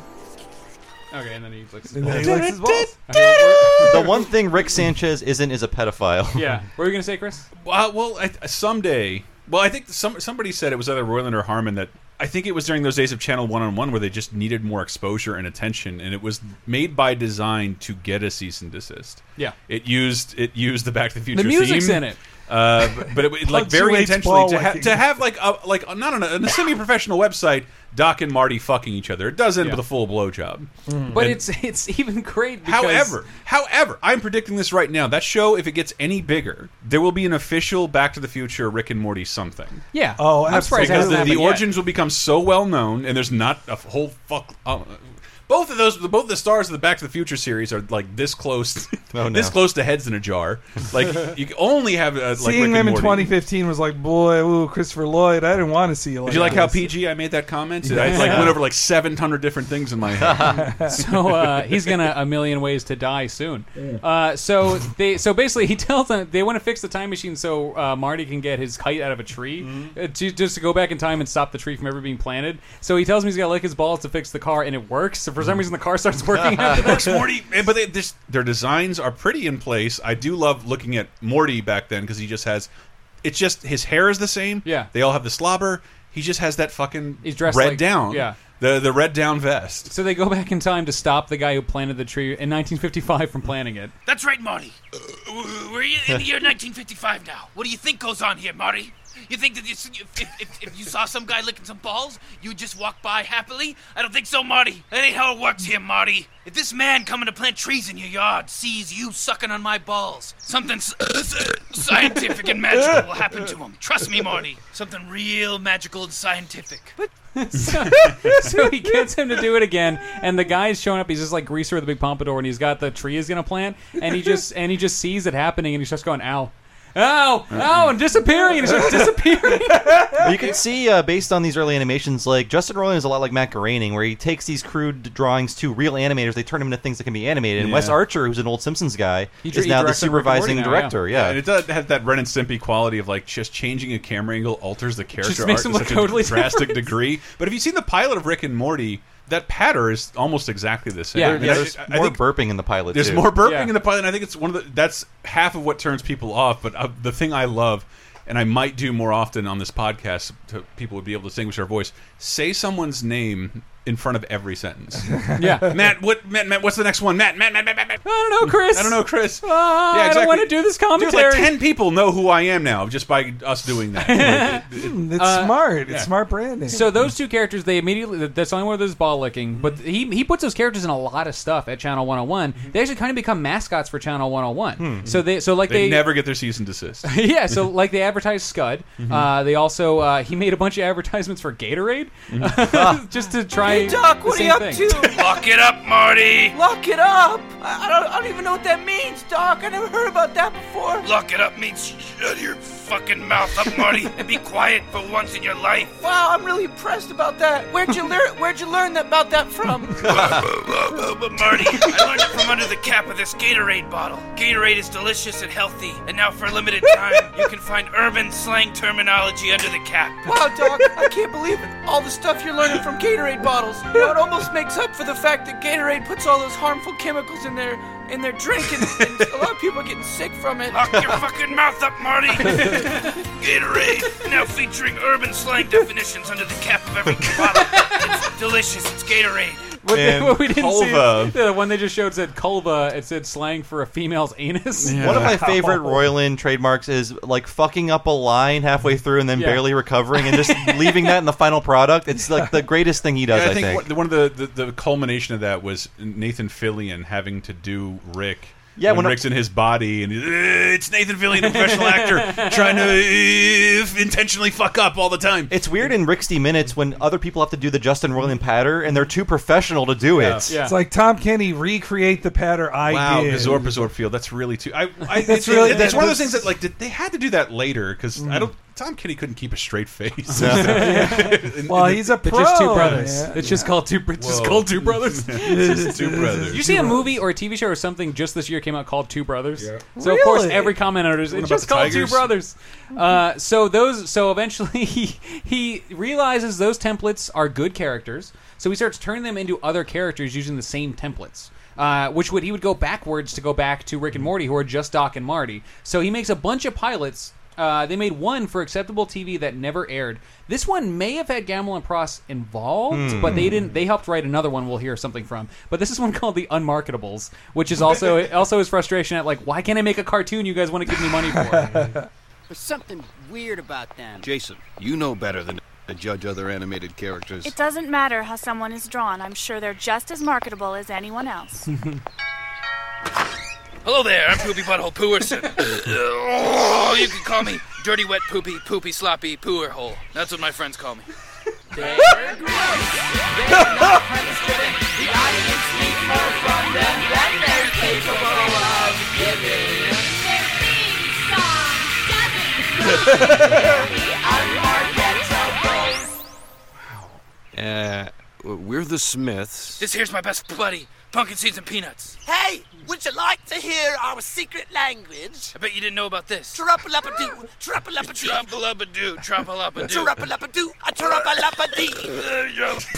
S2: Okay, and then he flicks
S7: his
S4: the one thing Rick Sanchez isn't is a pedophile.
S2: What
S4: *laughs*
S2: were you going to say, Chris?
S1: Uh, well, I, someday. Well, I think some somebody said it was either Royland or Harmon that I think it was during those days of Channel One on One where they just needed more exposure and attention, and it was made by design to get a cease and desist.
S2: Yeah.
S1: it used it used the Back to the Future.
S2: music's
S1: theme,
S2: in it.
S1: uh, but- but it, it, like very
S2: Punctuates
S1: intentionally
S2: ball
S1: to, ha
S2: whacking.
S1: to have like a like a- not on a, on a semi professional website. Doc and Marty fucking each other. It does end with a full blowjob.
S2: But
S1: And-
S2: it's it's *laughs* even great. Because
S1: However, however, I'm predicting this right now. That show, if it gets any bigger, there will be an official Back to the Future Rick and Morty something.
S2: Yeah. Oh, I'm surprised that
S1: Because
S2: hasn't
S1: the, the
S2: happened yet.
S1: origins will become so well known, and there's not a whole fuck. Uh, Both of those, both the stars of the Back to the Future series are like this close,
S4: no.
S1: this close to heads in a jar. Like you only have uh, like Rick
S3: Seeing
S1: and
S3: them in
S1: Morty.
S3: 2015 was like, boy, ooh, Christopher Lloyd. I didn't want to see you. Like
S1: Did you like
S3: this.
S1: how PG I made that comment? I like
S3: Yeah.
S1: went over like seven hundred different things in my head.
S2: *laughs* *laughs* so uh,
S1: *laughs*
S2: he's gonna a million ways to die soon. Uh, so they so basically he *laughs* tells them they want to fix the time machine so uh, Marty can get his kite out of a tree uh, to, just to go back in time and stop the tree from ever being planted. So he tells him he's gotta lick his balls to fix the car, and it works. So for some reason the car starts
S1: *laughs*
S2: working. after that. *laughs*
S1: Works Morty, eh, but they, this, their designs are pretty in place. I do love looking at Morty back then because he just has, it's just his hair is the same. Yeah, they all have the slobber. He just has that fucking
S2: He's dressed
S1: red
S2: like-
S1: down.
S2: yeah.
S1: the the red down vest.
S2: So they go back in time to stop the guy who planted the tree in 1955 from planting it. *laughs*
S19: That's right, Marty. Uh, We're in the year 1955 now. What do you think goes on here, Marty? You think that you, if, if, if you saw some guy licking some balls, you would just walk by happily? I don't think so, Marty. That ain't how it works here, Marty. If this man coming to plant trees in your yard sees you sucking on my balls, something s- *coughs* scientific and magical will happen to him. Trust me, Marty. Something real magical and scientific.
S2: so, so he gets him to do it again, and the guy's showing up. He's just like greaser with a big pompadour, and he's got the tree he's gonna plant, and he just and he just sees it happening, and he starts going, "Ow, ow, ow," and disappearing, and he starts disappearing.
S4: you can see uh, based on these early animations, like Justin Roiland is a lot like Matt Groening, where he takes these crude drawings to real animators, they turn them into things that can be animated. And
S1: Yeah.
S4: Wes Archer, who's an old Simpsons guy,
S1: He dr-
S4: is
S1: he
S4: now the
S1: directs Rick and Morty
S4: supervising
S1: now,
S4: director. Yeah,
S1: and it does have that Ren and Stimpy quality of like just changing a camera angle alters the character
S2: Just
S1: art
S2: makes him
S1: to
S2: look
S1: such
S2: totally
S1: a drastic
S2: different.
S1: degree. But if you've seen the pilot of Rick and Morty, that patter is almost exactly the same.
S4: Yeah,
S1: I mean,
S4: yeah,
S1: I-
S4: there's
S1: I
S4: more
S1: think
S4: burping in the pilot.
S1: There's
S4: too.
S1: more burping in the pilot. And I think it's one of the that's half of what turns people off. But uh, the thing I love. And I might do more often on this podcast to people would be able to distinguish our voice. Say someone's name in front of every sentence. *laughs*
S2: Yeah.
S1: Matt, what Matt, Matt, what's the next one? Matt, Matt, Matt, Matt, Matt, Matt.
S2: I don't know, Chris.
S1: I don't know, Chris.
S2: Uh, I don't want to do this commentary.
S1: Dude, like ten people know who I am now just by us doing
S2: *laughs*
S1: that.
S3: Hmm, it's
S2: Uh,
S3: smart.
S2: yeah.
S3: It's smart branding.
S2: So those two characters, they immediately that's the only one of those ball licking. But he he puts those characters in a lot of stuff at Channel 101. They actually kind of become mascots for Channel 101. Hmm. So they so like
S1: they,
S2: they,
S1: Hmm. never get their cease and desist.
S2: *laughs* yeah,
S1: *laughs*
S2: so like they advertised Scud.
S1: Mhm.
S2: Uh, they also uh, he made a bunch of advertisements for Gatorade *laughs* just to try.
S7: Hey, Doc, what are
S2: the
S7: you up
S2: *laughs* same thing.
S7: to?
S19: Lock it up, Marty.
S7: Lock it up! I, I, don't, I don't even know what that means, Doc. I never heard about that before.
S19: Lock it up means shut your fucking mouth up, Marty, and be quiet for once in your life.
S7: Wow, I'm really impressed about that. Where'd you learn? Where'd you learn that- about that from?
S19: Oh, but Marty, I learned it from under the cap of this Gatorade bottle. Gatorade is delicious and healthy, and now for a limited time, you can find urban slang terminology under the cap.
S7: wow, Doc, I can't believe it. All the stuff you're learning from Gatorade bottles. You know, it almost makes up for the fact that Gatorade puts all those harmful chemicals in their in their drink, and, and a lot of people are getting sick from it.
S19: Lock your fucking mouth up,
S7: *laughs*
S19: Marty. Gatorade, now featuring urban slang definitions under the cap of every bottle. It's delicious. It's Gatorade.
S2: What, they-
S4: And
S2: what we didn't
S4: Culva.
S2: see, the one they just showed said culva. It said slang for a female's anus. Oh.
S1: *laughs*
S2: *laughs*
S4: One of my favorite Royland trademarks is like fucking up a line halfway through and then
S2: Yeah.
S4: barely recovering
S1: *laughs*
S4: and just leaving that in the final product. It's like the greatest thing he does.
S1: Yeah,
S4: I think.
S1: One, one of the, the the culmination of that was Nathan Fillion having to do Rick.
S4: Yeah,
S1: when,
S4: when I-
S1: Rick's in his body and "Uh, it's Nathan Fillion, a professional actor, *laughs* trying to uh,
S2: *laughs*
S1: intentionally fuck up all the time.
S4: It's weird in Rixty minutes when other people have to do the Justin Roiland patter and they're too professional to do it.
S3: It's like Tom Kenny recreate the pattern I
S1: wow,
S3: did.
S1: Gazor Bazor Field. That's really too. I, I it's,
S3: That's really-
S1: it's
S3: that-
S1: one of those
S3: that's-
S1: things
S3: Mm.
S1: that like did, they had to do that later because I don't. Tom Kenny couldn't keep a straight
S2: *laughs*
S1: face. *laughs* And-
S3: Well,
S1: and
S3: he's a
S1: the-
S2: It's just two
S1: pro.
S2: brothers.
S1: Yeah.
S2: It's just called two. It's just
S1: Whoa.
S2: called two brothers.
S1: *laughs* It's just two brothers.
S2: You see
S1: Two
S2: a movie or a TV show or something just this year came out called Two Brothers.
S1: Yeah.
S2: So of course
S1: Really?
S2: every commentator is
S1: What
S2: it's
S1: about
S2: just
S1: the
S2: called Two
S1: Tigers?
S2: Brothers. Uh, so those. So eventually *laughs* he he realizes those templates are good characters. So he starts turning them into other characters using the same templates. Uh, which would he would go backwards to go back to Rick and Morty, who are just Doc and Marty. So he makes a bunch of pilots. Uh, they made one for acceptable TV that never aired. This one may have had Gamble and Pross involved,
S16: Hmm.
S2: but they didn't. They helped write another one. We'll hear something from. But this is one *laughs* called the Unmarketables, which is also also his frustration at like, why can't I make a cartoon you guys want to give me money for?
S17: There's something weird about them.
S20: Jason, you know better than to judge other animated characters.
S21: It doesn't matter how someone is drawn. I'm sure they're just as marketable as anyone else.
S19: Hello there, I'm Poopy Butthole Pooerson. oh, you can call me Dirty Wet Poopy Poopy Sloppy Pooerhole. That's what my friends call me.
S10: They were gross. They're not homophobic.
S7: *laughs*
S10: The audience needs more from them than they're capable of giving. Their theme song doesn't the unforgettables.
S20: Uh, we're the Smiths.
S19: This here's my best buddy, pumpkin seeds and peanuts.
S5: Hey, would you like to hear our secret
S7: *laughs*
S5: language?
S19: I bet you didn't know about this.
S5: Trumpalappadoo, trumpalappadoo.
S19: Trumpalappadoo, trumpalappadoo.
S5: Trumpalappadoo, a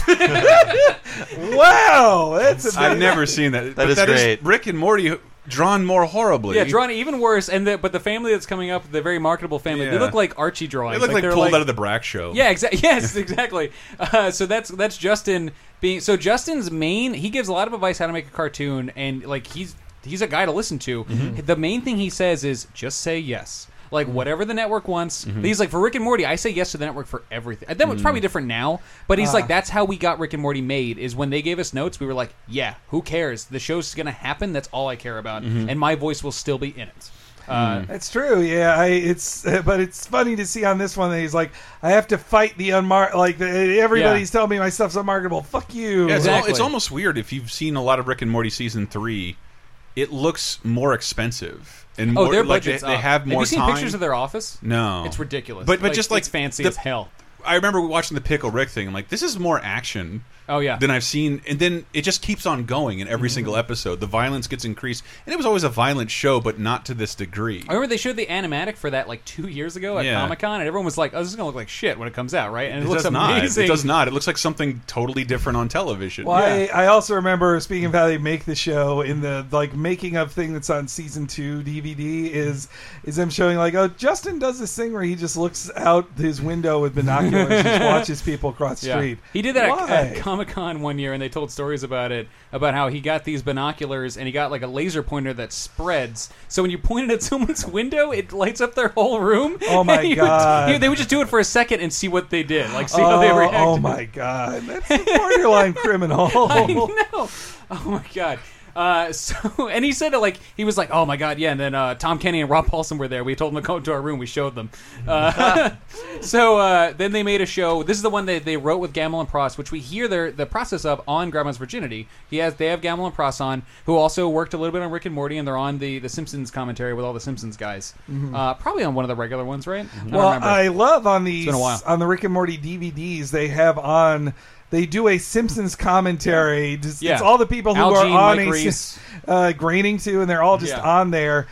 S5: trumpalappadee.
S3: wow, that's
S1: I've never seen that.
S4: That
S1: But
S4: is
S1: that is
S4: great.
S1: Rick and Morty drawn more horribly.
S2: Yeah, drawn even worse. And the, but the family that's coming up, the very marketable family, they
S1: Yeah.
S2: look like Archie
S1: They
S2: drawings.
S1: look like,
S2: they're
S1: pulled out of the Brack show.
S2: Yeah, exactly. *laughs* Yes, exactly. Uh, so that's that's Justin being. So Justin's main, he gives a lot of advice how to make a cartoon, and like he's he's a guy to listen to.
S1: Mm-hmm.
S2: The main thing he says is just say yes. Like whatever the network wants,
S1: Mm-hmm.
S16: Mhm.
S2: he's like for Rick and Morty. I say yes to the network for everything. That was
S16: Mm.
S2: probably different now, but he's like
S16: Ah.
S2: that's how we got Rick and Morty made. Is when they gave us notes, we were like, yeah, who cares? The show's gonna happen. That's all I care about,
S1: Mm-hmm.
S3: Mhm.
S2: and my voice will still be in it. *laughs* Uh,
S1: Mm. Hmm.
S3: That's true. Yeah, I, it's *laughs* but it's funny to see on this one that he's like, I have to fight the unmark. Like the- everybody's telling me my stuff's unmarketable. Fuck you.
S1: Yeah, it's, al- it's almost weird if you've seen a lot of Rick and Morty season three. It looks more expensive and
S2: oh,
S1: more,
S2: their
S1: like they,
S2: budget's
S1: they
S2: up.
S1: have more
S2: Have you seen
S1: time.
S2: pictures of their office?
S1: No,
S2: it's ridiculous.
S1: But but just like
S2: it's fancy
S1: the-
S2: as hell.
S1: I remember watching the Pickle Rick thing. I'm like, this is more action.
S2: Oh yeah. Mm-hmm.
S1: Than I've seen, and then it just keeps on going in every single episode. The violence gets increased, and it was always a violent show, but not to this degree.
S2: I remember they showed the animatic for that like two years ago at
S1: Yeah.
S2: Comic Con, and everyone was like, "Oh, this is gonna look like shit when it comes out, right?" And it, looks
S1: does
S2: amazing.
S1: not. It does not. It looks like something totally different on television.
S3: Well, I, I also remember speaking of how they make the show in the like making of thing that's on season two DVD is is them showing like oh Justin does this thing where he just looks out his window with binoculars
S2: *laughs*
S3: and *laughs* just watches people across the
S2: Yeah.
S3: street.
S2: He did that
S3: Why?
S2: at, at Comic Con one year, and they told stories about it about how he got these binoculars and he got like a laser pointer that spreads. So when you point it at *laughs* someone's window, it lights up their whole room.
S3: Oh, my
S2: And you would-
S3: God.
S2: you- they would just do it for a second and see what they did, like see how they
S3: Oh,
S2: reacted.
S3: Oh my god, that's a
S2: *laughs*
S3: borderline criminal.
S2: I know. Oh my god. Uh, *laughs* so and he said it like he was like, oh my god, yeah. And then uh, Tom Kenny and Rob Paulson were there. We told them to go to our room. We showed them. Uh, *laughs* so uh, then they made a show. This is the one that they wrote with Gamble and Pross, which we hear their the process of on Grandma's Virginity. He has they have Gamble and Pross on, who also worked a little bit on Rick and Morty, and they're on the the Simpsons commentary with all the Simpsons guys.
S3: Mhm.
S2: Uh, probably on one of the regular ones, right? Mm-hmm. I don't
S3: well,
S2: remember.
S3: I love on these
S2: been a while.
S3: on the Rick and Morty DVDs they have on. They do a Simpsons commentary. Just,
S2: Yeah.
S3: It's all the people who
S2: Al Jean,
S3: are on
S2: Mike
S3: a
S2: Reiss.
S3: uh, graining too, and they're all just
S2: Yeah.
S3: on there.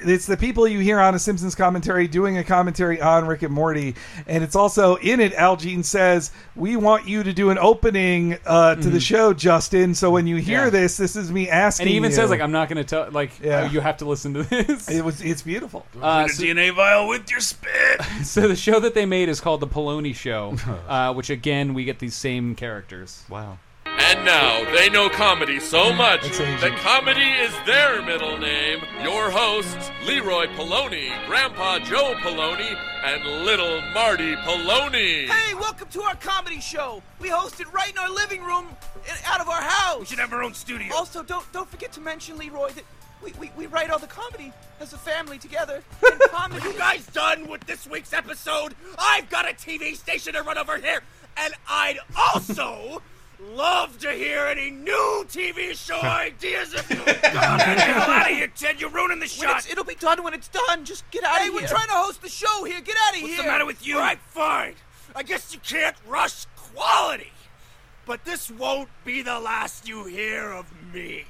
S3: It's the people you hear on a Simpsons commentary doing a commentary on Rick and Morty, and it's also in it. Al Jean says, "We want you to do an opening uh, to the
S2: Mhm.
S3: show, Justin. So when you hear
S2: Yeah.
S3: this, this is me asking."
S2: and he even
S3: you."
S2: says like, I'm not going to tell. Like,
S3: Yeah.
S2: oh, you have to listen to this.
S3: It was it's beautiful.
S2: Uh, so-
S19: DNA vial with your spit.
S2: *laughs* so the show that they made is called the Poloni
S3: *laughs*
S2: Show, uh, which again we get these same characters. Wow.
S6: And now they know comedy so much that comedy is their middle name. Your hosts, Leroy Poloni, Grandpa Joe Poloni, and Little Marty Poloni.
S7: Hey, welcome to our comedy show. We host it right in our living room, and out of our house. We should have our own studio. Also, don't don't forget to mention Leroy that we, we, we write all the comedy as a family together. And comedy.
S5: You guys done with this week's episode? I've got a TV station to run over here, and I'd also *laughs* love to hear any new TV
S24: *laughs*
S5: show ideas if you got any.
S7: Get
S5: out of here, Ted. You're ruining the shot.
S7: It'll be done when it's done. Just get out of here. Hey, we're trying to host the show here. Get out of here.
S5: What's the matter with you? All right, fine. I guess you can't rush quality. But this won't be the last you hear of
S24: *laughs*
S5: me.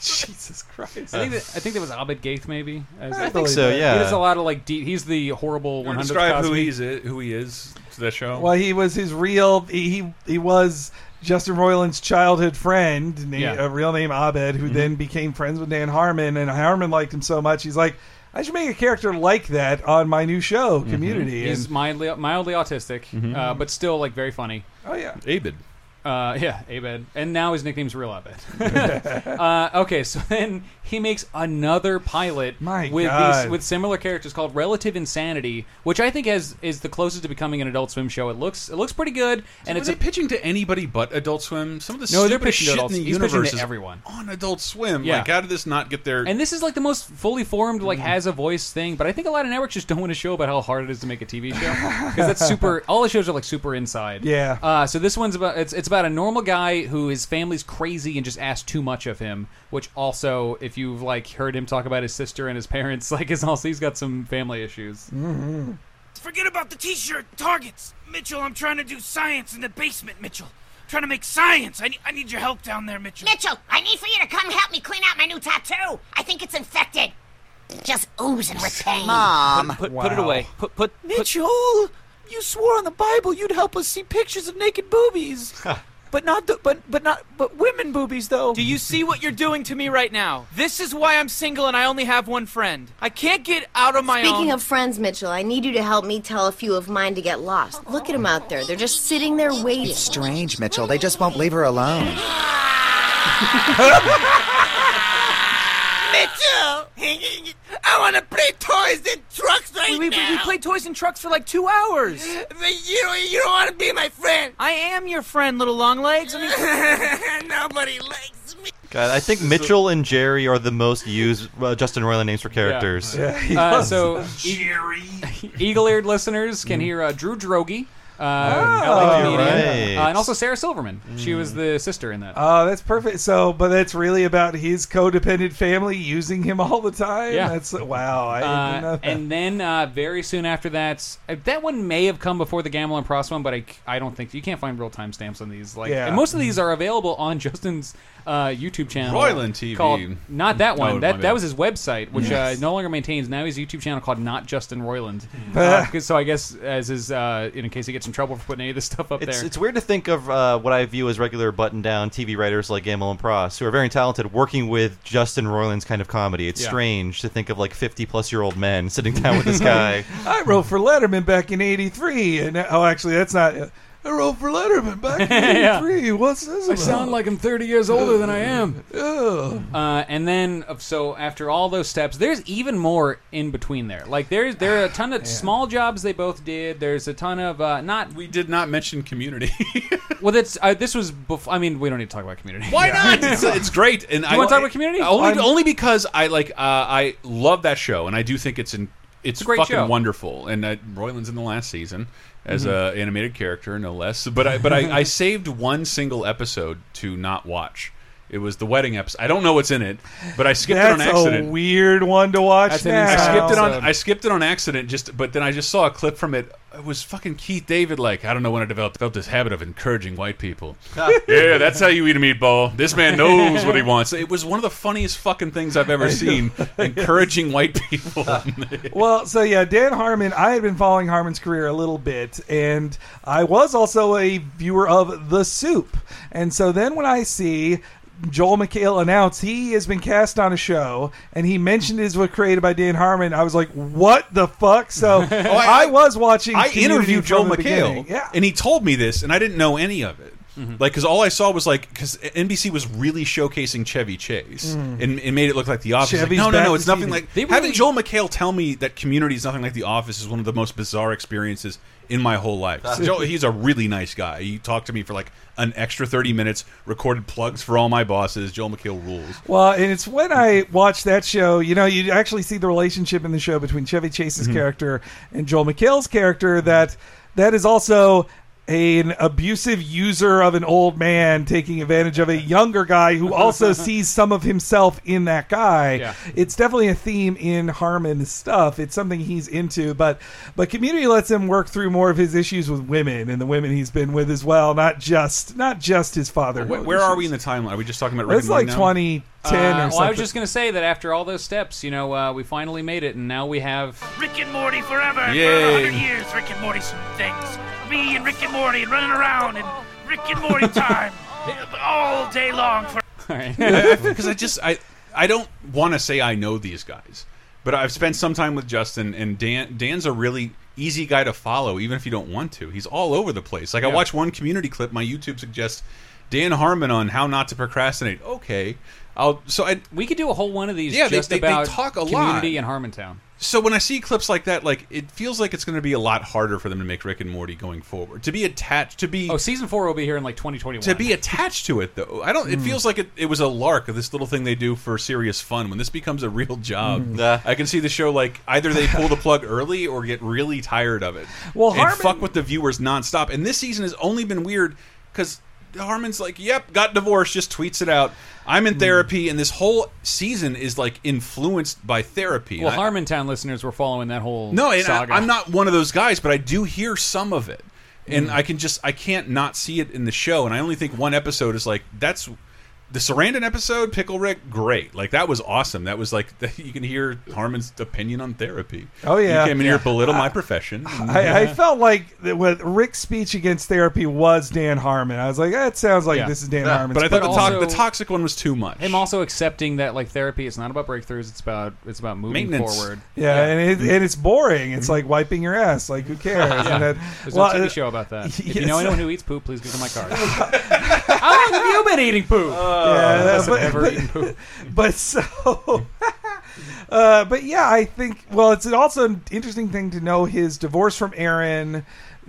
S3: Jesus Christ.
S2: I think that, I think that was Abed Gaith, maybe. As-
S1: I think so, yeah.
S2: He does a lot of like deep. He's the horrible
S1: Or
S2: 100th
S1: describe who
S2: Cosby.
S1: he's uh, who he is to the show.
S3: Well, he was his real. He he- he was Justin Roiland's childhood friend, na-
S1: Yeah.
S3: a real name Abed,
S2: Mm-hmm.
S3: who then became friends with Dan Harmon, and Harmon liked him so much, he's like, I should make a character like that on my new show, Community.
S2: Mm-hmm. He's
S3: And Mm-hmm.
S2: mildly mildly autistic, uh, but still like very funny.
S3: Oh yeah,
S1: Abed.
S2: Uh, *laughs* yeah, Abed. And now his nickname's Real
S3: *laughs*
S2: Abed. *laughs* uh, okay, so then he makes another pilot with
S3: God.
S2: these with similar characters called Relative Insanity, which I think has is the closest to becoming an Adult Swim show. It looks it looks pretty good, and
S1: were
S2: it's
S1: they pitching to anybody but Adult Swim. Some of the
S2: no, they're
S1: stupidest
S2: pitching to
S1: shit
S2: adults.
S1: in the
S2: He's pitching
S1: universe
S2: to
S1: is
S2: everyone.
S1: on Adult Swim.
S2: Yeah.
S1: Like, how did this not get Mm. their?
S2: And this is like the most fully formed, like has a voice thing. But I think a lot of networks just don't want to show about how hard it is to make a
S1: *laughs*
S2: TV show because that's super. All the shows are like super inside.
S3: Yeah.
S2: Uh, so this one's about it's it's about a normal guy who his family's crazy and just asks too much of him. Which also, if you've like heard him talk about his sister and his *laughs* parents, like is also he's got some family issues.
S3: Mm-hmm.
S19: Forget about the t-shirt targets. Mitchell, I'm trying to do science in the basement, Mitchell. trying to make science. I need, I need your help down there, Mitchell.
S11: Mitchell, I need for you to come help me clean out my new tattoo. I think it's infected. Just oozing with pain.
S12: Mom.
S24: Put, put it away. Put put
S12: Mitchell, you swore on the Bible you'd help us see pictures of naked boobies.
S24: *laughs*
S12: but not the, but but not but women boobies though.
S24: Do you see what
S12: you're doing to me
S24: right now. This is why I'm single and I only have one friend. I can't get out of my
S23: Speaking
S24: own.
S23: of friends, Mitchell, I need you to help me tell a few of mine to get lost. Look at them out there. They're just sitting there waiting.
S12: It's strange, Mitchell. They just won't leave her alone.
S17: *laughs*
S10: Mitchell! *laughs* I want to play toys and trucks right
S12: we, we,
S10: now.
S12: We played toys and trucks for like two hours.
S10: But you, you don't want to be my friend.
S12: I am your friend, little long legs. I mean, *laughs*
S10: Nobody likes.
S4: God, I think Mitchell and Jerry are the most used uh, Justin Roiland names for characters.
S2: uh, so Jerry. *laughs* eagle-eared listeners
S4: Mm.
S2: can hear uh, Drew Drogi. Uh, LA comedian,
S4: Oh, right. Mm.
S2: uh, and also Sarah Silverman. She was the sister in that.
S3: Oh, that's perfect. So, but that's really about his codependent family using him *laughs* all the time.
S2: Yeah.
S3: That's wow. I didn't know
S2: Uh,
S3: that.
S2: and then uh, very soon after that, uh, that one may have come before the Gamble and Pross one, but I, I don't think you can't find real time stamps on these. Like,
S1: Yeah.
S2: and most of
S3: Mm-hmm.
S2: these are available on Justin's uh, YouTube channel,
S1: Roiland TV.
S2: called not that one.
S1: Oh, my
S2: that
S1: bad.
S2: that was his website, which
S1: Yes.
S2: uh, no longer maintains. Now his YouTube channel called Not Justin
S3: *laughs*
S2: Roiland. Uh, 'cause- so I guess as his, uh, in case he gets in trouble for putting any of this stuff up
S4: It's,
S2: there,
S4: it's weird to think of uh, what I view as regular button-down TV writers like Gamble and Pross, who are very talented, working with Justin Roiland's kind of comedy. It's
S3: Yeah.
S4: strange to think of like fifty-plus-year-old men sitting down with this guy.
S3: I wrote for Letterman back in '83, and oh, actually, that's not. I wrote for Letterman back in
S2: *laughs* Yeah.
S3: '83. What's this
S2: I
S3: about?
S2: sound like I'm 30 years older than I am. Uh, and then, uh, so after all those steps, there's even more in between there. Like there's there are a
S3: *sighs*
S2: ton of small jobs they both did. There's a ton of uh, not.
S1: We did not mention Community.
S2: *laughs* well, that's uh, this was before. I mean, we don't need to talk about Community.
S1: Why not?
S2: *laughs*
S1: It's, it's great. And
S2: Do
S1: I
S2: you want to talk about Community?
S1: Only, only because I like uh, I love that show, and I do think it's an it's,
S2: a great
S1: fucking
S2: show.
S1: wonderful. And uh, Royland's in the last season as
S2: Mhm.
S1: a animated character, no less. But I but
S2: *laughs*
S1: I, I saved one single episode to not watch. It was the wedding episode. I don't know what's in it, but I skipped
S3: that's
S1: it on accident.
S3: a weird one to watch. now.
S1: I skipped it on. I skipped it on accident. Just, but then I just saw a clip from it. It was fucking Keith David. Like I don't know when I developed, developed this habit of encouraging white people. *laughs* yeah, that's how you eat a meatball. This man knows what he wants. It was one of the funniest fucking things I've
S3: *laughs*
S1: ever seen. encouraging white people. *laughs*
S3: well, so yeah, Dan Harmon. I had been following Harmon's career a little bit, and I was also a viewer of The Soup. And so then when I see Joel McHale announce he has been cast on a show, and he mentioned it was created by Dan Harmon, I was like, "What the fuck?" So
S1: *laughs*
S3: I,
S1: Oh, I-
S3: was watching.
S1: I
S3: Community
S1: interviewed Joe
S3: from the
S1: McHale,
S3: beginning. Yeah.
S1: and he told me this, and I didn't know any of it. Like, because all I saw was like, because NBC was really showcasing Chevy Chase
S2: Mm.
S1: and, and made it look like The Office. Like,
S2: Chevy's
S1: no, no,
S2: back
S1: no,
S2: this
S1: it's nothing
S2: season.
S1: like.
S2: They
S1: Having
S2: really-
S1: Joel McHale tell me that Community is nothing like The Office is one of the most bizarre experiences in my whole life.
S2: Ah.
S1: Joe, he's a really nice guy. He talked to me for like an extra thirty minutes, recorded plugs for all my bosses. Joel McHale rules.
S3: Well, and it's when I watched that show, you know, you actually see the relationship in the show between Chevy Chase's
S1: Mhm.
S3: character and Joel McHale's character that that is also an abusive user of an old man taking advantage of a younger guy who
S1: *laughs*
S3: also sees some of himself in that guy.
S2: Yeah.
S3: It's definitely a theme in Harmon's stuff. It's something he's into, but but community lets him work through more of his issues with women and the women he's been with as well, not just not just his father.
S1: Where, where are we in the timeline? Are we just talking about? Rick
S3: It's
S1: and Morty
S3: like
S1: now?
S2: Uh,
S3: 2010 or
S2: well,
S3: something.
S2: I was just gonna say that after all those steps, you know, uh, we finally made it, and now we have
S19: Rick and Morty forever. and
S2: Yay.
S19: For 100 years, Rick and Morty some things. Me and Rick and Morty and running around and Rick and Morty time all day long for.
S2: *laughs*
S1: because I just I I don't want to say I know these guys, but I've spent some time with Justin and Dan. Dan's a really easy guy to follow, even if you don't want to. He's all over the place. Like I
S9: Yeah.
S1: watch one community clip, my YouTube suggests Dan Harmon on how not to procrastinate. Okay, I'll so I,
S2: we could do a whole one of these.
S1: Yeah, they-
S2: just
S1: they, they
S2: about
S1: talk a lot.
S2: community in Harmontown.
S1: So when I see clips like that, like it feels like it's going to be a lot harder for them to make Rick and Morty going forward. To be attached, to be
S2: oh, season four will be here in like 2021.
S1: to be attached to it though, I don't. It
S2: Mm.
S1: feels like it, it was a lark of this little thing they do for serious fun. When this becomes a real job,
S4: Mm. Yeah.
S1: I can see the show like either they pull the plug early or get really tired of it.
S3: Well,
S1: and
S3: Harmon-
S1: fuck with the viewers nonstop. And this season has only been weird because Harmon's like, "Yep, got divorced," just tweets it out. I'm
S2: Hmm.
S1: in therapy, and this whole season is like influenced by therapy.
S2: Well,
S1: And I-
S2: Harmontown listeners were following that whole
S1: no, and
S2: saga.
S1: I, I'm not one of those guys, but I do hear some of it, and
S3: Hmm.
S2: Mm.
S1: I can just I can't not see it in the show. And I only think one episode is like that's the Sarandon episode, Pickle Rick, great, like that was awesome. That was like *laughs* you can hear Harmon's opinion on therapy.
S3: Oh, yeah.
S1: you came in here
S3: Yeah.
S1: to belittle my profession. Mm-hmm.
S3: I, I felt like that what Rick's speech against therapy was Dan Harmon. I was like, that sounds like this is Dan Harmon.
S1: but I thought the, to- the toxic one was too much.
S2: Him also accepting that like therapy, it's not about breakthroughs. It's about it's about moving
S1: Maintenance.
S2: forward.
S3: Yeah, and it, and it's boring. It's like wiping your ass. Like
S2: *laughs*
S3: who cares?
S2: Mm-hmm. Yeah.
S3: And that,
S2: There's
S3: well,
S2: no
S3: uh,
S2: TV show about
S3: *laughs*
S2: that. If you
S3: yes.
S2: know anyone who eats poop, please give them
S1: *laughs*
S2: my card. How long have you been eating poop?
S1: Uh,
S3: yeah,
S2: Must have
S3: but,
S2: ever
S3: but-
S2: eaten poop.
S3: *laughs* but so, *laughs* uh, but yeah, I think. Well, it's also an interesting thing to know his divorce from Aaron.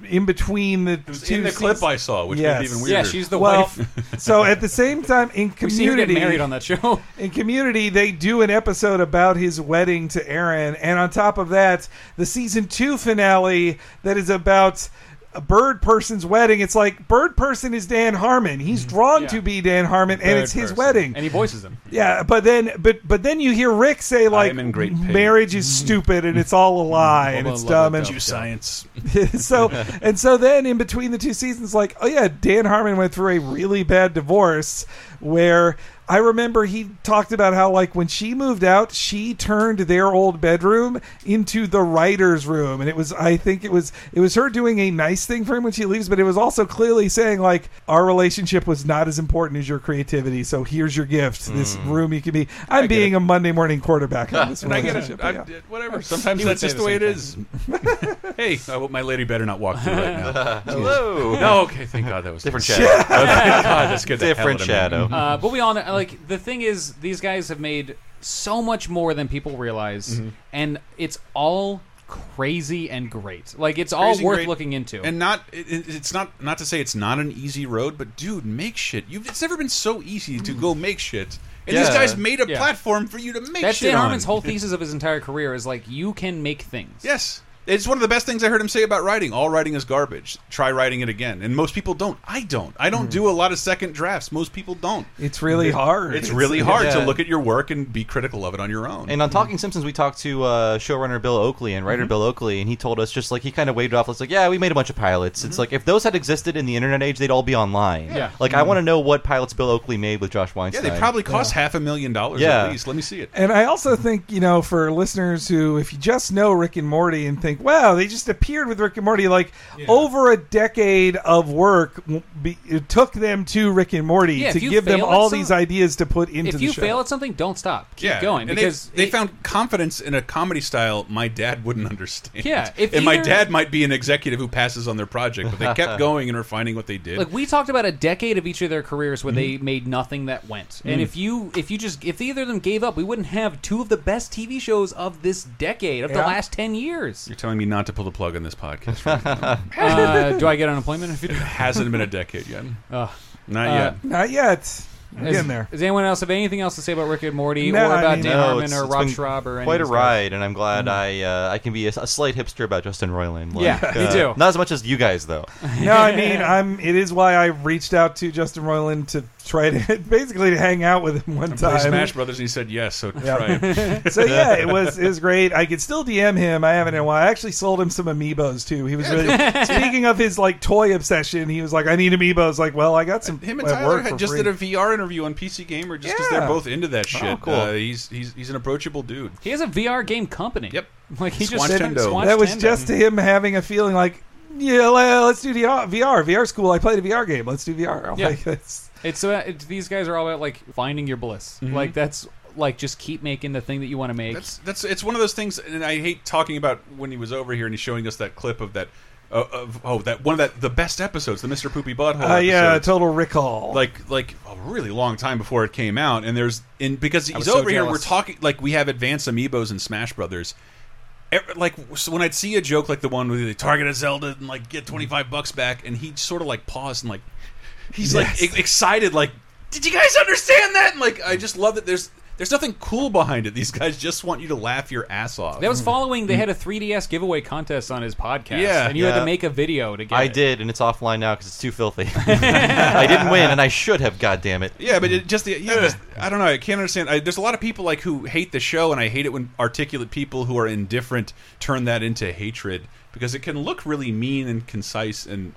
S3: In between the two
S1: in the clip
S3: seasons-
S1: I saw, which made it
S3: yes.
S1: even Yeah, weirder. she's the
S3: well,
S1: wife.
S3: so at the same time, in
S2: *laughs* We see her get
S3: community,
S2: married on that show.
S3: *laughs* In community, they do an episode about his wedding to Aaron, and on top of that, the season two finale that is about a bird person's wedding. It's like bird person is Dan Harmon. He's drawn to be Dan Harmon, and
S2: Mm-hmm. Bird
S3: it's his
S2: person.
S3: wedding.
S2: and he voices them.
S3: Yeah, but then but but then you hear Rick say like
S2: am in great pain.
S3: marriage is stupid and it's all a
S2: *laughs*
S3: lie and it's dumb and
S1: you science.
S3: *laughs* so and so then in between the two seasons like oh yeah Dan Harmon went through a really bad divorce where I remember he talked about how like when she moved out she turned their old bedroom into the writer's room and it was I think it was it was her doing a nice thing for him when she leaves but it was also clearly saying like our relationship was not as important as your creativity so here's your gift this
S1: Mm.
S3: room you can be I'm being a Monday morning quarterback on
S1: *laughs*
S3: this
S1: and I get
S3: relationship
S1: it. I,
S3: yeah.
S1: Whatever. Sometimes
S2: He would
S1: that's
S2: say
S1: just
S2: the
S1: the way it is. *laughs* hey, I hope my lady better not walk through right now.
S4: *laughs* Hello.
S1: No, okay. Thank God that was
S4: Different
S1: nice.
S4: shadow.
S1: *laughs* Oh, thank God,
S4: *laughs*
S1: that's good.
S4: Different shadow.
S2: Uh, but we all know, like the thing is, these guys have made so much more than people realize,
S1: Mhm.
S2: and it's all crazy and great. Like it's all
S1: Crazy
S2: worth
S1: great-
S2: looking into.
S1: And not it, it- it's not not to say it's not an easy road, but dude, make shit. You've it's never been so easy to go make shit. And these
S2: Yeah.
S1: guys made a
S2: Yeah.
S1: platform for you to make
S2: That's
S1: shit.
S2: Dan Harmon's
S1: on.
S2: whole thesis of his entire career is like you can make things.
S1: Yes. It's one of the best things I heard him say about writing. All writing is garbage. Try writing it again. And most people don't. I don't. I
S2: Hmm.
S1: don't do a lot of second drafts. Most people don't.
S3: It's really hard.
S1: It's really hard to
S4: Yeah.
S1: look at your work and be critical of it on your own.
S4: And on Talking Simpsons, we talked to uh, showrunner Bill Oakley and writer
S1: Mhm.
S4: Bill Oakley, and he told us just like he kind of waved off. It's like, yeah, we made a bunch of pilots. It's like if those had existed in the internet age, they'd all be online.
S1: Mm-hmm. Yeah. Mm-hmm.
S4: Like I want to know what pilots Bill Oakley made with Josh
S1: yeah,
S4: Weinstein.
S1: they probably cost half a million dollars
S4: Yeah.
S1: at least. Let me see it.
S3: And I also think, you know, for listeners who, if you just know Rick and Morty and think, wow, they just appeared with Rick and Morty, like over a decade of work w- be, it took them to Rick and Morty
S2: Yeah,
S3: to
S2: if you
S3: give them
S2: fail at
S3: all
S2: some-
S3: these ideas to put into
S2: If
S3: the
S2: you
S3: show.
S2: fail at something, don't stop. Keep going
S1: and
S2: because
S1: they, they found confidence in a comedy style my dad wouldn't *laughs* understand.
S2: Yeah, if
S1: and my
S2: either-
S1: dad might be an executive who passes on their project, but they
S2: *laughs*
S1: kept going and refining what they did. Mm-hmm.
S2: like we talked about a decade of each of their careers where they made nothing that went and
S1: Mhm.
S2: if you if you just if either of them gave up we wouldn't have two of the best tv shows of this decade of the
S1: Yeah.
S2: last 10 years
S1: You're telling me not to pull the plug on this podcast. Right now.
S2: *laughs* uh, do i get unemployment if you
S1: it hasn't been a decade yet.
S2: *laughs* Ugh.
S1: Not
S2: Uh,
S1: yet.
S3: Not yet. I'm
S2: Is-
S3: getting there.
S2: Does anyone else have anything else to say about Rick and Morty
S3: No,
S2: or
S3: I
S2: about
S3: mean-
S2: Dan
S3: No,
S2: Harmon
S4: it's-
S2: or
S4: it's
S2: Rob
S4: been
S2: Schraub or any
S4: quite a
S2: of these guys? Mm-hmm.
S4: ride, and I'm glad I uh, I can be a, a slight hipster about Justin Roiland. Like,
S2: Yeah, you
S4: uh,
S2: do.
S4: Not as much as you
S2: *laughs*
S4: guys though.
S3: *laughs* no, I mean, I'm. It is why I reached out to Justin Roiland to try to *laughs* basically to hang out with him one
S1: I
S3: time.
S1: played Smash Brothers and he said yes, so try *laughs* it.
S3: *laughs* so yeah, it was it was great. I could still DM him. I haven't in a while. I actually sold him some amiibos too. He was really speaking of his like toy obsession. He was like, I need amiibos. Like, well, I got some.
S1: Him and
S3: at
S1: Tyler
S3: work
S1: had
S3: for
S1: just
S3: free.
S1: did a VR interview on PC Gamer just because
S3: Yeah. Oh,
S1: they're both into that shit.
S3: cool.
S1: Uh, he's, he's he's an approachable dude.
S2: he has a vr game company yep *laughs* like he just
S1: Squatch Tendo.
S2: Squatch
S3: that was
S2: Tendo.
S3: just him having a feeling like, yeah, le- let's do VR. VR VR's cool. I played a VR game. Let's do VR. I'm
S2: Yeah.
S3: like, that's-
S2: it's about it's, these guys are all about like finding your bliss. Like that's like just keep making the thing that you want to make.
S1: Mm-hmm. That's it's one of those things, and I hate talking about when he was over here and he's showing us that clip of that. Uh, of, oh, that one of that the best episodes, the Mr. Poopy Butthole.
S3: Uh, yeah,
S1: episodes.
S3: total recall.
S1: like like a really long time before it came out and there's and because
S3: I was
S1: he's
S3: so
S1: over here we're
S3: jealous.
S1: talking like we have advanced amiibos and smash brothers Ev- like so when i'd see a joke like the one with the target a zelda and like get 25 bucks back and he sort of like paused and like he's like e- excited like did you guys understand that and like i just love that there's there's nothing cool behind it these guys just want you to laugh your ass off Mm-hmm.
S2: That was following. They had a 3DS giveaway contest on his podcast.
S1: Mm. Yeah.
S2: and you had
S1: Yeah.
S2: to make a video to get.
S4: I
S2: it.
S4: did, and it's offline now because it's too filthy.
S2: *laughs*
S4: *laughs* I didn't win, and I should have. God damn it!
S1: Yeah, but it just the yeah, just- I don't know. I can't understand. I, there's a lot of people like who hate the show, and I hate it when articulate people who are indifferent turn that into hatred because it can look really mean and concise and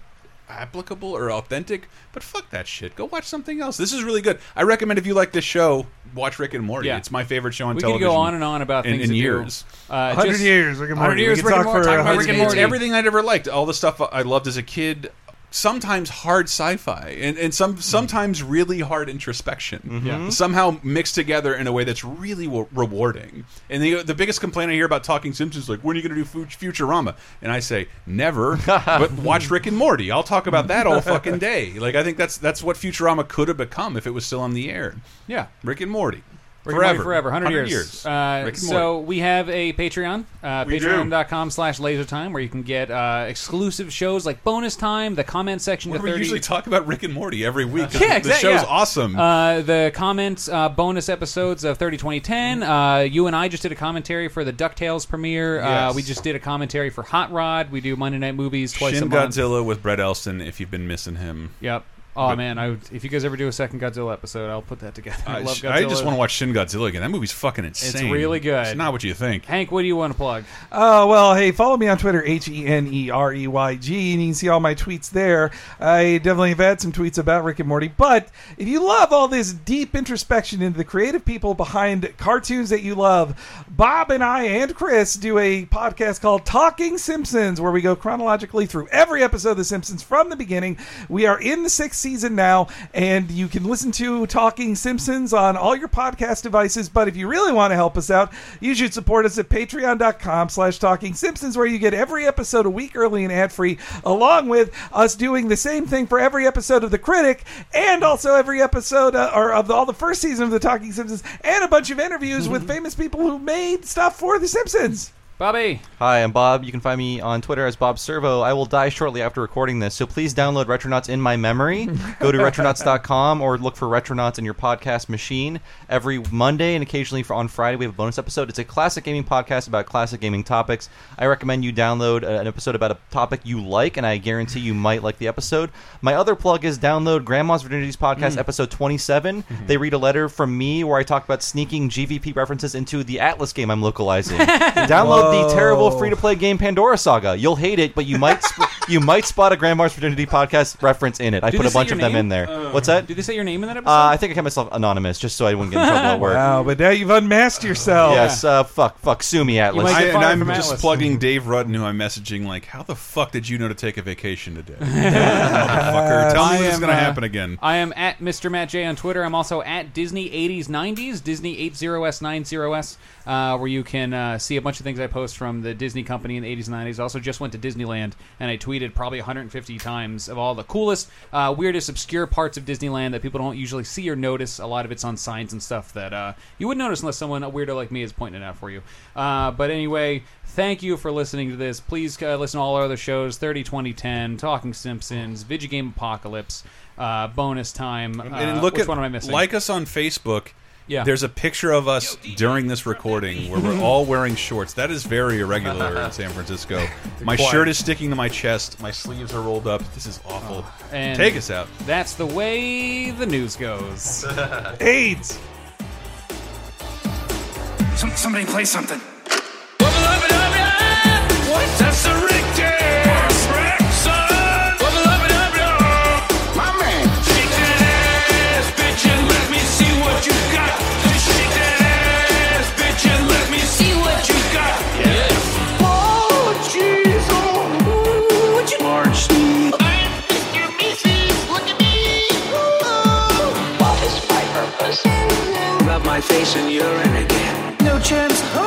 S1: applicable or authentic. But fuck that shit. Go watch something else. This is really good. I recommend if you like this show, watch Rick and Morty.
S2: Yeah.
S1: It's my favorite show on
S2: we could
S1: television.
S2: go on and on about
S1: in-
S2: things
S1: in
S2: that do.
S1: years.
S2: Uh,
S3: 100
S2: just-
S3: years, Rick and Morty.
S2: 100 years,
S3: We could
S2: Rick and
S3: talk
S2: Morty.
S3: for
S2: Talk about
S3: 100
S2: Rick and
S1: It's
S2: Morty.
S1: everything I'd ever liked. All the stuff I loved as a kid. Sometimes hard sci-fi and, and some
S2: Mm-hmm.
S1: sometimes really hard introspection.
S4: Yeah.
S1: Somehow mixed together in a way that's really w rewarding. And the the biggest complaint I hear about Talking Simpsons is like, when are you going to do Fu- Futurama? And I say
S2: *laughs*
S1: never. but watch Rick and Morty. I'll talk about that all fucking day. Like I think that's that's what Futurama could have become if it was still on the air.
S2: Yeah.
S1: Rick and Morty.
S2: Rick
S1: forever,
S2: and Morty forever, 100, years. Uh,
S1: Rick and
S2: so we have a Patreon, uh,
S1: We do.
S2: patreon.com slash lasertime, where you can get uh, exclusive shows like Bonus Time, the comment section
S1: Where
S2: to
S1: we
S2: 30...
S1: usually talk about Rick and Morty every *laughs* week.
S2: *laughs* yeah,
S1: The
S2: exactly.
S1: show's
S2: yeah.
S1: awesome.
S2: Uh, the comments, uh, bonus episodes of 30
S1: Mm-hmm.
S2: 2010. Uh, you and I just did a commentary for the DuckTales premiere. Uh,
S1: Yes.
S2: we just did a commentary for Hot Rod. We do Monday Night Movies twice
S1: Shin
S2: a month.
S1: Godzilla with Brett Elston. If you've been missing him,
S2: Yep. Oh
S1: But-
S2: man, I would, if you guys ever do a second Godzilla episode, I'll put that together. *laughs* I,
S1: I,
S2: love
S1: sh-
S2: Godzilla.
S1: I just want to watch Shin Godzilla again. That movie's fucking insane.
S2: really good.
S1: It's not what you think.
S2: Hank, what do you want to plug?
S3: Uh, well, hey, follow me on Twitter, H E N E R E Y G, and you can see all my tweets there. I definitely have had some tweets about Rick and Morty, but if you love all this deep introspection into the creative people behind cartoons that you love, Bob and I and Chris do a podcast called Talking Simpsons, where we go chronologically through every episode of The Simpsons from the beginning. We are in the sixth season now, and you can listen to Talking Simpsons on all your podcast devices. But if you really want to help us out, you should support us at patreon.com slash talking simpsons, where you get every episode a week early and ad free, along with us doing the same thing for every episode of The Critic and also every episode uh, or of the, all the first season of The Talking Simpsons and a bunch of interviews with famous people who made stuff for The Simpsons.
S2: Bobby.
S4: Hi, I'm Bob. You can find me on Twitter as Bob Servo. I will die shortly after recording this, so please download Retronauts in my memory. Go to retronauts.com or look for Retronauts in your podcast machine every Monday and occasionally for on Friday we have a bonus episode. It's a classic gaming podcast about classic gaming topics. I recommend you download uh, an episode about a topic you like, and I guarantee you might like the episode. My other plug is download Grandma's Virginity's podcast
S9: Mm.
S4: episode 27. They read a letter from me where I talk about sneaking GVP references into the Atlas game I'm
S2: *laughs*
S4: localizing. download the terrible
S9: Whoa.
S4: free to play game Pandora Saga. You'll hate it, but you might
S2: *laughs*
S4: sp- you might spot a Grandma's Virginity podcast reference in it. I
S2: Do
S4: put
S2: they
S4: a
S2: say
S4: bunch
S2: your
S4: of them
S2: name?
S4: in there.
S2: Uh,
S4: What's that?
S2: Did they say your name in that episode?
S4: Uh, I think I kept myself anonymous just so I wouldn't get in trouble
S2: *laughs*
S4: at work.
S3: Wow, but now you've unmasked yourself.
S4: Yes, uh, fuck, fuck, sue me, Atlas.
S1: I, and I'm just plugging Dave Rudden, who I'm messaging like, "How the fuck did you know to take a vacation
S2: *laughs*
S1: today, *laughs* *laughs* motherfucker? Tell me
S2: I
S1: what's
S2: am,
S1: going to
S2: uh,
S1: happen again."
S2: I am at Mr. Matt J on Twitter. I'm also at Disney 80s 90s, Disney 80s 90s, uh, where you can uh, see a bunch of things I post from the Disney company in the 80s 90s. I also just went to Disneyland and I tweeted probably 150 times of all the coolest, uh, weirdest, obscure parts of Disneyland that people don't usually see or notice. A lot of it's on signs and stuff that uh, you wouldn't notice unless someone, a weirdo like me, is pointing it out for you. Uh, but anyway, thank you for listening to this. Please uh, listen to all our other shows 30, 20, 10, Talking Simpsons, Video Game Apocalypse uh, bonus time. Uh,
S1: and look
S2: which
S1: at
S2: one am I missing?
S1: like us on Facebook.
S2: Yeah.
S1: There's a picture of us during this recording where
S2: *laughs*
S1: we're all wearing shorts. That is very irregular in San
S2: *laughs*
S1: Francisco. My
S2: Quiet.
S1: shirt is sticking to my chest. My sleeves are rolled up. This is awful.
S2: Uh, And
S1: Take us out.
S2: That's the way the news goes.
S3: Eight.
S19: Some, somebody play something.
S10: What? That's the Richter. My man. Shake that ass, bitch, and let me see what you got. Just shake that ass, bitch, and let me see what you got. Yes. Oh, jeez, oh, what you March. I'm Mr. Mrs. Look at me. Ooh. What is my purpose? Rub my face in urine.
S7: friends.